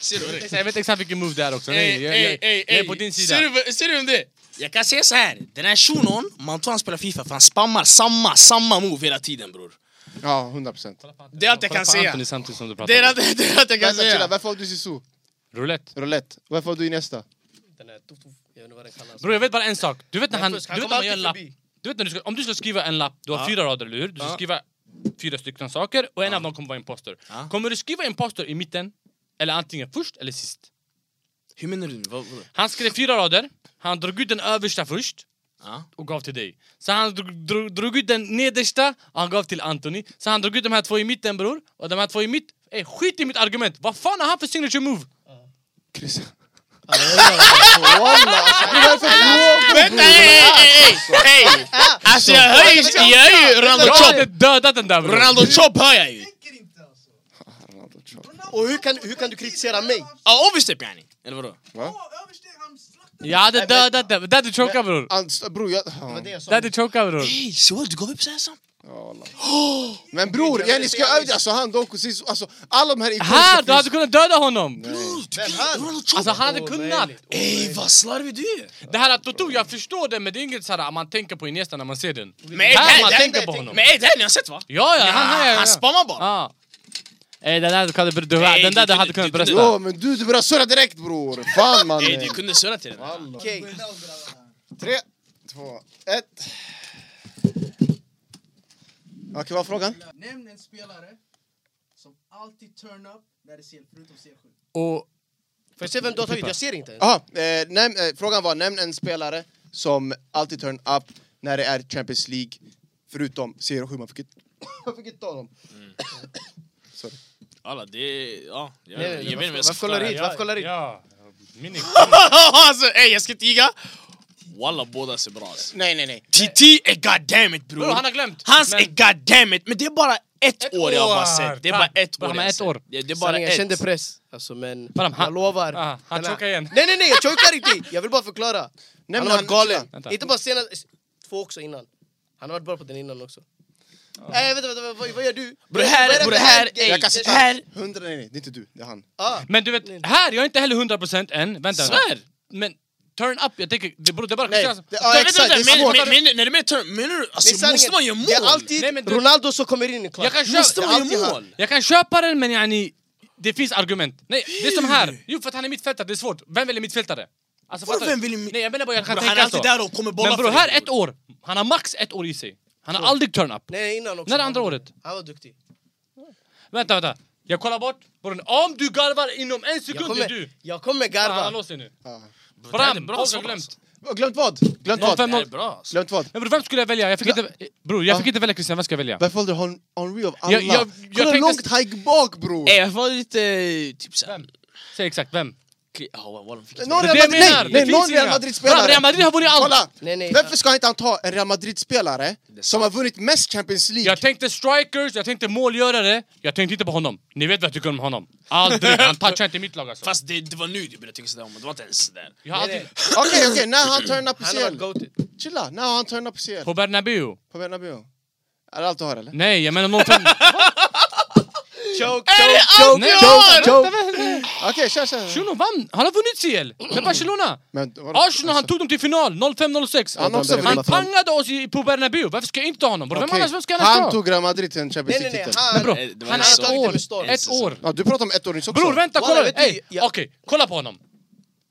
Speaker 2: Ser du?
Speaker 4: Jag vet exakt vilken move det är också,
Speaker 2: Ey,
Speaker 4: nej, jag, jag,
Speaker 2: ey, ey,
Speaker 4: jag är
Speaker 2: ey.
Speaker 4: på din
Speaker 2: Ser
Speaker 4: sida.
Speaker 2: du, vad- ser du vem det är? Jag kan säga så här. den här shunon, man tror han spelar FIFA för han spammar samma, samma move hela tiden bror.
Speaker 1: Ja, 100 procent.
Speaker 2: Det är allt jag kan säga.
Speaker 4: Antoni samtidigt som du
Speaker 2: Det är
Speaker 4: pratar.
Speaker 2: allt, det är allt jag kan
Speaker 1: Vänta, chilla.
Speaker 2: säga.
Speaker 1: Varför valde du Sisu?
Speaker 4: Roulette.
Speaker 1: Roulette. Varför valde du Iniesta?
Speaker 6: Den här tuff, tuff, jag vet inte vad den kallas.
Speaker 4: Bror jag vet bara en sak, du vet när
Speaker 6: Men
Speaker 4: han...
Speaker 6: först,
Speaker 4: Du
Speaker 6: han
Speaker 4: vet
Speaker 6: kommer
Speaker 4: när man gör en
Speaker 6: alltid
Speaker 4: lapp.
Speaker 6: förbi.
Speaker 4: Du vet när du ska, om du ska skriva en lapp, du har fyra rader eller hur? Du ska skriva fyra stycken saker och en av dem kommer vara imposter.
Speaker 2: Ja.
Speaker 4: Kommer du skriva imposter i mitten, eller antingen först eller sist?
Speaker 2: Hur menar du? Vad, vadå?
Speaker 4: Han skrev fyra rader, han drog ut den översta först
Speaker 2: Ja.
Speaker 4: och gav till dig. Så han drog, drog, drog ut den nedersta och han gav till Anthony. Så han drog ut de här två i mitten bror, och de här två i mitt... Ey, skit i mitt argument! Vad fan har han för signature move?
Speaker 1: Chris. Walla! alltså, Det är för
Speaker 2: Vänta, ey, ey, ej, ej! Alltså jag hör ju, jag hör ju Ronaldo
Speaker 4: Jag hade
Speaker 2: Chop!
Speaker 4: dödat den där bror!
Speaker 2: Ronaldo Chop hör jag ju!
Speaker 7: Tänker inte alltså.
Speaker 1: frågor!
Speaker 6: Och hur kan, hur kan du kritisera mig?
Speaker 2: Ja, obviously yani! Eller vadå?
Speaker 1: Va?
Speaker 7: Åh, översteg, han slaktade!
Speaker 4: Jag hade dödat dig, där du chokar bror!
Speaker 1: Alltså, bror, jag...
Speaker 6: Det var det jag
Speaker 4: Där
Speaker 6: sa.
Speaker 4: du chokar bror!
Speaker 2: Ey, Sewell, du gav upp såhär snabbt?
Speaker 1: Ja, Allah. Men bror, yani ska jag övda? Alltså han, Don Cosis, alltså alla de här
Speaker 4: Här! Du
Speaker 1: som
Speaker 4: hade kunnat döda honom!
Speaker 6: Vem han?
Speaker 4: Alltså han hade
Speaker 6: Åh,
Speaker 4: kunnat!
Speaker 2: Ey, vad slarvig du är!
Speaker 4: Det här att Toto, jag förstår det men det är inget såhär man tänker på Iniesta när man ser den.
Speaker 2: Men
Speaker 4: Här
Speaker 2: ey, det här,
Speaker 4: man
Speaker 2: det här,
Speaker 4: tänker på honom!
Speaker 2: men ey, det här ni har sett va?
Speaker 4: Ja, ja,
Speaker 2: Ja,
Speaker 4: han här!
Speaker 2: han spammar bara!
Speaker 4: Ja. Ey, den där, du kunde, du,
Speaker 2: Nej,
Speaker 4: den
Speaker 2: du
Speaker 4: där du
Speaker 2: kunde-
Speaker 4: hade kunnat
Speaker 2: du kunde-
Speaker 4: brösta.
Speaker 1: Jo men du, du börjar surra direkt bror! Fan man!
Speaker 2: Ey, du kunde surra till den.
Speaker 1: Okej. Tre, två, ett. Okej, vad var frågan?
Speaker 7: Nämn en spelare som alltid turn up när det ser förutom C7.
Speaker 4: Och
Speaker 6: Får jag se vem du har tagit? Jag ser inte ens.
Speaker 1: Aha, eh, näm, eh, frågan var, nämn en spelare som alltid turn up när det är Champions League, förutom CR7. Man fick inte- man fick inte ta dem.
Speaker 2: Alla, det... Ja, jag,
Speaker 6: Nej,
Speaker 2: jag
Speaker 6: nej,
Speaker 2: vet
Speaker 6: nej,
Speaker 2: inte om jag
Speaker 6: varför kollar du hit? Varför kollar du hit?
Speaker 4: Ja, mini...
Speaker 2: alltså, ey, jag ska tiga! Walla, båda ser bra alltså.
Speaker 1: Nej, nej, nej.
Speaker 2: TT är goddammit bror!
Speaker 4: Bror han har glömt!
Speaker 2: Hans
Speaker 4: Men-
Speaker 2: är goddammit, men det är bara ett,
Speaker 4: Ett
Speaker 2: år jag
Speaker 4: år.
Speaker 2: har bara sett. Det är bara ett
Speaker 4: Bara
Speaker 2: år
Speaker 4: med
Speaker 2: jag
Speaker 4: ett år.
Speaker 2: Det, det är bara
Speaker 6: Sanningen, Jag kände
Speaker 2: ett.
Speaker 6: press. Alltså men,
Speaker 4: Bara, han-
Speaker 6: jag lovar.
Speaker 4: Ah, han
Speaker 6: Den här-
Speaker 4: chokar igen.
Speaker 6: Nej nej nej, jag chokar inte! Jag vill bara förklara.
Speaker 1: men
Speaker 6: han har
Speaker 1: han-
Speaker 6: varit galen.
Speaker 4: Vänta.
Speaker 6: Inte bara senast, två också innan. Han har varit bra på den innan också. Nej vänta, vänta, vad, vad gör du?
Speaker 2: Bror här, bror här,
Speaker 1: Jag kan
Speaker 2: ey,
Speaker 1: sitta
Speaker 2: här!
Speaker 1: här. Hundra, nej, nej, det är inte du, det är han.
Speaker 6: Ah,
Speaker 4: Men du vet, här, jag är inte heller 100% än. Vänta.
Speaker 2: Svär!
Speaker 4: Men turn up, jag tänker, det beror, det är bara...
Speaker 1: Nej, det, ja,
Speaker 2: Vänta,
Speaker 1: exakt, det
Speaker 2: vänta,
Speaker 1: är
Speaker 2: men-
Speaker 1: svårt.
Speaker 2: men- men- När det är turn, menar du
Speaker 6: är
Speaker 2: alltså måste
Speaker 6: sanningen.
Speaker 2: man göra mål?
Speaker 6: Det är alltid
Speaker 4: Nej, men du-
Speaker 6: Ronaldo som kommer in i klass.
Speaker 4: Jag kan köpa...
Speaker 2: Måste man
Speaker 1: alltid
Speaker 2: göra
Speaker 1: han.
Speaker 2: mål?
Speaker 4: Jag kan köpa den men yani, det finns argument. Nej, det är som här. Jo för att han är mittfältare, det är svårt. Vem väljer mittfältare? Alltså,
Speaker 2: Vadå,
Speaker 4: fattar du?
Speaker 2: vem väljer mitt-
Speaker 4: Nej jag menar bara jag kan
Speaker 2: Bror,
Speaker 4: tänka
Speaker 2: han är alltid
Speaker 4: så.
Speaker 2: där och kommer bolla
Speaker 4: Men bror
Speaker 2: för dig,
Speaker 4: här, ett år. Han har max ett år i sig. Han har aldrig turn up.
Speaker 6: Nej, nej innan också.
Speaker 4: När är andra året?
Speaker 6: Han var duktig.
Speaker 4: Vänta, vänta. Jag kollar bort. Bror, om du garvar inom en
Speaker 6: Jag
Speaker 4: sekund är
Speaker 6: kommer,
Speaker 4: du.
Speaker 6: jag kommer
Speaker 4: Ah, Han har
Speaker 6: garva.
Speaker 4: låst sig nu.
Speaker 2: Bror, det här är
Speaker 4: Bram,
Speaker 2: bra
Speaker 4: folk har
Speaker 2: svar,
Speaker 4: glömt.
Speaker 2: alltså.
Speaker 1: Glömt vad? Glömt
Speaker 4: Någon
Speaker 1: vad?
Speaker 4: fem-
Speaker 2: Det här är bra alltså.
Speaker 1: Glömt vad?
Speaker 4: Men bror, vem skulle jag välja? Jag fick inte... Bror, jag fick inte välja Christian, vem ska jag välja?
Speaker 1: Varför valde du Hon- Henry av alla?
Speaker 4: Jag- jag- jag
Speaker 1: Kolla hur
Speaker 4: tänkte-
Speaker 1: långt han gick bak bror!
Speaker 2: Ey, jag var lite eh, typ såhär...
Speaker 4: Vem? Säg exakt, vem?
Speaker 2: Ja, walla, fick
Speaker 1: Någon
Speaker 4: Det
Speaker 1: Real
Speaker 4: är det jag
Speaker 1: Madrid, nej,
Speaker 4: menar! Det
Speaker 1: nej,
Speaker 4: finns
Speaker 1: någon Real
Speaker 4: inga.
Speaker 1: Madrid-spelare!
Speaker 4: Bra, Real Madrid har vunnit allt!
Speaker 1: Kolla!
Speaker 6: Nej, nej.
Speaker 1: Varför ska inte han ta en Real Madrid-spelare
Speaker 2: är
Speaker 1: som har vunnit mest Champions League?
Speaker 4: Jag tänkte strikers, jag tänkte målgörare, jag tänkte inte på honom. Ni vet vad jag tycker om honom. Aldrig, han touchar inte mitt lag alltså.
Speaker 2: Fast det, det var nu du började tycka sådär om honom, det var inte ens där.
Speaker 4: Jag har aldrig...
Speaker 1: Okej, okej, när han turn up i
Speaker 6: Han har varit
Speaker 1: CL?
Speaker 6: goated.
Speaker 1: Chilla, när han turn up i CL?
Speaker 4: På Bernabéu?
Speaker 1: På Bernabéu? Är det allt du har eller?
Speaker 4: Nej, jag menar någon... turn-
Speaker 6: Choke,
Speaker 2: Är det
Speaker 6: choke,
Speaker 2: allt
Speaker 4: Nej.
Speaker 2: du har?
Speaker 1: Joe! Okej, kör, kör! kör.
Speaker 4: Shuno vann! Han har vunnit CL! Med Barcelona!
Speaker 1: Men, vadå?
Speaker 4: Arsenal, han tog dem till final 05-06.
Speaker 1: Han har också
Speaker 4: Han
Speaker 1: vunnit.
Speaker 4: pangade oss i, på Bernabéu, varför ska jag inte ta honom? Bror, Vem
Speaker 1: Okej,
Speaker 4: annars, vem ska jag
Speaker 1: Han
Speaker 4: annars ta?
Speaker 1: tog Real Madrid till en Champions
Speaker 6: Nej nej nej,
Speaker 1: League-titel.
Speaker 6: han...
Speaker 4: Men bror,
Speaker 2: Nej, det var
Speaker 4: han
Speaker 2: en
Speaker 4: är
Speaker 2: säsong.
Speaker 6: Det var en
Speaker 4: ett
Speaker 6: storm.
Speaker 4: år! Ett år!
Speaker 1: Ja, du pratar om ett år nyss också.
Speaker 4: Bror vänta,
Speaker 6: Walla,
Speaker 4: kolla!
Speaker 6: vet du,
Speaker 4: Ey,
Speaker 6: jag-
Speaker 4: Okej, kolla på honom!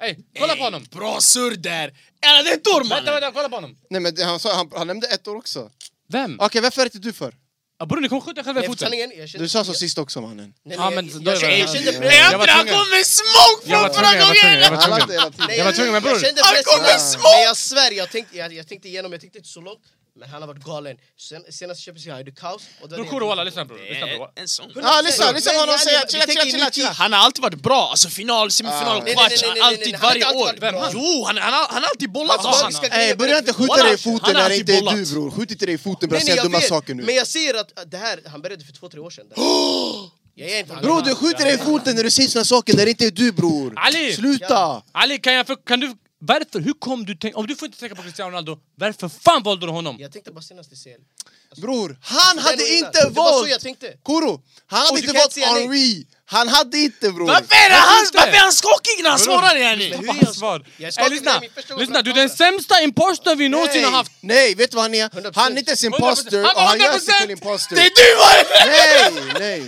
Speaker 4: Ey, kolla på honom!
Speaker 2: Bra surr där! Eller det är ett år
Speaker 4: Vänta,
Speaker 2: mannen!
Speaker 4: vänta, kolla på honom!
Speaker 1: Nej men det- han, sa, han, han nämnde ett år också. Okej,
Speaker 4: Vem?
Speaker 1: varför är det du för?
Speaker 4: Ja, Bror, ni kommer skjuta er själva i
Speaker 6: Nej,
Speaker 4: foten!
Speaker 6: sanningen, jag kände...
Speaker 1: Du sa så sist också mannen.
Speaker 6: Nej,
Speaker 4: Ja,
Speaker 6: nej,
Speaker 4: men
Speaker 6: jag-
Speaker 4: då är
Speaker 6: jag kände-
Speaker 4: det-
Speaker 6: Jag kände
Speaker 2: Nej,
Speaker 6: press.
Speaker 4: Jag var
Speaker 2: Andra, han
Speaker 4: tvungen.
Speaker 2: kom med smoke
Speaker 4: Jag var tvungen,
Speaker 2: från förra
Speaker 4: jag var tvungen, jag
Speaker 2: gången!
Speaker 4: var
Speaker 1: Han
Speaker 4: tvungen!
Speaker 1: hade hela tiden.
Speaker 6: Nej,
Speaker 4: Jag var tvungen, men bror.
Speaker 6: Jag kände
Speaker 2: Han
Speaker 6: pressen.
Speaker 2: kommer små!
Speaker 6: Men jag svär, jag tänkte, jag, jag tänkte igenom, jag tänkte inte så långt. Men han har varit galen. Sen, senast Champions League, det är kaos. Och då
Speaker 4: Bror Kuro walla, lyssna bror. Lyssna, bror.
Speaker 2: En sån.
Speaker 1: Ja, lyssna, lyssna på
Speaker 6: Men
Speaker 1: honom
Speaker 6: jag-
Speaker 1: säga.
Speaker 6: vi
Speaker 1: Chilla,
Speaker 6: tänker
Speaker 1: chilla, chilla,
Speaker 6: i
Speaker 1: chilla.
Speaker 2: Han har alltid varit bra, alltså final,
Speaker 1: Ah.
Speaker 2: semifinal,
Speaker 1: Nej,
Speaker 6: nej,
Speaker 2: kvarts,
Speaker 6: nej, nej, nej, nej,
Speaker 2: alltid
Speaker 6: han har
Speaker 2: varje
Speaker 6: alltid
Speaker 2: år.
Speaker 6: varit
Speaker 4: Vem?
Speaker 6: bra.
Speaker 4: Han?
Speaker 2: Jo, han, han, har- han har alltid bollat
Speaker 6: Alltså,
Speaker 2: alltså.
Speaker 6: vi ska-
Speaker 1: Ey, börja inte skjuta
Speaker 2: Walla,
Speaker 1: dig i foten
Speaker 2: han har
Speaker 1: när det inte är
Speaker 2: alltid
Speaker 1: du
Speaker 2: bollat.
Speaker 1: bror. Skjut inte dig i foten, börja
Speaker 6: Nej, nej,
Speaker 1: säga
Speaker 6: jag
Speaker 1: dumma
Speaker 6: vet,
Speaker 1: saker nu.
Speaker 6: Men jag ser att att det här, han började för två, tre år sedan. Jag är inte han.
Speaker 1: Bror du skjuter dig i foten när du säger såna saker när det inte är du bror.
Speaker 4: Ali!
Speaker 1: Sluta!
Speaker 4: Ali, kan jag för, kan du, varför, hur kom du tänka, om du får inte tänka på Cristiano Ronaldo, varför fan valde du honom?
Speaker 6: Jag tänkte bara senast i CL.
Speaker 1: Bror, han
Speaker 6: Den och
Speaker 1: hade
Speaker 6: innan.
Speaker 1: inte
Speaker 6: Alltså, Det var så jag
Speaker 1: valt
Speaker 6: tänkte.
Speaker 1: Kuro! Han
Speaker 6: Och
Speaker 1: hade
Speaker 6: du
Speaker 1: inte
Speaker 6: kan
Speaker 1: valt
Speaker 6: inte säga nej.
Speaker 1: Henry! Han hade inte bror!
Speaker 2: Varför är han,
Speaker 4: inte?
Speaker 2: varför är han skakig när han
Speaker 4: Vadå?
Speaker 2: svarar yani?
Speaker 4: Lyssna på
Speaker 6: Hur är
Speaker 4: hans
Speaker 6: jag-
Speaker 4: svar.
Speaker 6: Jag
Speaker 4: Ey,
Speaker 6: skakar mig
Speaker 4: lyssna,
Speaker 6: min första gång
Speaker 4: lyssna, du är
Speaker 6: framför
Speaker 4: den sämsta imposter vi någonsin har haft.
Speaker 1: Nej, vet du vad han är?
Speaker 6: 100%.
Speaker 1: Han är inte ens imposter och
Speaker 4: 100%.
Speaker 1: han gör sig till imposter!
Speaker 2: Det är du mannen!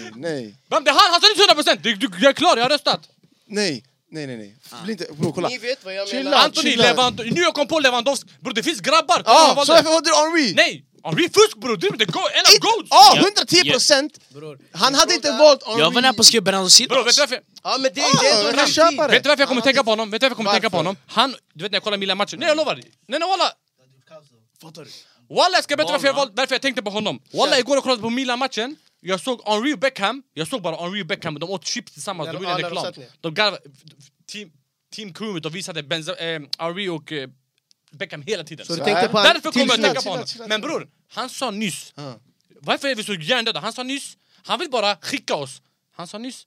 Speaker 1: Nej, nej, nej,
Speaker 4: Vem, det är han, han sa inte 100 procent! Jag är klar, jag har röstat.
Speaker 1: nej, nej, nej, nej. Bli inte, bror kolla.
Speaker 6: Ni vet vad jag
Speaker 1: Chilla.
Speaker 6: menar.
Speaker 4: Anthony
Speaker 1: chilla.
Speaker 4: Lewandowski, nu jag kom på Lewandowski. Bror det finns grabbar, kolla vad
Speaker 1: Ja,
Speaker 4: han
Speaker 1: Ah, så
Speaker 4: valde.
Speaker 1: varför valde du E. Henry?
Speaker 4: Nej! Henri fusk bror, du är inte go- en av goats!
Speaker 1: Ja,
Speaker 2: Ja.
Speaker 1: 110 procent!
Speaker 6: Bror.
Speaker 1: Han hade inte
Speaker 6: Fråga-
Speaker 1: valt Henry!
Speaker 2: Jag var nära på att skriva Bernardo
Speaker 4: Bror vet
Speaker 2: Silva.
Speaker 4: du varför?
Speaker 6: Ja men det
Speaker 1: Ja,
Speaker 6: det är ändå
Speaker 1: jag kan köpa
Speaker 6: tid.
Speaker 1: det.
Speaker 4: Vet du varför jag kommer
Speaker 1: Han
Speaker 4: tänka
Speaker 1: hade-
Speaker 4: på honom? Vet du varför jag kommer tänka på
Speaker 1: Varför?
Speaker 4: honom? Han, du vet när jag kollar Milan-matchen, nej jag lovar! Nej nej walla!
Speaker 2: Fattar du?
Speaker 4: Walla jag ska berätta varför jag,
Speaker 2: Walla.
Speaker 4: valde, varför jag tänkte på honom. Walla igår jag kollade på Milan-matchen, jag såg Henry och Beckham, jag såg bara Henry och Beckham, de åt chips tillsammans,
Speaker 6: När-
Speaker 4: de
Speaker 6: ja,
Speaker 4: gjorde
Speaker 6: när de
Speaker 4: reklam.
Speaker 6: satt ner.
Speaker 4: De garvade, team, team crewet, de visade Benza, eh, Henry och eh, Beckham hela tiden.
Speaker 6: Så du
Speaker 1: Så
Speaker 6: tänkte
Speaker 1: här.
Speaker 6: på
Speaker 4: Därför kommer jag
Speaker 1: Tillslut,
Speaker 4: att tänka på honom.
Speaker 1: tillslut,
Speaker 4: Men
Speaker 1: tillslut.
Speaker 4: bror, han sa nyss,
Speaker 1: Ja.
Speaker 4: varför är vi så hjärndöda? Han sa nyss, han vill bara skicka oss. Han sa nyss,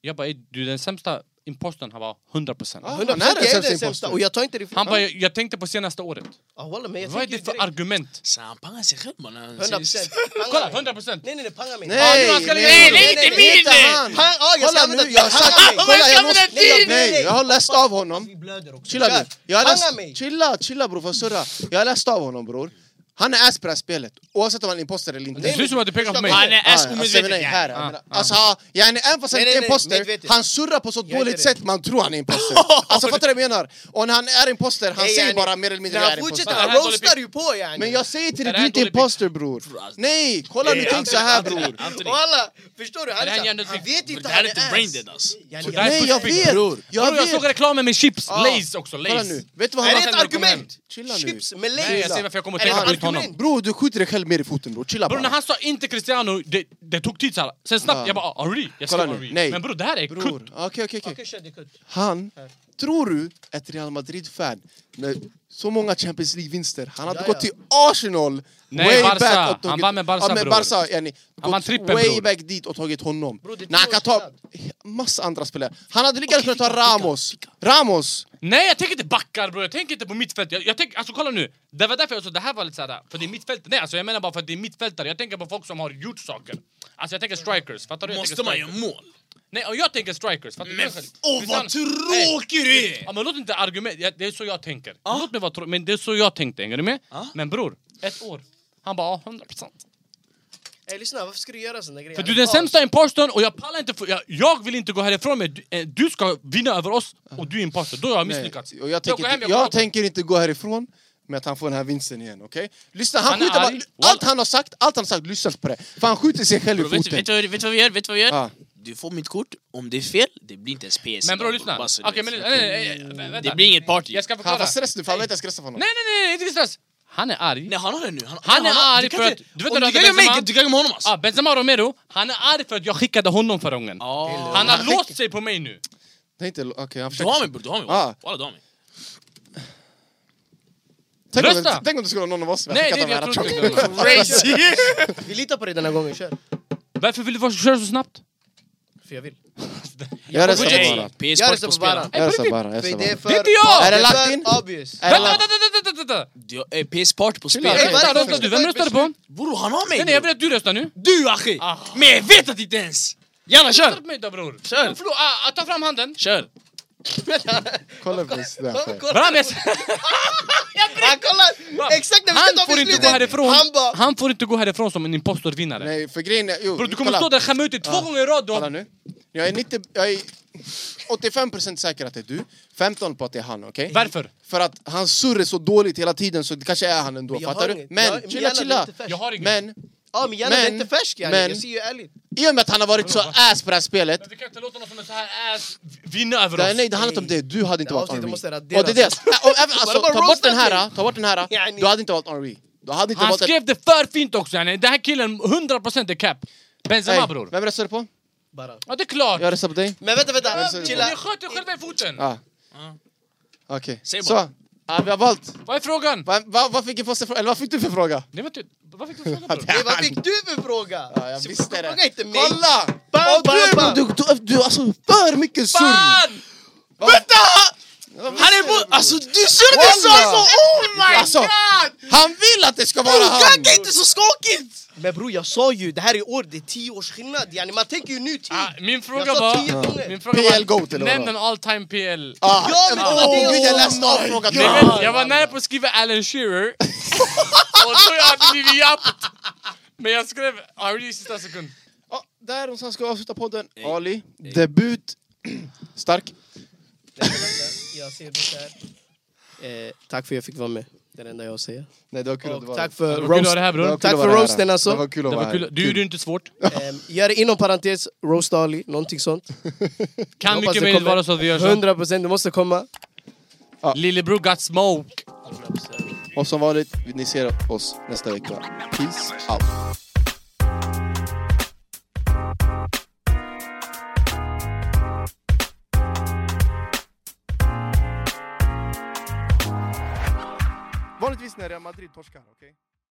Speaker 4: jag bara "Ey, du är den sämsta imposten han var 100%.
Speaker 1: Ah,
Speaker 6: hundra
Speaker 1: han är
Speaker 6: procent är
Speaker 1: den
Speaker 6: den
Speaker 1: sämsta.
Speaker 6: sämsta. Och jag tar inte det ifrån.
Speaker 4: Han bara, jag, jag tänkte på senaste året.
Speaker 6: Ah, wallah, men jag
Speaker 4: Vad är
Speaker 6: tänker
Speaker 4: det för
Speaker 6: direkt.
Speaker 4: argument?
Speaker 2: Så han pangar sig själv mannen.
Speaker 6: 100 procent.
Speaker 4: Kolla, 100%!
Speaker 6: Nej, nej, nej, panga mig.
Speaker 4: nu han ska lägga in. Nej,
Speaker 1: nej,
Speaker 4: inte min!
Speaker 1: inte han.
Speaker 6: Pang, ah, jag ska
Speaker 1: Kolla
Speaker 6: använda
Speaker 1: nu, jag har sagt...
Speaker 6: Panga mig.
Speaker 1: Kolla, jag måste...
Speaker 6: Nej, jag-
Speaker 1: Nej, jag har läst av honom.
Speaker 6: Vi blöder också.
Speaker 1: Chilla nu.
Speaker 6: Kör.
Speaker 1: Jag har
Speaker 6: Panga mig.
Speaker 1: läst, chilla, chilla bror, för surra. Jag har läst av honom bror. Han är ass på det här spelet, oavsett om han är imposter eller inte.
Speaker 4: Det ser ut som att du pekar på mig.
Speaker 2: Han är ass
Speaker 1: Ja, ja,
Speaker 2: omedvetet,
Speaker 1: alltså, nej,
Speaker 2: ja.
Speaker 1: här, jag
Speaker 4: Ja,
Speaker 1: menar,
Speaker 4: ja.
Speaker 1: Alltså, ha- yani, även fast han inte
Speaker 6: Nej,
Speaker 1: är
Speaker 6: nej, nej,
Speaker 1: imposter,
Speaker 6: medvetet.
Speaker 1: han surrar på så
Speaker 6: Jag är
Speaker 1: dåligt
Speaker 6: det.
Speaker 1: sätt man tror han är imposter. Alltså fattar du vad jag menar? Och när han är imposter, han
Speaker 6: Nej,
Speaker 1: säger
Speaker 6: yani,
Speaker 1: bara mer eller mindre
Speaker 6: När
Speaker 1: jag är
Speaker 6: han
Speaker 1: imposter.
Speaker 6: fortsätter,
Speaker 4: Det
Speaker 6: han
Speaker 4: här är dålig
Speaker 6: roastar ju på yani.
Speaker 1: Men jag säger till dig,
Speaker 4: Det
Speaker 1: du
Speaker 4: här
Speaker 1: är
Speaker 4: är
Speaker 1: inte
Speaker 4: dålig
Speaker 1: imposter bror.
Speaker 4: alltså.
Speaker 1: Nej, kolla nu,
Speaker 2: Nej,
Speaker 1: tänk så här bror.
Speaker 2: Anthony,
Speaker 6: Walla, förstår du? Han,
Speaker 4: Det
Speaker 6: är
Speaker 4: här är
Speaker 6: så här,
Speaker 4: en
Speaker 6: han
Speaker 4: jävla-
Speaker 6: vet inte
Speaker 2: det
Speaker 6: han
Speaker 2: här
Speaker 6: är
Speaker 2: är inte
Speaker 6: ass.
Speaker 2: brain dead alltså.
Speaker 6: Yani,
Speaker 4: Det här är
Speaker 1: Nej, jag
Speaker 4: pushing,
Speaker 1: vet!
Speaker 4: bror.
Speaker 1: Jag
Speaker 4: Bror, jag
Speaker 1: vet!
Speaker 4: såg reklamen med chips,
Speaker 1: Ja.
Speaker 4: Lays också,
Speaker 1: Kolla
Speaker 4: Lays.
Speaker 1: nu, vet du vad
Speaker 6: Är
Speaker 1: han
Speaker 6: det ett
Speaker 4: när jag kommer
Speaker 6: argument?
Speaker 1: Chilla nu.
Speaker 6: Chips med
Speaker 4: Nej, jag
Speaker 6: lace.
Speaker 4: ser varför jag kommer att
Speaker 6: Är det
Speaker 4: tänka på
Speaker 6: ett
Speaker 4: just honom.
Speaker 6: argument?
Speaker 1: Bror, du skjuter dig själv mer i foten bror, chilla
Speaker 4: Bror när
Speaker 1: bara.
Speaker 4: han sa inte Cristiano, det, det tog tid såhär. Sen snabbt,
Speaker 1: Ja.
Speaker 4: jag bara ah, Henry. Jag
Speaker 1: Kolla
Speaker 4: skrev
Speaker 1: nu,
Speaker 4: Henry.
Speaker 1: nej.
Speaker 4: Men bror det här är kutt.
Speaker 1: Bror, okej okej okej.
Speaker 6: Okej, kör det. kör.
Speaker 1: Han, tror du, ett Real Madrid-fan med så många Champions League-vinster, han hade
Speaker 6: Ja,
Speaker 1: gått
Speaker 6: ja.
Speaker 1: till Arsenal
Speaker 4: Nej, Barca.
Speaker 1: och tagit-
Speaker 4: Han var med Barca,
Speaker 1: ja, med
Speaker 4: bror.
Speaker 1: Barca yani,
Speaker 4: Han vann
Speaker 1: gått
Speaker 4: trippen,
Speaker 1: way
Speaker 4: bror.
Speaker 1: back dit och tagit honom.
Speaker 6: Bror, det är
Speaker 1: När han
Speaker 6: två
Speaker 1: kan
Speaker 6: års
Speaker 1: ta massa andra spelare. Han hade lika gärna kunnat ta Ramos. Ramos!
Speaker 4: Nej jag tänker inte backar bror, jag tänker inte på mittfält. Jag, jag tänker, alltså kolla nu. Det var därför jag sa det här var lite såhär, för det är mittfält. Nej alltså jag menar bara för att det är mittfältare. Jag tänker på folk som har gjort saker. Alltså jag tänker strikers, fattar du? Jag
Speaker 2: Måste
Speaker 4: tänker
Speaker 2: man
Speaker 4: strikers.
Speaker 2: göra mål?
Speaker 4: Nej och jag tänker strikers, fattar
Speaker 2: Men
Speaker 4: du?
Speaker 2: åh vad tråkig du är!
Speaker 4: Ja, men låt inte argument, ja, det är så jag tänker.
Speaker 2: Ah.
Speaker 4: Låt mig vara tråkig, men det är så jag tänkte, hänger du med? Men bror, ett år. Han bara ah, 100%.
Speaker 6: Ey, lyssna, varför ska du göra såna grejer?
Speaker 4: För du är den sämsta impostorn och jag pallar inte för, jag, jag vill inte gå härifrån med du, eh, du ska vinna över oss och du är impostor, då har jag
Speaker 1: Nej.
Speaker 4: misslyckats.
Speaker 1: Och jag
Speaker 4: går hem,
Speaker 1: tänker, jag
Speaker 4: pratar.
Speaker 1: tänker inte gå härifrån med att han får den här vinsten igen, okej? Lyssna, han,
Speaker 4: Han är
Speaker 1: skjuter
Speaker 4: arg.
Speaker 1: bara, allt han har sagt, allt han har sagt, lyssna på det. För han skjuter sig själv i
Speaker 2: Bro, vet, du-
Speaker 1: foten.
Speaker 2: vet, du vad- vet du vad vi gör? Vet du vad vi gör?
Speaker 1: Ja.
Speaker 2: Du får mitt kort, om det är fel, det blir inte ens PS.
Speaker 4: Men bror
Speaker 2: idag,
Speaker 4: lyssna,
Speaker 2: Bara så
Speaker 4: okej
Speaker 2: du
Speaker 4: men
Speaker 2: vet.
Speaker 4: nej, nej, nej, nej, vänta.
Speaker 2: Det blir inget party.
Speaker 4: Jag ska
Speaker 1: Han
Speaker 4: förklara.
Speaker 1: var stress nu, för han vet att jag stressar honom.
Speaker 4: Nej nej nej, inte stress. Han är arg.
Speaker 2: Nej han har det nu. Han,
Speaker 4: Han
Speaker 2: nej,
Speaker 4: är
Speaker 2: har-
Speaker 4: arg
Speaker 2: du kan
Speaker 4: för
Speaker 2: inte-
Speaker 4: att- du vet
Speaker 2: om
Speaker 4: vad
Speaker 2: du
Speaker 4: det-
Speaker 2: gaggar mig,
Speaker 4: Benzema-
Speaker 2: du gaggar med honom alltså.
Speaker 4: Ah, Benzema Romero, han är arg för att jag skickade honom förra gången.
Speaker 2: Ah.
Speaker 4: Han har låst sig på mig nu.
Speaker 1: Det är inte... Okej, han
Speaker 2: Du har mig bror, du har mig.
Speaker 1: Ah.
Speaker 2: Walla du har mig.
Speaker 1: Tänk om,
Speaker 4: Rösta!
Speaker 1: tänk om det skulle vara någon av oss som
Speaker 4: Nej,
Speaker 1: hade
Speaker 4: det- jag
Speaker 1: skickat
Speaker 4: tror
Speaker 1: de här
Speaker 4: inte det.
Speaker 1: chocoladerna.
Speaker 6: Vi litar på dig den här gången, kör.
Speaker 4: Varför vill du vara- köra så snabbt?
Speaker 6: För jag vill.
Speaker 1: Jag röstar
Speaker 2: Budget.
Speaker 1: på bara.
Speaker 2: PS
Speaker 6: Jag
Speaker 2: Sport
Speaker 6: röstar
Speaker 2: på
Speaker 6: på Baran.
Speaker 2: spelaren.
Speaker 1: Jag röstar bara. Jag
Speaker 6: För
Speaker 1: röstar
Speaker 6: det är
Speaker 1: bara.
Speaker 6: för...
Speaker 4: Det är inte jag!
Speaker 1: Är det lagt
Speaker 6: för
Speaker 1: in?
Speaker 6: Obvious.
Speaker 1: Är det
Speaker 4: Vänta,
Speaker 1: lagt-
Speaker 4: vänta, vänta, vänta, vänta!
Speaker 2: Du- eh, PS Sport på
Speaker 1: Chilla.
Speaker 2: spelaren.
Speaker 6: Ey,
Speaker 4: Vänta,
Speaker 6: varför
Speaker 4: röstade du? Vem röstade på?
Speaker 2: Bror han har mig!
Speaker 4: Nej nej, jag
Speaker 2: bror.
Speaker 4: vill att du röstar nu.
Speaker 2: Du achi!
Speaker 4: Ah.
Speaker 2: Men jag vet att inte ens! Jalla
Speaker 4: Rösta
Speaker 2: kör!
Speaker 4: på mig då bror.
Speaker 2: Kör.
Speaker 4: Förlåt, ah, ta fram handen.
Speaker 2: Kör!
Speaker 1: Kolla på det där.
Speaker 6: Kolla, kolla.
Speaker 4: Bram, jag-
Speaker 6: Han kollar! Exakt när vi ska
Speaker 4: Han
Speaker 6: ta
Speaker 4: får inte gå
Speaker 6: beslutet!
Speaker 4: härifrån.
Speaker 6: Han bara...
Speaker 4: Han får inte gå härifrån som en impostorvinnare.
Speaker 1: Nej, för grejen är... Jo,
Speaker 4: Bro, du kommer
Speaker 1: kolla.
Speaker 4: stå där och skämma ut dig två
Speaker 1: Ja.
Speaker 4: gånger i rad.
Speaker 1: Kolla
Speaker 4: då.
Speaker 1: nu. Jag är 90... Jag är 85% säker att det är du. 15 på att det är han, okej?
Speaker 4: Mm. Varför?
Speaker 1: För att hans surr är så dåligt hela tiden så det kanske är han ändå,
Speaker 6: Jag
Speaker 1: fattar
Speaker 6: har
Speaker 1: du?
Speaker 6: inget. Jag-
Speaker 1: Men,
Speaker 6: min
Speaker 1: chilla
Speaker 6: hjärna blir
Speaker 1: chilla!
Speaker 6: inte färsk.
Speaker 4: Jag har inget.
Speaker 1: Men,
Speaker 6: Ja, min hjärna är
Speaker 1: Men-
Speaker 6: inte färsk yani.
Speaker 1: men-
Speaker 6: Jag ser ju ärligt.
Speaker 1: i och med att han har varit så ass på det här spelet
Speaker 4: Men vi kan inte låta någon som är så här ass vinna över
Speaker 1: Nej,
Speaker 4: oss.
Speaker 1: nej, det handlar inte om det. Du hade inte
Speaker 6: Det
Speaker 1: valt
Speaker 6: avsnittet
Speaker 1: Henry.
Speaker 6: måste raderas.
Speaker 1: Och det är det. Äh, och även- Alltså,
Speaker 6: Bara
Speaker 1: ta bort
Speaker 6: roastat
Speaker 1: den här,
Speaker 6: mig.
Speaker 1: ta bort den här.
Speaker 6: Yani.
Speaker 1: Du hade inte valt Henry. Du hade inte
Speaker 4: Han
Speaker 1: valt... en-
Speaker 4: skrev det för fint också. yani. Den här killen, 100% är cap. Benzema
Speaker 1: Ey,
Speaker 4: bror.
Speaker 1: Vem röstar du på?
Speaker 6: Bara.
Speaker 4: Ja det är klart.
Speaker 1: Jag röstar på dig.
Speaker 6: Men vänta,
Speaker 1: Ja,
Speaker 6: vänta.
Speaker 1: chilla.
Speaker 6: Chilla.
Speaker 4: Ni sköt er själva i foten.
Speaker 1: Ja. Okej.
Speaker 2: Säg
Speaker 1: Så.
Speaker 2: bara.
Speaker 1: ja, vi har valt.
Speaker 4: Vad är frågan?
Speaker 1: Va, va, vad, fick jag för, eller vad fick du för fråga?
Speaker 4: Det var inte... Vad fick du fråga bror?
Speaker 6: Nej, vad fick du för fråga?
Speaker 1: Ja, jag visste det.
Speaker 6: Fråga inte mig.
Speaker 1: Kolla!
Speaker 6: Bam,
Speaker 1: Och du,
Speaker 6: bam,
Speaker 1: du, du, du alltså för mycket surr!
Speaker 4: Fan!
Speaker 1: Han
Speaker 2: Han är bo- Alltså du körde så alltså! Oh my
Speaker 1: Alltså,
Speaker 2: god!
Speaker 1: Han vill att det ska vara
Speaker 6: Oh
Speaker 2: Bror
Speaker 1: han!
Speaker 2: gagga inte så skakigt!
Speaker 6: Men bror, jag sa ju, det här är år, det är tio års skillnad. Yani, man tänker ju nu tid.
Speaker 4: Ah, Min fråga
Speaker 6: Jag sa
Speaker 4: var...
Speaker 6: tio gånger.
Speaker 4: Min fråga
Speaker 1: PL Goat, eller
Speaker 4: var...
Speaker 1: vad
Speaker 4: Nämn
Speaker 1: det
Speaker 4: en all time PL.
Speaker 1: Ah,
Speaker 6: Ja, men det var det Oh
Speaker 1: åh,
Speaker 6: jag
Speaker 1: gud, jag
Speaker 6: sa.
Speaker 1: läste av frågan!
Speaker 4: Ni vet, jag var nära på att skriva Alan Shearer och då jag hade blivit jappt. Men jag skrev Ari i sista sekund.
Speaker 1: Ja, där någonstans ska vi avsluta podden. Ali, debut. Stark.
Speaker 6: Jag ser det här. Eh, tack för att jag fick vara med. Det är det enda jag har att säga.
Speaker 1: Nej, det var kul att du
Speaker 6: Och
Speaker 1: var
Speaker 6: tack
Speaker 1: här.
Speaker 6: för
Speaker 4: Vad kul att ha
Speaker 6: roast.
Speaker 4: det här
Speaker 1: Det
Speaker 4: bror.
Speaker 1: var kul
Speaker 6: Tack
Speaker 1: att
Speaker 6: för
Speaker 1: vara här.
Speaker 6: roasten, alltså.
Speaker 1: Det var kul att
Speaker 4: Det
Speaker 1: vara
Speaker 4: var
Speaker 1: här.
Speaker 4: kul. Du gjorde inte svårt.
Speaker 6: Ehm, Gör det inom parentes, roast Ali, någonting sånt.
Speaker 4: Kan
Speaker 6: hoppas
Speaker 4: mycket
Speaker 6: det
Speaker 4: möjligt
Speaker 6: kommer.
Speaker 4: vara så att vi gör så.
Speaker 6: 100 procent, det måste komma.
Speaker 4: Lillebror got smoke.
Speaker 1: Och som vanligt, ni ser oss nästa vecka. Peace out. Vanligtvis när Real Madrid torskar, okej?